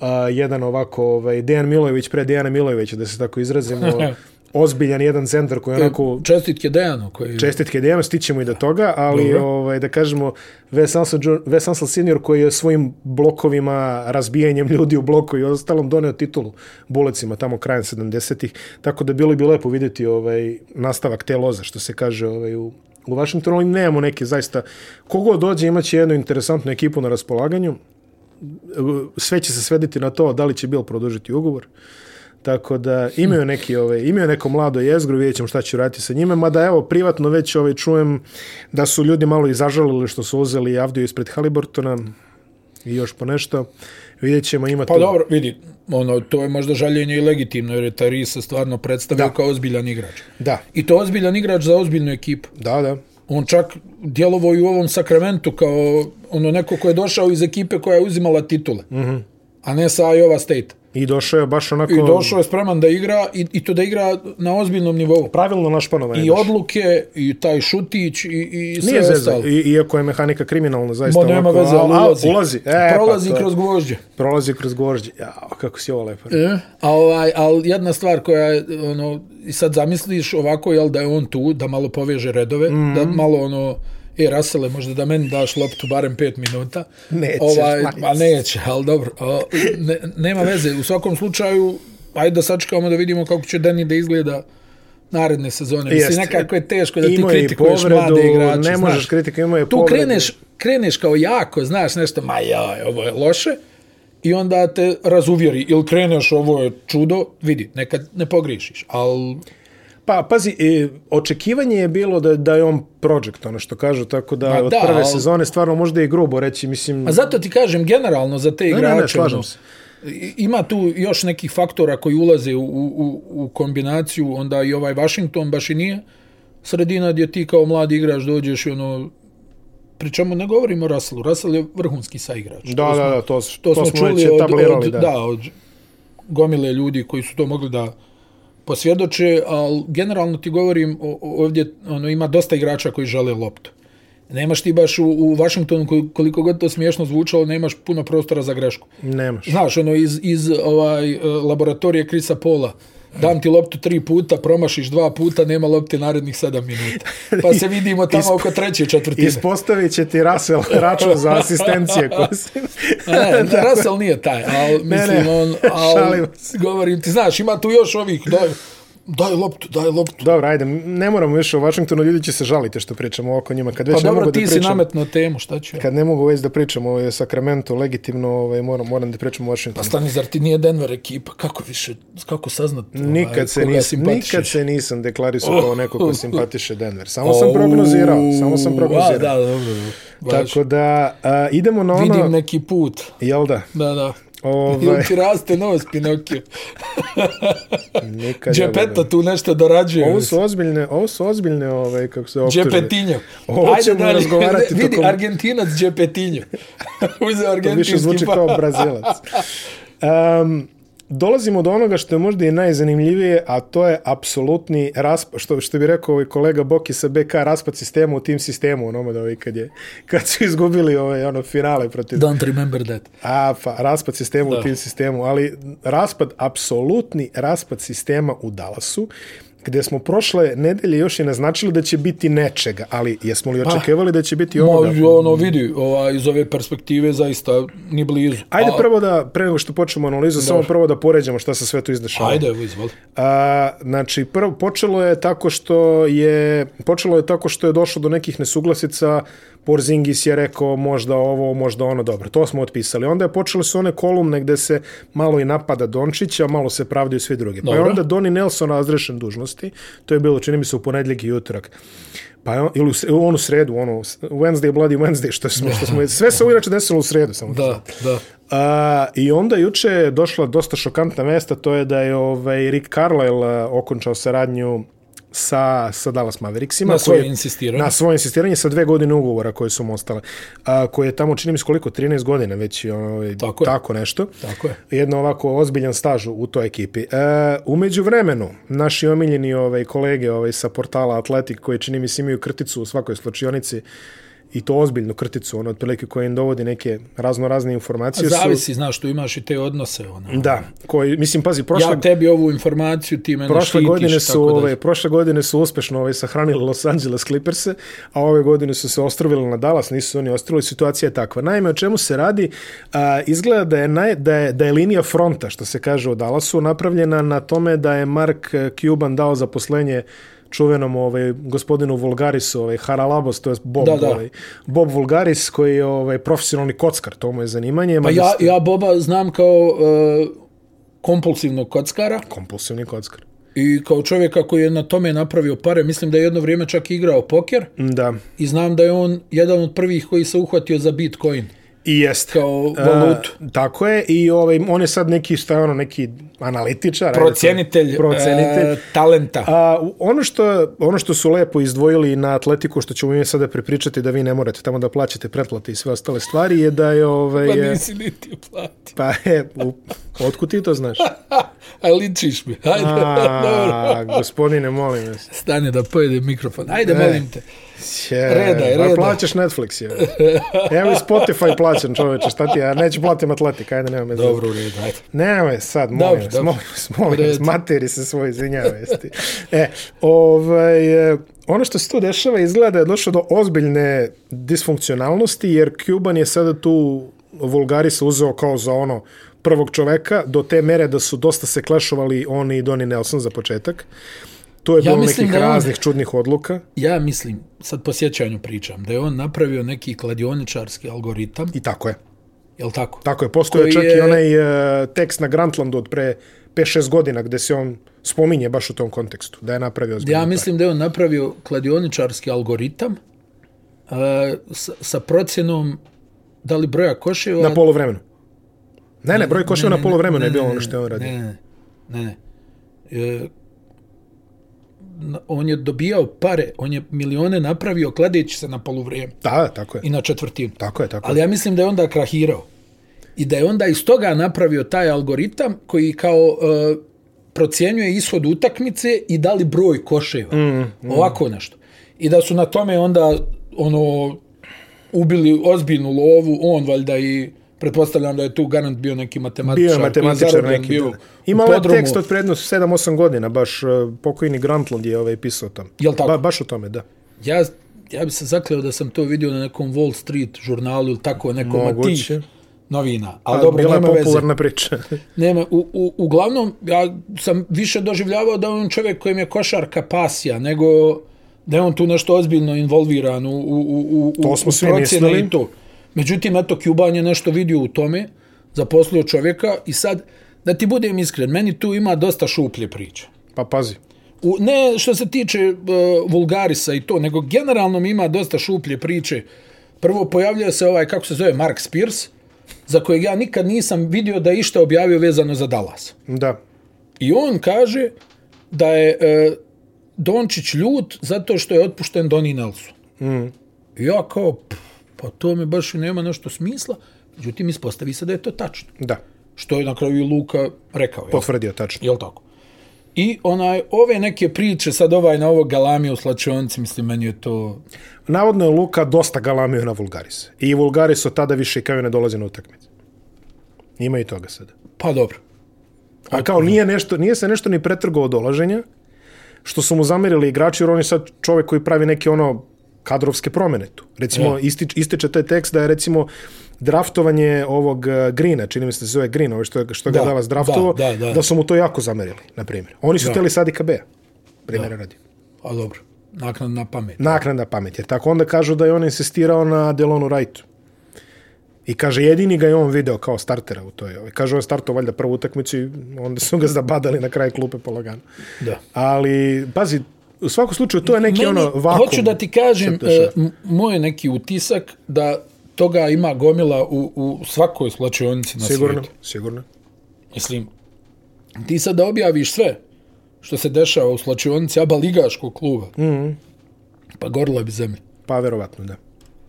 a, jedan ovako, ovaj, Dejan Milojević pre Dejana Milojevića, da se tako izrazimo, ozbiljan jedan centar koji je onako
Čestitke Dejanu koji
čestitke Dejanu, stićemo i do toga, ali
Dobro.
ovaj, da kažemo Wes Ansel, Jun- Wes Ansel senior koji je svojim blokovima, razbijanjem ljudi u bloku i ostalom doneo titulu bulecima tamo krajem 70-ih, tako da bilo bi lepo vidjeti ovaj, nastavak te loze, što se kaže ovaj, u, u Washingtonu, ali nemamo neke zaista, kogo dođe imaće jednu interesantnu ekipu na raspolaganju, E, sve će se svediti na to da li će Bill produžiti ugovor. Tako da imaju neki ovaj imaju neko mlado jezgro, vidjet ćemo šta će raditi sa njime, mada evo privatno već ovaj čujem da su ljudi malo i zažalili što su uzeli Avdio ispred Haliburtona. i još po nešto. Vidjet ćemo, ima
Pa dobro, vidi, ono, to je možda žaljenje i legitimno, jer je Tari se stvarno predstavio
Da.
kao ozbiljan igrač.
Da,
I to ozbiljan igrač za ozbiljnu ekipu.
da, da.
On čak djelovao i u ovom sakramentu kao ono neko ko je došao iz ekipe koja je uzimala titule. Mm
Mhm.
-hmm. A ne sa Iowa State.
I došao je baš onako...
I došao je spreman da igra i, i to da igra na ozbiljnom nivou.
Pravilno našpanovan je
I
došao.
odluke, i taj šutić, i, i sve
Nije zezda,
ostalo.
i, iako je mehanika kriminalna, zaista
Ma nema veze,
ali
ali ulazi.
ulazi. E,
Prolazi
pa to-
kroz gvožđe.
Prolazi kroz gvožđe. Jao, kako si ovo lepo.
E, a ovaj, ali jedna stvar koja je, ono, i sad zamisliš ovako, jel, da je on tu, da malo poveže redove, mm -hmm. da
Mhm.
malo, ono, e, Rasele, možda da meni daš loptu barem pet minuta.
Neće,
Ovaj,
majs.
ma neće, ali dobro. O, ne, nema veze, u svakom slučaju, ajde da sačekamo da vidimo kako će Deni da izgleda naredne sezone.
Jeste.
Mislim, nekako je teško da ti
Imao je i
kritikuješ
povredu,
mlade igrače.
ne
znaš.
možeš kritiku, imao je
Tu
povredu.
kreneš, kreneš kao jako, znaš, nešto, ma jaj, ovo je loše, i onda te razuvjeri, ili kreneš, ovo je čudo, vidi, nekad ne pogrišiš, ali
Pa, pazi, e, očekivanje je bilo da, da je on project, ono što kažu, tako da
Ma
od
da,
prve
ali-
sezone stvarno možda je i grubo reći, mislim...
A zato ti kažem, generalno za te
ne,
igrače,
ne, slažem
ono,
se.
i- ima tu još nekih faktora koji ulaze u, u, u- u kombinaciju, onda i ovaj Washington baš i nije sredina gdje ti kao mladi igrač dođeš i ono, pri čemu ne govorimo o Russellu, Russell je vrhunski saigrač.
Da, da, da, to, s-
to, to smo,
već
čuli od,
etablirali,
od, da. da, od gomile ljudi koji su to mogli da posvjedoče, ali generalno ti govorim, o- o- ovdje ono, ima dosta igrača koji žele loptu. Nemaš ti baš u, u Washingtonu, ko- koliko god to smiješno zvučalo, nemaš puno prostora za grešku.
Nemaš.
Znaš, ono, iz, iz ovaj, e, laboratorije Krisa Pola, dam ti loptu tri puta, promašiš dva puta, nema lopte narednih sedam minuta. Pa se vidimo
Isp-
tamo oko treće četvrtine.
Ispostavit će ti Rasel račun za asistencije. koje si-
E, Ne, ne, Russell nije taj, ali mislim
ne,
on, ali
šalim
govorim ti, znaš, ima tu još ovih, daj, daj loptu, daj loptu.
Dobro, ajde, ne moramo više o Washingtonu, ljudi će se žaliti što pričamo oko njima. Kad već
Pa
ne mogu
dobro,
da
ti si
pričam,
nametno temu, šta ću ja?
kad ne mogu već da pričam o Sacramento legitimno, ovaj, moram, moram da pričam o Washingtonu.
Pa stani, zar ti nije Denver ekipa? Kako više, kako saznat ovaj,
Nikad se,
koga
nis,
simpatišeš? Oh.
nikad se nisam deklarisao kao neko ko simpatiše Denver. Samo sam prognozirao, samo sam
Au, A,
prognozirao.
da, dobro, baš.
Tako da, a, idemo na ono,
Vidim neki put,
jel da,
da, da.
ovaj,
Ili ti raste nos, Pinokio.
nikad... jel da,
Džepeta tu nešto dorađuje.
Ovo su ozbiljne, ovo su ozbiljne, ovaj, kako se optužbe.
Džepetinjo.
Ovo ćemo razgovarati
Vidi,
tokom-
Argentinac Džepetinjo. Uzeo
To više
argentinski
zvuči
pa.
kao brazilac. Um, dolazimo do onoga što je možda i najzanimljivije, a to je apsolutni raspad, što, što bi rekao ovaj kolega Boki sa BK, raspad sistema u tim sistemu, onome da ovaj kad, je, kad su izgubili ovaj, ono finale protiv
Don't remember that.
A, pa, raspad sistema da. u
Da.
tim sistemu, ali raspad, apsolutni raspad sistema u Dallasu, gde smo prošle nedelje još i naznačili da će biti nečega, ali jesmo li očekivali da će biti
Pa, Ma,
ovoga?
ono, vidi, ova, iz ove perspektive zaista ni blizu.
Ajde
A-
prvo da, pre nego što počnemo analizu, samo prvo da poređamo šta se sve tu izdešava.
pa Ajde, evo, izvoli.
A, znači, prvo, počelo je tako što je, počelo je tako što je došlo do nekih nesuglasica, Porzingis je rekao možda ovo, možda ono, dobro, to smo otpisali. Onda je počele su one kolumne gde se malo i napada Dončića, malo se pravdaju svi drugi. Pa je
Dobro.
onda Doni Nelson razrešen dužnosti, to je bilo, čini mi se, u ponedljeg i utorak. Pa je on, ili u, s- u onu sredu, ono, Wednesday, Bloody Wednesday, što smo, što smo, sve se ovo inače desilo u sredu, samo
Da, da.
A, I onda juče je došla dosta šokantna vesta, to je da je ovaj, Rick Carlisle a, okončao saradnju sa, sa Dallas Mavericksima.
Na
koji je-
svoje insistiranje.
Na svoje insistiranje sa dve godine ugovora koje su mu ostale. A, koje je tamo, čini mi se koliko, 13 godina već, je, ovaj, tako,
Tako je.
tako nešto.
Tako je.
Jedno ovako ozbiljan staž u- u toj ekipi. E, umeđu vremenu, naši omiljeni ovaj, kolege ovaj, sa portala Atletik, koji čini mi se imaju krticu u svakoj slučionici, i to ozbiljnu krticu, ono, otprilike koja im dovodi neke razno razne informacije. su-
Zavisi, znaš, tu imaš i te odnose, ono.
Da, koji, mislim, pazi, prošle,
Ja tebi ovu informaciju, ti mene
prošle
štitiš,
godine su,
tako da...
ove, prošle godine su uspešno ove, sahranili Los Angeles Clippers-e, a ove godine su se ostrovili na Dallas, nisu se oni ostrovili, situacija je takva. Naime, o čemu se radi? A, izgleda da je, naj, da, je, da je linija fronta, što se kaže u Dallasu, napravljena na tome da je Mark Cuban dao zaposlenje čuvenom ovaj gospodinu Vulgarisu, ovaj Haralabos, to je Bob,
Da, da.
Ovaj, Bob Vulgaris koji je ovaj profesionalni kockar, to mu je zanimanje,
Pa ja, ja Boba znam kao e, kompulsivnog kockara
kompulsivni kockar.
i kao čovjeka koji je na tome napravio pare. Mislim da je jedno vrijeme čak igrao poker.
Da.
i znam da je on jedan od prvih koji se uhvatio za Bitcoin.
I jeste.
kao valutu.
E, tako je i ovaj on je sad neki šta je ono neki analitičar, ajde,
Procenitelj,
to- procenitelj.
e, talenta.
A, u- ono, što, ono što su lepo izdvojili na Atletiku, što ćemo mi sada prepričati da vi ne morate tamo da plaćate pretplate i sve ostale stvari, je da je... Ovaj,
Pa
je-
nisi ni ti plati.
pa je, u, otkud ti to znaš?
A ličiš mi. Hajde, dobro.
A, gospodine, molim vas.
Stani da pojede mikrofon. Ajde, molim te.
Je,
Redaj, redaj.
Pa plaćaš Netflix, je. Evo i Spotify plaćam, čoveče, šta ti, ja neću platim Atletik, ajde, nema me
Dobro, u redu, ajde.
Nemoj sad, molim
Dobro,
vas,
dobro.
molim vas, molim vas,
Reci.
materi se svoj izvinjava, jesti. E, ovaj, e, ono što se tu dešava izgleda da je došlo do ozbiljne disfunkcionalnosti, jer Cuban je sada tu vulgarisa uzeo kao za ono prvog čoveka, do te mere da su dosta se klešovali on i Donnie Nelson za početak. Tu je
Ja
bilo
mislim
nekih
da je on-
raznih čudnih odluka
Ja mislim, sad po sjećanju pričam, da je on napravio neki kladioničarski algoritam,
i tako je.
je li tako?
Tako je, postoje
Koji
čak i
je-
onaj e, tekst na Grantlandu od pre 5-6 godina gde se on spominje baš u tom kontekstu, da je napravio ozbiljnu
Ja mislim da je on napravio kladioničarski algoritam uh, sa, sa procjenom da li broja koševa...
Na polovremenu. Ne, ne, broj koševa na polovremenu je bilo ono što je on
Ne,
radio.
ne, ne. ne. E, na- on je dobijao pare, on je milione napravio kladeći se na poluvrijeme
Da, tako je.
i na četvrtinu.
Tako je, tako
Ali
je.
ja mislim da je onda krahirao. I da je onda iz toga napravio taj algoritam koji kao e, procjenjuje ishod utakmice i da li broj koševa. Mm, mm. Ovako nešto. I da su na tome onda ono ubili ozbiljnu lovu, on valjda i pretpostavljam da je tu Garant bio neki matematičar.
Bio je
koji
matematičar
zarobljen
neki.
Bio
da. Imao je
podrumu.
tekst od prednost 7-8 godina, baš e, pokojni Grantland je ovaj pisao tam.
Jel tako?
Ba, baš o tome, da.
Ja, ja bi se zakleo da sam to vidio na nekom Wall Street žurnalu ili tako nekom od tih
Moguće.
novina. Ali
A,
dobro,
Bila je
nema veze.
popularna priča.
Nema, u, u, uglavnom, ja sam više doživljavao da je on čovjek kojem je košarka pasija, nego da je on tu nešto ozbiljno involviran u, u, u, u,
To smo
u
svi
procjene
mislili.
i to. Međutim, eto, Cuban je nešto vidio u tome, zaposlio čovjeka i sad, da ti budem iskren, meni tu ima dosta šuplje priče.
Pa pazi.
U, ne što se tiče e, vulgarisa i to, nego generalno mi ima dosta šuplje priče. Prvo pojavljao se ovaj, kako se zove, Mark Spears, za kojeg ja nikad nisam vidio da je išta objavio vezano za Dallas.
Da.
I on kaže da je e, Dončić ljut zato što je otpušten Donnie Nelson. Mm. I ja kao, pff, pa to mi baš i nema nešto smisla. Međutim, ispostavi se da je to tačno.
Da.
Što je na kraju i Luka rekao. jel?
Potvrdio, tačno.
Jel tako? I onaj, ove neke priče, sad ovaj na ovog galamija u slačionci, mislim, meni je to...
Navodno je Luka dosta galamio na Vulgaris. I Vulgaris od tada više kao i ne dolazi na utakmice. Ima i toga sada.
Pa dobro.
A kao nije, nešto, nije se nešto ni pretrgao od olaženja, što su mu zamerili igrači, jer on je sad čovjek koji pravi neke ono kadrovske promjene tu.
E.
Recimo, istič, ističe taj tekst da je recimo draftovanje ovog eh, Greena, čini mi se da se zove Green, ovo što, što ga
Da,
da, Dallas draftovo,
da, da, da.
da su mu to jako zamerili, na primjer. Oni su htjeli Sadika B, primjera radi.
Pa dobro. Naknad na pamet.
Naknada pamet, jer tako onda kažu da je on insistirao na Delonu Wrightu. I kaže, jedini ga je on video kao startera u toj. ovaj. Kaže, on je startao valjda prvu utakmicu i onda su ga zabadali na kraj klupe polagano.
Da.
Ali, pazi, u svakom slučaju to je neki
Meni,
ono vakum.
hoću da ti kažem,
se dešava.
e, m- moj je neki utisak da toga ima gomila u, u svakoj slačionici na
Sigurno,
svijetu.
sigurno.
Mislim, ti sad da objaviš sve što se dešava u slačionici aba ligaškog kluba, mm
Mhm.
-hmm. pa gorila bi zemlja.
Pa, verovatno, da.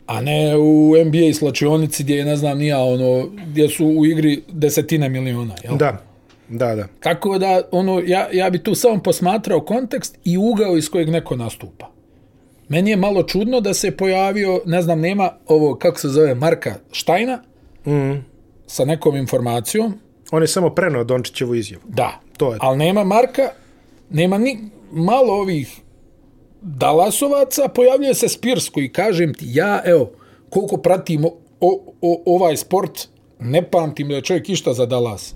A ne u NBA slačionici gdje je, ne znam, nija, ono, gdje su u igri desetine miliona, jel?
Da, da, da.
Tako da, ono, ja, ja bi tu samo posmatrao kontekst i ugao iz kojeg neko nastupa. Meni je malo čudno da se pojavio, ne znam, nema ovo, kako se zove, Marka Štajna, mm. sa nekom informacijom,
On je samo prenao Dončićevu izjavu.
da,
To je to.
ali nema Marka, nema ni malo ovih Dalasovaca, pojavljuje se Spirs koji, kažem ti, ja, evo, koliko pratim o, o, o, ovaj sport, ne pamtim da je čovjek išta za Dalas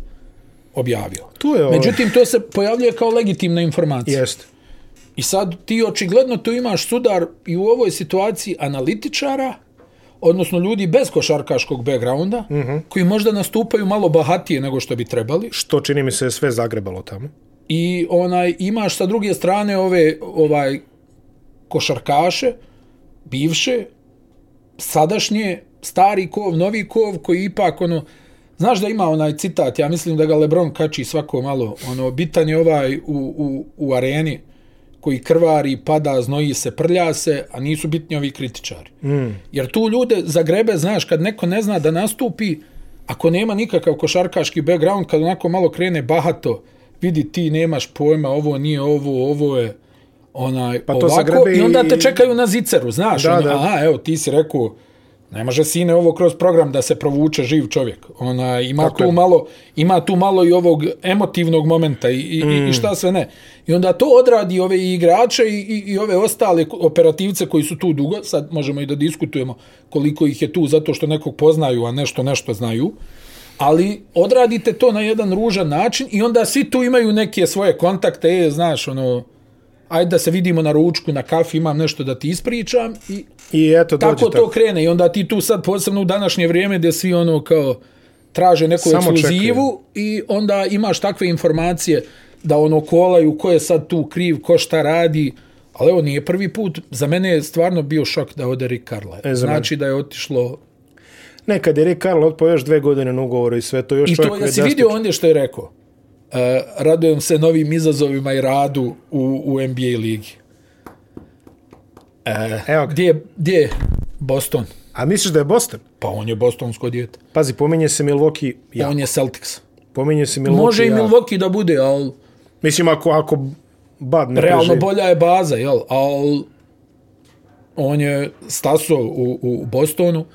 objavio.
Tu je ovaj-
Međutim, to se pojavljuje kao legitimna informacija.
Jeste.
I sad ti očigledno tu imaš sudar i u ovoj situaciji analitičara, odnosno ljudi bez košarkaškog backgrounda, mm
Mhm.
-hmm. koji možda nastupaju malo bahatije nego što bi trebali,
Što čini mi se je sve zagrebalo tamo.
i onaj imaš sa druge strane ove ovaj košarkaše bivše sadašnje stari kov, novi kov koji ipak ono Znaš da ima onaj citat, ja mislim da ga LeBron kači svako malo, ono, bitan je ovaj u, u, u areni koji krvari, pada, znoji se, prlja se, a nisu bitni ovi kritičari. Mm. Jer tu ljude zagrebe, znaš, kad neko ne zna da nastupi, ako nema nikakav košarkaški background, kad onako malo krene bahato, vidi ti nemaš pojma, ovo nije ovo, ovo je onaj,
Pa to
ovako,
zagrebe
i onda
i-
te čekaju na ziceru, znaš,
Da,
ono,
da.
aha, evo, ti si rekao, ne može sine ovo kroz program da se provuče živ čovjek. Ona ima
Tako
tu
je.
malo ima tu malo i ovog emotivnog momenta i, i, mm. i šta sve ne. I onda to odradi ove i igrače i, i, i ove ostale operativce koji su tu dugo, sad možemo i da diskutujemo koliko ih je tu zato što nekog poznaju, a nešto nešto znaju. Ali odradite to na jedan ružan način i onda svi tu imaju neke svoje kontakte, e, znaš, ono, ajde da se vidimo na ručku, na kafi, imam nešto da ti ispričam i
I eto, dođe
tako to krene i onda ti tu sad posebno u današnje vrijeme gdje svi ono kao traže neku
Samo
ekskluzivu i onda imaš takve informacije da ono kolaju ko je sad tu kriv, ko šta radi, ali evo nije prvi put, za mene je stvarno bio šok da ode Rick Carlisle.
E, za
znači da je otišlo
Ne, kad je Rick Carl otpao još dve godine na ugovoru i sve to još
i
čovjek
to
koji je
jesi vidio ondje što je rekao. Uh, radujem se novim izazovima i radu u, u NBA ligi.
drastičan. E, Evo ga.
Gdje je, gdje je Boston?
A misliš da je Boston?
Pa on je bostonsko dijete.
Pazi, pominje se Milwaukee, ja.
On je Celtics.
Pominje se Milwaukee,
Može i
ja.
Milwaukee da bude, ali
Mislim, ako, ako Bad ne
realno
preživi.
bolja je baza, jel? Ali on je staso u, u Bostonu,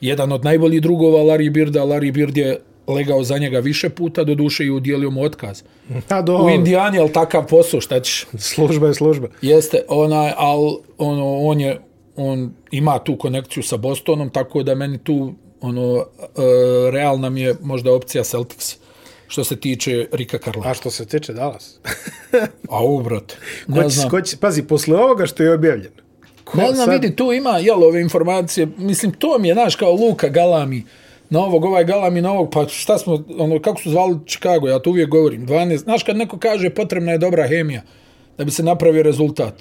jedan od najboljih drugova Larry Birda, Larry Bird je legao za njega više puta, doduše i udjelio mu otkaz.
A do,
U Indijani, ali takav posao, šta ćeš?
služba je služba.
Jeste, onaj, ali ono, on je, on ima tu konekciju sa Bostonom, tako da meni tu, ono, e, realna mi je možda opcija Celtics što se tiče Rika Karla.
A što se tiče Dallas?
A u, brate,
Ko
ne
će,
znam.
ko će, pazi, posle ovoga što je objavljeno. ko
Ne znam,
sad-
vidi, tu ima, jel, ove informacije, mislim, to mi je, znaš, kao Luka Galami, na ovog, ovaj Galami, na ovog, pa šta smo, ono, kako su zvali Chicago, ja to uvijek govorim, 12, znaš, kad neko kaže potrebna je dobra hemija, da bi se napravio rezultat,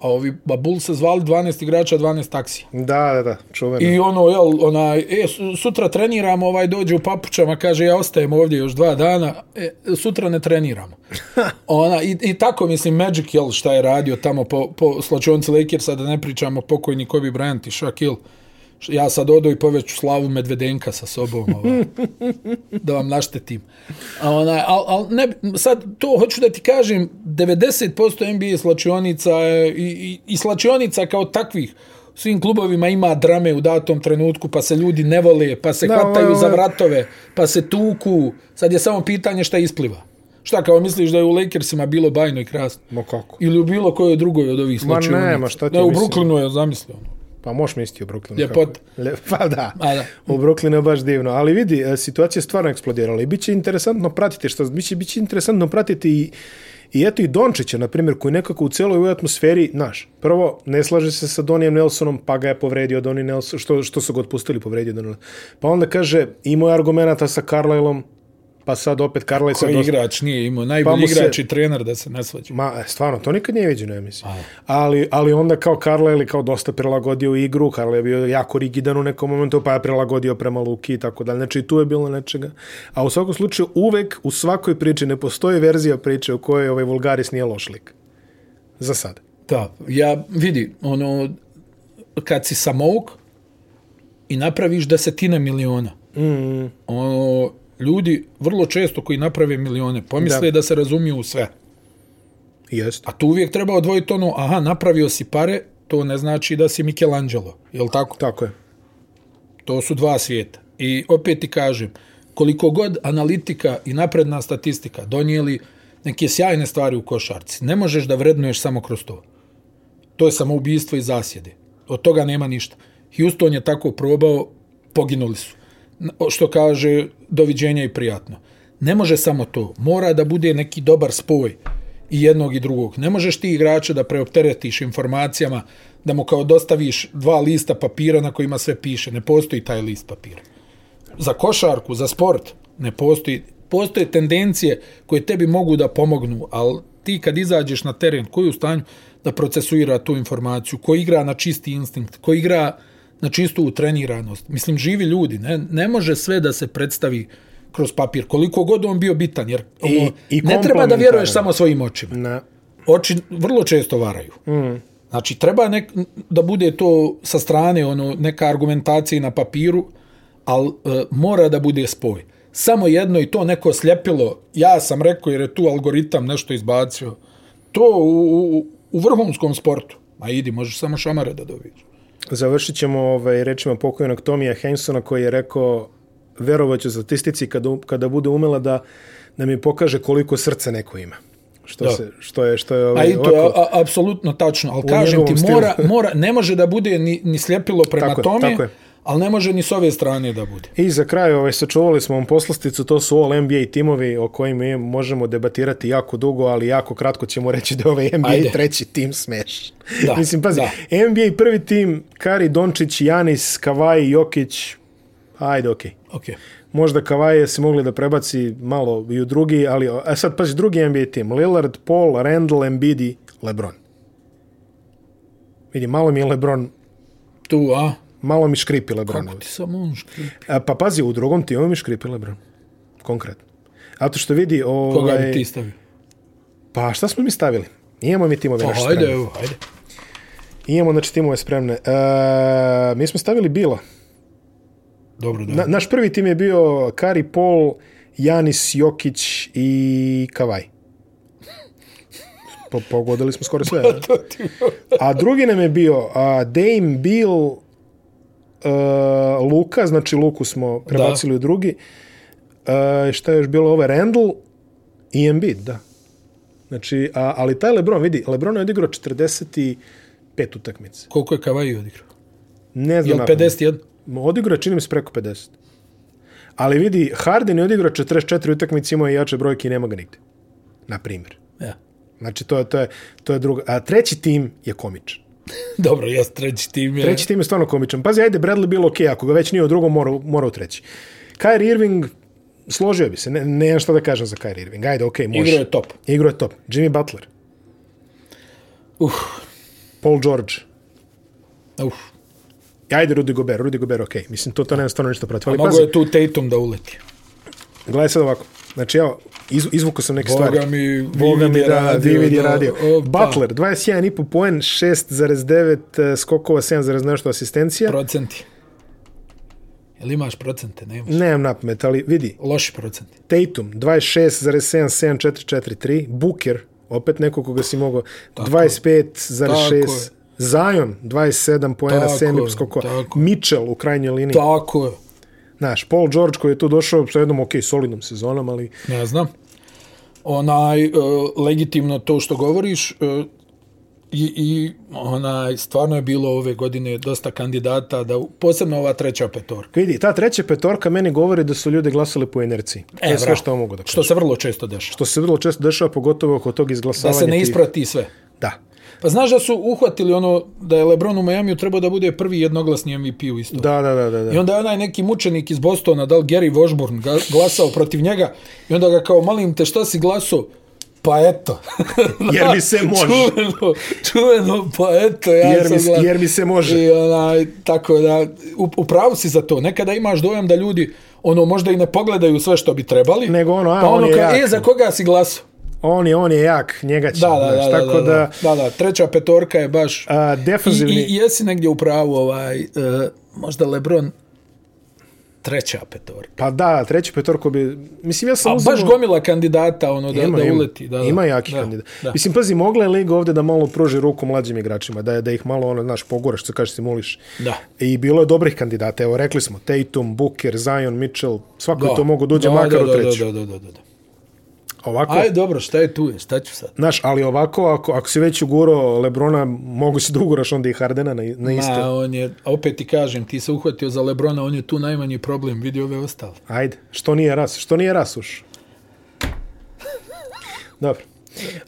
a ovi, ba, Bull se zvali 12 igrača, 12 taksija.
Da, da, da, čuveno.
I ono, jel, onaj, e, su- sutra treniramo, ovaj dođe u papučama, kaže, ja ostajem ovdje još dva dana, e, sutra ne treniramo. Ona, i, I tako, mislim, Magic, jel, šta je radio tamo po, po slačionci Lakersa, da ne pričamo pokojni Kobe Bryant i Shaquille. Š- Ja sad odo i poveću slavu Medvedenka sa sobom, ovaj, da vam naštetim. A onaj, al, al ne, bi- sad to hoću da ti kažem, 90% NBA slačionica je, i, i, i slačionica kao takvih, u svim klubovima ima drame u datom trenutku, pa se ljudi ne vole, pa se
Da,
da, hvataju
ovo je-
za vratove, pa se tuku. Sad je samo pitanje šta ispliva. Šta kao misliš da je u Lakersima bilo bajno i krasno?
Ma kako?
Ili u bilo kojoj drugoj od ovih
Ma ne,
slačionica?
ma šta ti
ne, u
mislim?
Brooklynu je ono. zamislio.
Pa možeš misliti u Brooklynu.
Ljepota.
kako je. Le, pa da.
A da.
U Brooklynu je baš divno. Ali vidi, e, situacija je stvarno eksplodirala i bit će interesantno pratiti, što biće, biće interesantno pratiti i I eto i Dončića, na primjer, koji nekako u cijeloj ovoj atmosferi, naš, prvo, ne slaže se sa Donijem Nelsonom, pa ga je povredio Doni Nelson, što, što su ga otpustili, povredio Doni Pa onda kaže, imao je argumenta sa Carlisleom, pa sad opet Carlisle se
Koji
dosta... Pa
igrač nije imao, najbolji
mu se-
igrač i trener da se ne svađa.
Ma, e, stvarno, to nikad nije viđeno, ja mislim. Ali, ali onda kao Carlisle kao dosta prilagodio igru, Carlisle je bio jako rigidan u nekom momentu, pa je prilagodio prema Luki i tako dalje. Znači, i tu je bilo nečega. A u svakom slučaju, uvek, u svakoj priči, ne postoji verzija priče u kojoj ovaj Vulgaris nije loš lik. Za sad.
Da, ja vidi, ono, kad si samouk i napraviš desetine miliona,
Mm,
ono, ljudi vrlo često koji naprave milione pomisle da, da se razumiju u sve.
jest.
A tu uvijek treba odvojiti ono, aha, napravio si pare, to ne znači da si Michelangelo, jel tako?
Tako je.
To su dva svijeta. I opet ti kažem, koliko god analitika i napredna statistika donijeli neke sjajne stvari u košarci, ne možeš da vrednuješ samo kroz to. To je samo ubijstvo i zasjede. Od toga nema ništa. Houston je tako probao, poginuli su. Na- o, Što kaže, doviđenja i prijatno. Ne može samo to. Mora da bude neki dobar spoj i jednog i drugog. Ne možeš ti igrača da preopteretiš informacijama, da mu kao dostaviš dva lista papira na kojima sve piše. Ne postoji taj list papira. Za košarku, za sport, ne postoji. Postoje tendencije koje tebi mogu da pomognu, ali ti kad izađeš na teren, koji je u stanju da procesuira tu informaciju, koji igra na čisti instinkt, koji igra znači isto u treniranost. Mislim, živi ljudi, ne, ne može sve da se predstavi kroz papir, koliko god on bio bitan, jer
I-
ono,
i
ne treba da
komplementaran.
vjeruješ samo svojim očima.
Na,
Oči vrlo često varaju. Mm. Znači, treba nek, da bude to sa strane, ono, neka argumentacija i na papiru, ali e, mora da bude spoj. Samo jedno i to neko sljepilo, ja sam rekao jer je tu algoritam nešto izbacio, to u, u, u vrhunskom sportu. Ma idi, možeš samo šamare da dobiješ.
završit ćemo ovaj, rečima pokojnog Tomija Hensona koji je rekao verovaću statistici kada, u- kada bude umela da, da mi pokaže koliko srca neko ima. Što,
Da.
se, što je, što je
A
ovaj,
i to je a- a- apsolutno tačno, ali kažem ti,
njegovom stilu.
mora, mora, ne može da bude ni, ni sljepilo prema
Tako je,
tome,
tako je.
ali ne može ni s ove strane da bude.
I za kraj, ovaj, sačuvali smo vam poslasticu, to su all NBA timovi o kojim mi možemo debatirati jako dugo, ali jako kratko ćemo reći da je ovaj NBA
Ajde.
treći tim smeš.
Da,
Mislim, pazi,
da.
NBA prvi tim, Kari, Dončić, Janis, Kavaj, Jokić, ajde, okej. Okay.
Okay.
Možda Kavaje se mogli da prebaci malo i u drugi, ali a sad pazi drugi NBA tim. Lillard, Paul, Randall, Embiid i LeBron. Vidi, malo mi je LeBron,
Tu, a?
malo mi škripi LeBron.
Kako ti samo on škripi?
A, pa pazi, u drugom timu mi škripi LeBron. Konkretno. Zato što vidi,
Koga bi
ovaj,
ti stavio?
pa šta smo mi stavili? Imamo mi timove naše
Ajde,
spremne.
pa evo, ajde.
Imamo, znači, timove spremne. E, mi smo stavili Bila.
Dobro, da.
Na, naš prvi tim je bio Kari, Paul, Janis, Jokić i Kavaj. Po, pogodili smo skoro sve. a?
To ti-
A drugi nam je bio a, Dame, Bill, uh, Luka, znači Luku smo prebacili da. u drugi. Uh, šta je još bilo ove? Randall i Embiid, da. Znači, a, ali taj Lebron, vidi, Lebron je odigrao 45 utakmice.
Koliko je Kavaji odigrao?
Ne znam.
Jel
napamet.
51?
Odigrao je, čini mi se, preko 50. Ali vidi, Harden je odigrao 44 utakmice, imao je jače brojke i nema ga nigde. Na primjer.
Ja.
Znači, to je, to je, to je druga. A treći tim je komičan.
Dobro, jes treći tim je...
Treći tim je stvarno komičan. Pazi, ajde, Bradley bilo okej, okay, ako ga već nije u drugom, mora, u- mora u treći. Kyrie Irving, složio bi se, ne, ne znam šta da kažem za Kyrie Irving. Ajde, okej, okay, može.
Igrao je top.
Igro je top. Jimmy Butler,
Uf,
Paul George,
uf.
ajde Rudy Gobert, Rudy Gobert, okej. Okay. Mislim, to, to nema stvarno ništa protiv. Ali
Mogu
pazi,
je tu Tatum da uleti.
gledaj sad ovako. Znači, evo, iz, izvuko sam neke
Boga
stvari.
mi,
Boga mi,
DVD je
da,
radio,
DVD je
da, pa.
radio.
opa.
Butler, 21,5 poen, 6,9 eh, skokova, 7, nešto asistencija.
pa, Procenti. Jel imaš procente? Nemaš.
Nemam napamet, ali vidi,
Loši procenti.
Tatum 26,77443, Booker, opet neko koga si mogao, 25,6,
Tako
Zion 27 poena,
Tako
7
je,
skoko,
tako je.
Mitchell u krajnjoj liniji,
Tako je.
znaš, Paul George koji je tu došao sa jednom, ok, solidnom sezonom, ali
Ne znam. Onaj, e, legitimno to što govoriš, e, i, i onaj, stvarno je bilo ove godine dosta kandidata, da, posebno ova treća petorka.
vidi, ta treća petorka meni govori da su ljudi glasali po inerciji. E, to je sve
bravo.
što mogu da kažem.
Što se vrlo često dešava.
Što se vrlo često dešava, pogotovo oko tog
Da
izglasavanja.
se ne
tih-
isprati sve.
Da.
Pa znaš da su uhvatili ono da je LeBron u Majamiju trebao da bude prvi jednoglasni MVP u istoriji.
Da, da, da, da. da.
I onda je onaj neki mučenik iz Bostona, da li Gary Washburn, ga, glasao protiv njega i onda ga kao, malim te, šta si glasao? Pa eto.
Jer mi se može.
Čuveno, čuveno, pa eto, ja
Jer
sam
mi se-
glas-
jer mi se može.
I onaj, tako da, u, u pravu si za to. Nekada imaš dojam da ljudi, ono, možda i ne pogledaju sve što bi trebali.
Nego ono, a,
pa
on
ono,
je
ka,
jak.
e, za koga si glasao?
On je, on je jak, njega će.
Da, da,
znaš,
da, da,
tako
da, da, da, da, treća petorka je baš...
A, defanzivni...
I, i, jesi negdje u pravu, ovaj, uh, možda Lebron treća petorka.
Pa da, treći petorko bi... Mislim, ja sam
A baš gomila kandidata ono da, da uleti. Da, da.
Pa ima jaki
da,
kandidat.
Da.
Mislim, pazi, mogla je Liga ovde da malo pruži ruku mlađim igračima, da, da ih malo, ono, znaš, poguraš, što kažeš, simuliš.
Da.
I bilo je dobrih kandidata, evo, rekli smo, Tatum, Booker, Zion, Mitchell, svako je to mogu dođe
da,
makar
da,
u treću.
Da, da, da, da, da, da.
Ovako,
Aj, dobro, šta je tu? je, Šta ću sad?
znaš, ali ovako, ako, ako si već uguro Lebrona, mogu si da uguraš onda i Hardena na, na isto.
Ma, on je, a opet ti kažem, ti se uhvatio za Lebrona, on je tu najmanji problem, vidi ove ostale.
Ajde, što nije ras, što nije rasuš? Dobro.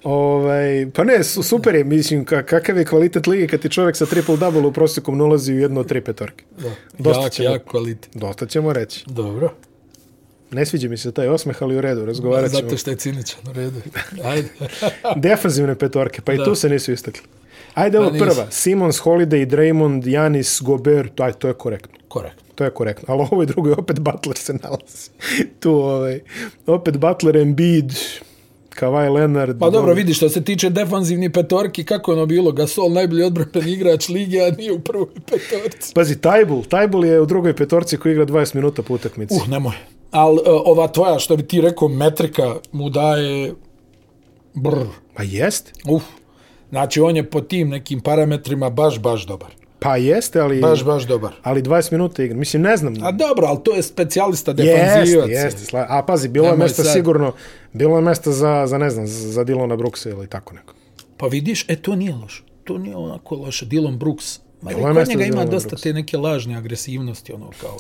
Ovaj, pa ne, su- super je, mislim, ka- kakav je kvalitet lige kad ti čovjek sa triple double u prosjekom nalazi u jednu od tri petorke.
Da.
Dosta
jak,
ćemo.
jak kvalitet.
Dosta ćemo reći.
Dobro.
Ne sviđa mi se taj osmeh, ali u redu, razgovarat ćemo.
Zato što je ciničan, u redu. Ajde.
Defanzivne petorke, pa i
Da.
tu se nisu istakli. Ajde ovo
Pa nisam.
prva. Simons, Holiday, Draymond, Janis, Gobert, aj, to je korektno.
Korektno.
To je korektno. Ali ovo je drugo, opet Butler se nalazi. Tu ovaj, opet Butler, Embiid, Kawhi Leonard. ono,
Pa dobro, vidi što se tiče defanzivni petorki, kako je ono bilo? Gasol najbolji odbranben igrač lige, a nije u prvoj petorci.
Pazi, Tajbul. Tajbul je u drugoj petorci koji igra 20 minuta po utakmici.
Uh, nemoj. Ali ova tvoja, što bi ti rekao, metrika mu daje... Brr.
Pa jest.
Uf. Znači, on je po tim nekim parametrima baš, baš dobar.
Pa jeste, ali...
Baš, baš dobar.
Ali 20 minuta igra. Mislim, ne znam.
A dobro, ali to je specijalista
Jeste,
defanzivac.
jeste. Sla... A pazi, bilo je
Nemoj
mesta
sad.
sigurno, bilo je mesta za, za ne znam, za za Dylona Brooksa ili tako neko.
Pa vidiš, e, to nije loše. To nije onako loše. Dylan Brooks. Ma,
Bilo je
kod
mesta
njega
za
ima
Dylan
dosta
Brooks.
te neke lažne agresivnosti, ono kao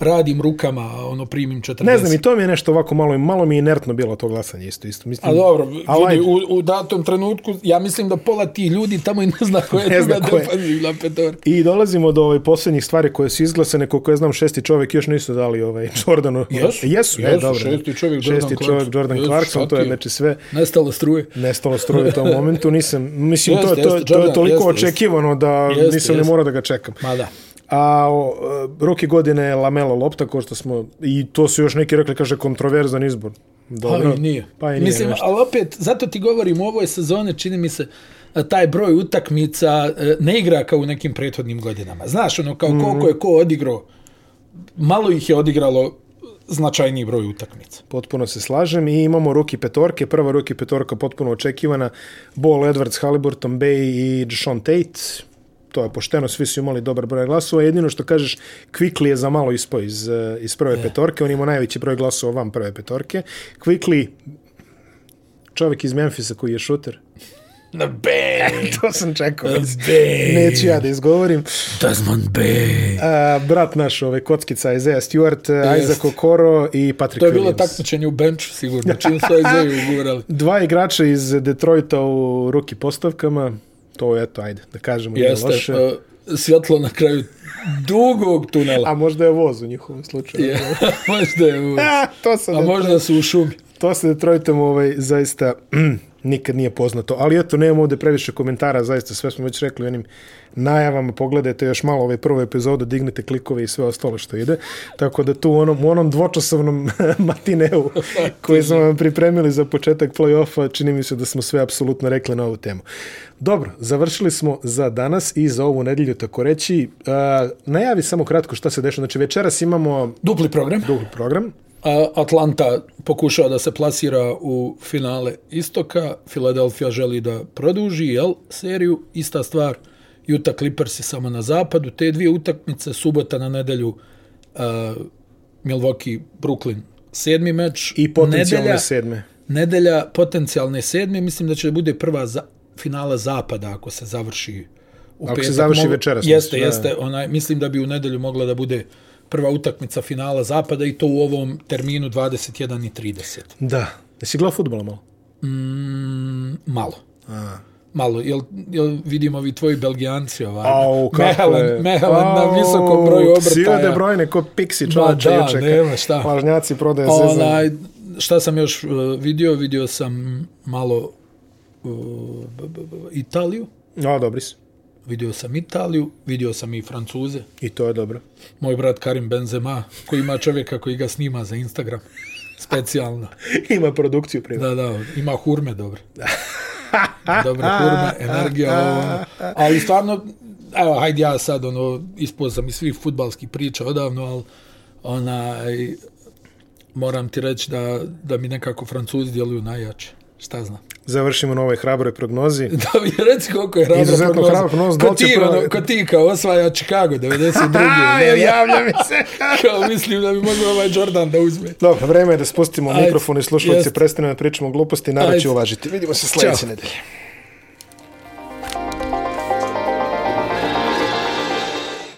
radim rukama, a ono primim 40.
Ne znam, i to mi je nešto ovako malo, malo mi je inertno bilo to glasanje isto. isto. Mislim,
A dobro,
ali ajde.
vidi, u, u datom trenutku, ja mislim da pola ti ljudi tamo i ne zna koja
Ne
je
zna
druga
ko je.
defanzivna petorka.
I dolazimo do ovaj posljednjih stvari koje su izglasane, koliko ja znam, šesti čovjek još nisu dali ovaj Jordanu.
Jesu,
jesu, e,
jesu,
dobro.
šesti čovjek Jordan
šesti čovjek
Clarkson.
Jordan
Jesu,
Clarkson,
šta
to je
ti je?
znači sve
Nestalo struje.
nestalo struje u tom momentu, nisam, mislim,
Jeste,
to, je, to, je-
jeste,
to je
Jordan,
toliko
jeste, jeste.
očekivano da
Jeste,
nisam ni
jeste.
morao da ga čekam.
Ma da.
A o, e, roki godine je Lamelo Lopta, ko što smo, i to su još neki rekli, kaže, kontroverzan izbor. Dobro.
Ali nije.
Pa i nije
Mislim,
nešto.
ali opet, zato ti govorim, u ovoj sezone čini mi se a, taj broj utakmica e, ne igra kao u nekim prethodnim godinama. Znaš, ono,
Mhm.
kao koliko je ko odigrao, malo ih je odigralo značajniji broj utakmica.
Potpuno se slažem i imamo ruki petorke. Prva ruki petorka potpuno očekivana. Ball, Edwards, Halliburton, Bay i Deshaun Tate. To je pošteno, svi su imali dobar broj glasova. Jedino što kažeš, Quickly je za malo ispao iz, eh, iz prve petorke. On ima najveći broj glasova van prve petorke. Quickly, čovjek iz Memfisa koji je šuter.
Na bang!
To sam čekao.
Eh, Bang!
Neću ja da izgovorim.
Tasman bang!
A, brat naš, ove kockica Isaiah Stewart, yes. Isaac Okoro i Patrick
To je bilo
Williams.
takmičenje u benču, sigurno. Čim su Isaiah ugurali.
Dva igrača iz Detroita u ruki postavkama, to je to, ajde, da kažemo, nije
Jeste,
loše.
uh, svjetlo na kraju dugog tunela.
A možda je voz u njihovom slučaju.
Je, možda je uvijek.
A, to sa,
A
Det-
možda su u šumi.
to sa Detroitom ovaj, zaista nikad nije poznato. Ali eto, nemamo ovde previše komentara, zaista sve smo već rekli u onim najavama, pogledajte još malo ovaj prvu epizodu, dignite klikove i sve ostalo što ide. Tako da tu u onom, u onom dvočasovnom matineu koji smo vam pripremili za početak play-offa, čini mi se da smo sve apsolutno rekli na ovu temu. Dobro, završili smo za danas i za ovu nedelju, tako reći. Uh, najavi samo kratko šta se dešava. Znači, večeras imamo
Dupli program.
dug program.
A, Atlanta pokušava da se plasira u finale istoka, Filadelfija želi da produži jel, seriju, ista stvar, Utah Clippers je samo na zapadu, te dvije utakmice, subota na nedelju, a, Milwaukee, Brooklyn, sedmi meč.
I potencijalne
Nedelja-
sedme.
Nedelja potencijalne sedme, mislim da će da bude prva za, finala zapada ako se završi u
Ako se završi večeras,
Jeste,
mislim, da.
jeste. Onaj, mislim da bi u nedelju mogla da bude prva utakmica finala zapada i to u ovom terminu 21 i 30.
Da. Jesi gledao futbola malo?
Mm, Malo.
A.
Malo. Jel, jel vidimo vi tvoji belgijanci ovaj?
Au, kako je.
mehalan, mehalan na
Au,
visokom broju obrtaja.
Sile de brojne, ko piksi čovječe
Ma da,
juče.
nema šta.
Važnjaci prodaje sezon.
Onaj, šta sam još uh, vidio? Vidio sam malo uh, b- b- b- Italiju.
No, dobri su.
Vidio sam Italiju, vidio sam i Francuze.
I to je dobro.
Moj brat Karim Benzema, koji ima čovjeka koji ga snima za Instagram. Specijalno.
Ima produkciju prije.
Da, da, ima hurme dobro. Dobre hurme, energija, ovo, ono. Ali stvarno, evo, hajde ja sad, ono, ispod sam iz svih futbalskih priča odavno, ali onaj, moram ti reći da, da mi nekako Francuzi djeluju najjače. Šta znam?
Završimo na ovoj hrabroj prognozi.
Da mi reci koliko je hrabra
Izuzetno
prognoza.
hrabra prognoza, da
Ko
li će
ti,
prva-
ono, ko ti kao osvaja Chicago 92.
A,
Da,
jel
ja,
javlja mi se.
kao mislim da bi mogao ovaj Jordan da uzme.
Dobro, vreme je da spustimo
Ajde,
mikrofon i slušalice,
jeste.
prestanemo da pričamo gluposti, narod će
Ajde.
uvažiti. Vidimo se sljedeće
Ćao.
nedelje.